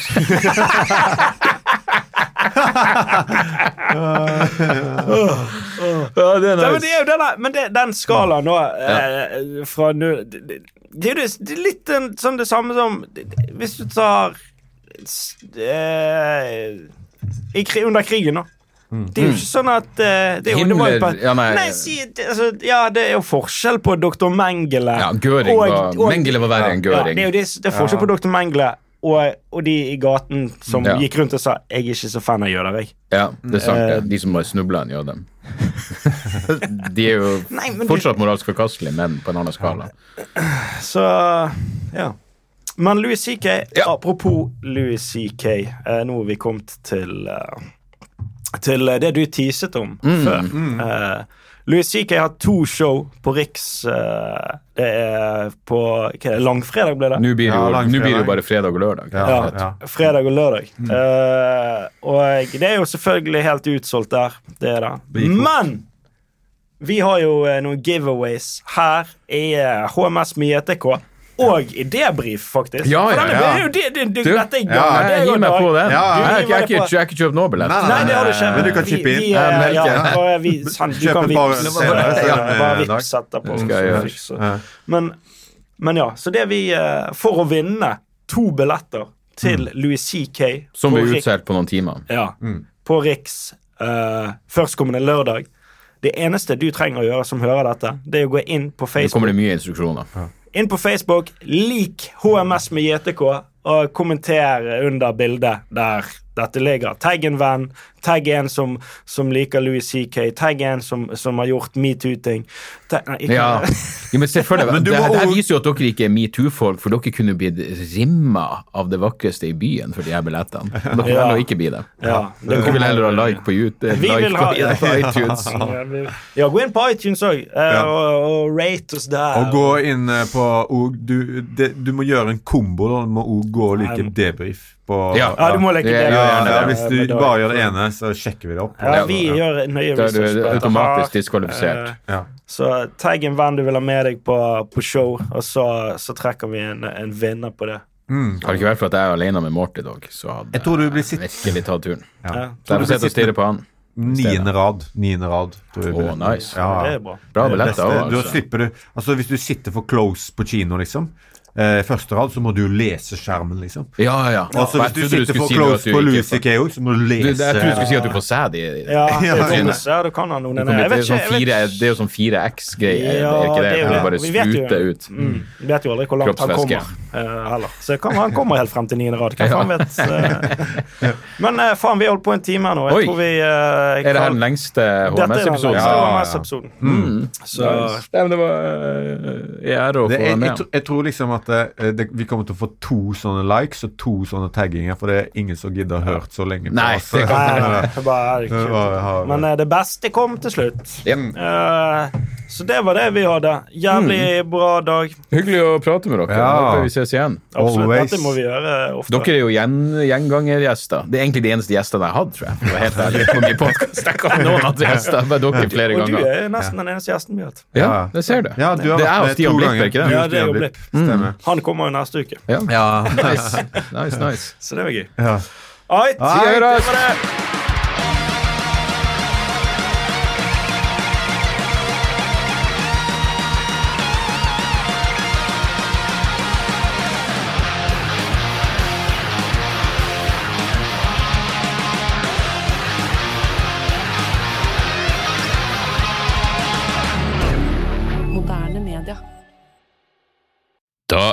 [SPEAKER 3] ja, det er
[SPEAKER 1] Ja,
[SPEAKER 3] nice.
[SPEAKER 1] men det er jo denne, men det, den skalaen nå eh, fra null det, det, det, er jo det- det er litt en, sånn det samme som det- det- Hvis du tar s- eh, i, kri- Under krigen, da. Det er jo ikke sånn at eh, det, er jo, det var jo
[SPEAKER 3] Himmler-
[SPEAKER 1] på-
[SPEAKER 3] Mm. ja, nei.
[SPEAKER 1] si, det, altså, ja, det er jo forskjell på dr. Mengele
[SPEAKER 3] Ja, Göring var- Mengele var verre enn Göring.
[SPEAKER 1] Ja, det er jo det, det er forskjell på dr. Mengele og, og de i gaten som
[SPEAKER 3] Ja.
[SPEAKER 1] gikk rundt og sa 'Jeg er ikke så fan av jøder', jeg.
[SPEAKER 3] Ja, det er sant
[SPEAKER 1] Eh,
[SPEAKER 3] det. De som har snubla en jøde. De er jo
[SPEAKER 1] Nei, men du-
[SPEAKER 3] fortsatt moralsk forkastelige, men på en annen skala.
[SPEAKER 1] Så ja. Men Louis CK, apropos Louis CK, eh, nå er vi kommet til eh, Til eh, det du teaset om før. Eh, Louis CK har to show på Riks. eh, det er på hva er det, langfredag, ble det?
[SPEAKER 3] Nå blir det jo,
[SPEAKER 2] Ja, langfredag.
[SPEAKER 3] nå blir det jo bare fredag og lørdag.
[SPEAKER 2] Ja,
[SPEAKER 1] Ja, Fredag og lørdag. Eh, og det er jo selvfølgelig helt utsolgt der. Det er det.
[SPEAKER 2] gikk fort.
[SPEAKER 1] Men vi har jo eh, noen giveaways her i eh, HMS med JTK. Og i debrief, faktisk.
[SPEAKER 3] Ja,
[SPEAKER 1] For
[SPEAKER 3] ja,
[SPEAKER 1] denne-
[SPEAKER 2] ja.
[SPEAKER 1] Det er jo det- det- det-
[SPEAKER 3] Du,
[SPEAKER 1] dette er i gang.
[SPEAKER 2] ja,
[SPEAKER 1] Det er
[SPEAKER 3] Jeg
[SPEAKER 1] jo
[SPEAKER 3] gir meg
[SPEAKER 1] dag.
[SPEAKER 3] på
[SPEAKER 2] Ja,
[SPEAKER 3] den.
[SPEAKER 1] Du
[SPEAKER 3] Jeg
[SPEAKER 1] gir
[SPEAKER 3] har ikke- jeg har
[SPEAKER 1] meg
[SPEAKER 3] ikke-
[SPEAKER 1] på-
[SPEAKER 3] jeg har ikke kjøpt noe billett.
[SPEAKER 2] Nei,
[SPEAKER 1] Nei, det har du ikke.
[SPEAKER 2] Men du kan chippe
[SPEAKER 1] Vi-
[SPEAKER 2] inn.
[SPEAKER 1] vi, eh,
[SPEAKER 2] Jeg
[SPEAKER 1] ja,
[SPEAKER 2] melker det.
[SPEAKER 1] og vi- sant, Du
[SPEAKER 2] Kjøp
[SPEAKER 1] kan
[SPEAKER 2] et par
[SPEAKER 1] vippse
[SPEAKER 2] senere,
[SPEAKER 1] senere.
[SPEAKER 2] så, eh,
[SPEAKER 1] Bare
[SPEAKER 2] dag.
[SPEAKER 1] vips etterpå.
[SPEAKER 3] Det skal jeg
[SPEAKER 1] sånn så
[SPEAKER 3] gjøre.
[SPEAKER 1] fikser-
[SPEAKER 2] Ja.
[SPEAKER 1] men, men ja, så det vi eh, For å vinne to billetter til Louis CK
[SPEAKER 3] Mm. Som Mm.
[SPEAKER 1] på
[SPEAKER 3] blir
[SPEAKER 1] Riks-
[SPEAKER 3] utsolgt på noen timer.
[SPEAKER 1] Ja, på Riks eh, førstkommende lørdag. Det eneste du trenger å gjøre som hører dette, det er å gå inn på
[SPEAKER 3] Nå kommer
[SPEAKER 1] Facebook.
[SPEAKER 3] det mye instruksjoner.
[SPEAKER 1] Inn på Facebook, Lik HMS med JTK, og kommenter under bildet der dette ligger. Tagg en venn, tagg en som, som liker Louis CK, tagg en som, som har gjort metoo-ting. Ta- nei, ikke-
[SPEAKER 3] Ja. Jo, men se for deg,
[SPEAKER 2] Men
[SPEAKER 3] det,
[SPEAKER 2] du
[SPEAKER 3] det
[SPEAKER 2] må
[SPEAKER 3] her
[SPEAKER 2] også-
[SPEAKER 3] viser jo at dere ikke er metoo-folk, for dere kunne blitt rimma av det vakreste i byen for de her billettene. Men dere
[SPEAKER 1] Ja.
[SPEAKER 3] velger å ikke bli det.
[SPEAKER 1] Ja, det
[SPEAKER 3] Dere
[SPEAKER 1] kommer-
[SPEAKER 3] vil heller ha like på YouTube.
[SPEAKER 1] Vi
[SPEAKER 3] Like
[SPEAKER 1] vil ha-
[SPEAKER 3] på iTunes.
[SPEAKER 1] Ja, gå inn på iTunes òg,
[SPEAKER 2] Ja.
[SPEAKER 1] og, og rate oss der.
[SPEAKER 2] Og gå inn eh, på og, du, det, du må gjøre en kombo, da. Du må òg gå og like
[SPEAKER 1] Nei.
[SPEAKER 2] debrief på
[SPEAKER 3] Ja.
[SPEAKER 1] Ja, du må leke
[SPEAKER 3] Ja,
[SPEAKER 1] det.
[SPEAKER 3] ja,
[SPEAKER 2] Ja,
[SPEAKER 3] gjerne det.
[SPEAKER 2] ja, hvis du bare gjør det ene, så sjekker vi det opp.
[SPEAKER 1] Ja, vi gjør nøye
[SPEAKER 3] Da er
[SPEAKER 1] research
[SPEAKER 3] du
[SPEAKER 1] på dette.
[SPEAKER 3] automatisk diskvalifisert.
[SPEAKER 1] Eh,
[SPEAKER 2] Ja.
[SPEAKER 1] Så tagg en venn du vil ha med deg på, på show, og så, så trekker vi en, en vinner på det.
[SPEAKER 3] Har det ikke vært for at jeg er alene med Morty, dog, så hadde
[SPEAKER 2] Jeg tror du blir
[SPEAKER 3] jeg
[SPEAKER 2] sitt-
[SPEAKER 3] virkelig tatt turen.
[SPEAKER 2] Ja.
[SPEAKER 1] Ja.
[SPEAKER 3] Så jeg får sitte og stirre på han.
[SPEAKER 2] Niende rad. Niende rad. tror jeg.
[SPEAKER 3] Å, nice.
[SPEAKER 2] Ja.
[SPEAKER 1] Det er bra.
[SPEAKER 3] Bra
[SPEAKER 2] Det beste,
[SPEAKER 3] billetter òg,
[SPEAKER 2] da
[SPEAKER 3] altså.
[SPEAKER 2] slipper du Altså Hvis du sitter for close på kino, liksom, eh, første rad, så må du jo lese skjermen, liksom.
[SPEAKER 3] Ja, ja.
[SPEAKER 2] Altså Hvis
[SPEAKER 3] Jeg
[SPEAKER 2] du
[SPEAKER 3] trodde
[SPEAKER 2] sitter
[SPEAKER 3] skulle
[SPEAKER 2] for
[SPEAKER 3] si at
[SPEAKER 2] close
[SPEAKER 3] du
[SPEAKER 2] på
[SPEAKER 3] ikke
[SPEAKER 2] Louis
[SPEAKER 3] får-
[SPEAKER 2] C.K. også, så må du
[SPEAKER 3] Du, det-
[SPEAKER 2] lese
[SPEAKER 3] Jeg trodde du skulle si at du får sæd i
[SPEAKER 1] Ja, det er
[SPEAKER 2] Ja,
[SPEAKER 1] dumt,
[SPEAKER 3] ja.
[SPEAKER 1] ja, du kan ha noen
[SPEAKER 3] Det kommer-
[SPEAKER 1] Jeg
[SPEAKER 3] det er
[SPEAKER 1] vet
[SPEAKER 3] jo
[SPEAKER 1] ikke-
[SPEAKER 3] sånn
[SPEAKER 1] jeg vet-
[SPEAKER 3] fire- det er jo sånn
[SPEAKER 1] Ja,
[SPEAKER 3] 4X-greie, er det ikke det?
[SPEAKER 1] det er jo
[SPEAKER 3] Hvor
[SPEAKER 1] det.
[SPEAKER 3] det bare
[SPEAKER 1] Vi vet jo-
[SPEAKER 3] spruter ut
[SPEAKER 1] Mm, vi vet jo aldri hvor langt han
[SPEAKER 3] kroppsvæske.
[SPEAKER 1] kommer. eh, heller. Så det kan, han kommer helt frem til niende rad. Hvem faen vet. eh. Men eh, faen, vi har holdt på en time her nå. Jeg
[SPEAKER 4] Oi.
[SPEAKER 1] tror vi eh,
[SPEAKER 4] Er det her
[SPEAKER 1] kan-
[SPEAKER 4] den lengste
[SPEAKER 1] Dette er den lengste
[SPEAKER 4] HMS-episoden?
[SPEAKER 2] Ja, ja, ja.
[SPEAKER 1] HMS-episoden. Mm. Så
[SPEAKER 4] Nice. Nei, men det var eh, i ære å få
[SPEAKER 2] Det,
[SPEAKER 4] være
[SPEAKER 2] jeg, jeg,
[SPEAKER 4] med.
[SPEAKER 2] tro- jeg tror liksom at eh, det, vi kommer til å få to sånne likes og to sånne tagginger, for det er ingen som gidder å høre så lenge på
[SPEAKER 4] Nei,
[SPEAKER 2] oss.
[SPEAKER 4] det
[SPEAKER 1] Nei, nei, det var
[SPEAKER 2] Det var-
[SPEAKER 1] kult. Men eh, det beste kom til slutt.
[SPEAKER 4] Ja.
[SPEAKER 2] Mm.
[SPEAKER 1] Eh, så det var det vi hadde. Jævlig bra dag.
[SPEAKER 4] Hyggelig å prate med dere.
[SPEAKER 2] Ja.
[SPEAKER 4] Håper vi ses igjen.
[SPEAKER 1] Absolutt.
[SPEAKER 2] Always.
[SPEAKER 1] Dette må vi gjøre eh, ofte.
[SPEAKER 4] Dere er jo gjen, gjengangergjester. Det er egentlig de eneste gjestene jeg har hatt, tror jeg. For å være helt ærlig på min podcast. Jeg kan noen andre gjester, bare dere flere
[SPEAKER 1] og du
[SPEAKER 4] ganger.
[SPEAKER 1] er nesten den eneste gjesten vi har hatt.
[SPEAKER 4] Ja,
[SPEAKER 2] Ja.
[SPEAKER 4] det ser du.
[SPEAKER 2] Ja, du har
[SPEAKER 4] det
[SPEAKER 2] vært
[SPEAKER 4] er
[SPEAKER 2] med
[SPEAKER 4] jo Stian
[SPEAKER 2] to
[SPEAKER 4] Blipp,
[SPEAKER 2] ganger.
[SPEAKER 4] er ikke
[SPEAKER 2] Du
[SPEAKER 4] det?
[SPEAKER 1] Ja, det er jo
[SPEAKER 2] Stian Blipp.
[SPEAKER 1] Blipp.
[SPEAKER 3] Mm.
[SPEAKER 2] Stemmer.
[SPEAKER 1] Han kommer jo neste uke,
[SPEAKER 4] Ja.
[SPEAKER 2] Ja.
[SPEAKER 4] Nice, nice. nice.
[SPEAKER 1] så det var gøy.
[SPEAKER 2] ja.
[SPEAKER 1] Ait,
[SPEAKER 2] Ait.
[SPEAKER 1] det var det.
[SPEAKER 5] Moderne media.
[SPEAKER 3] Da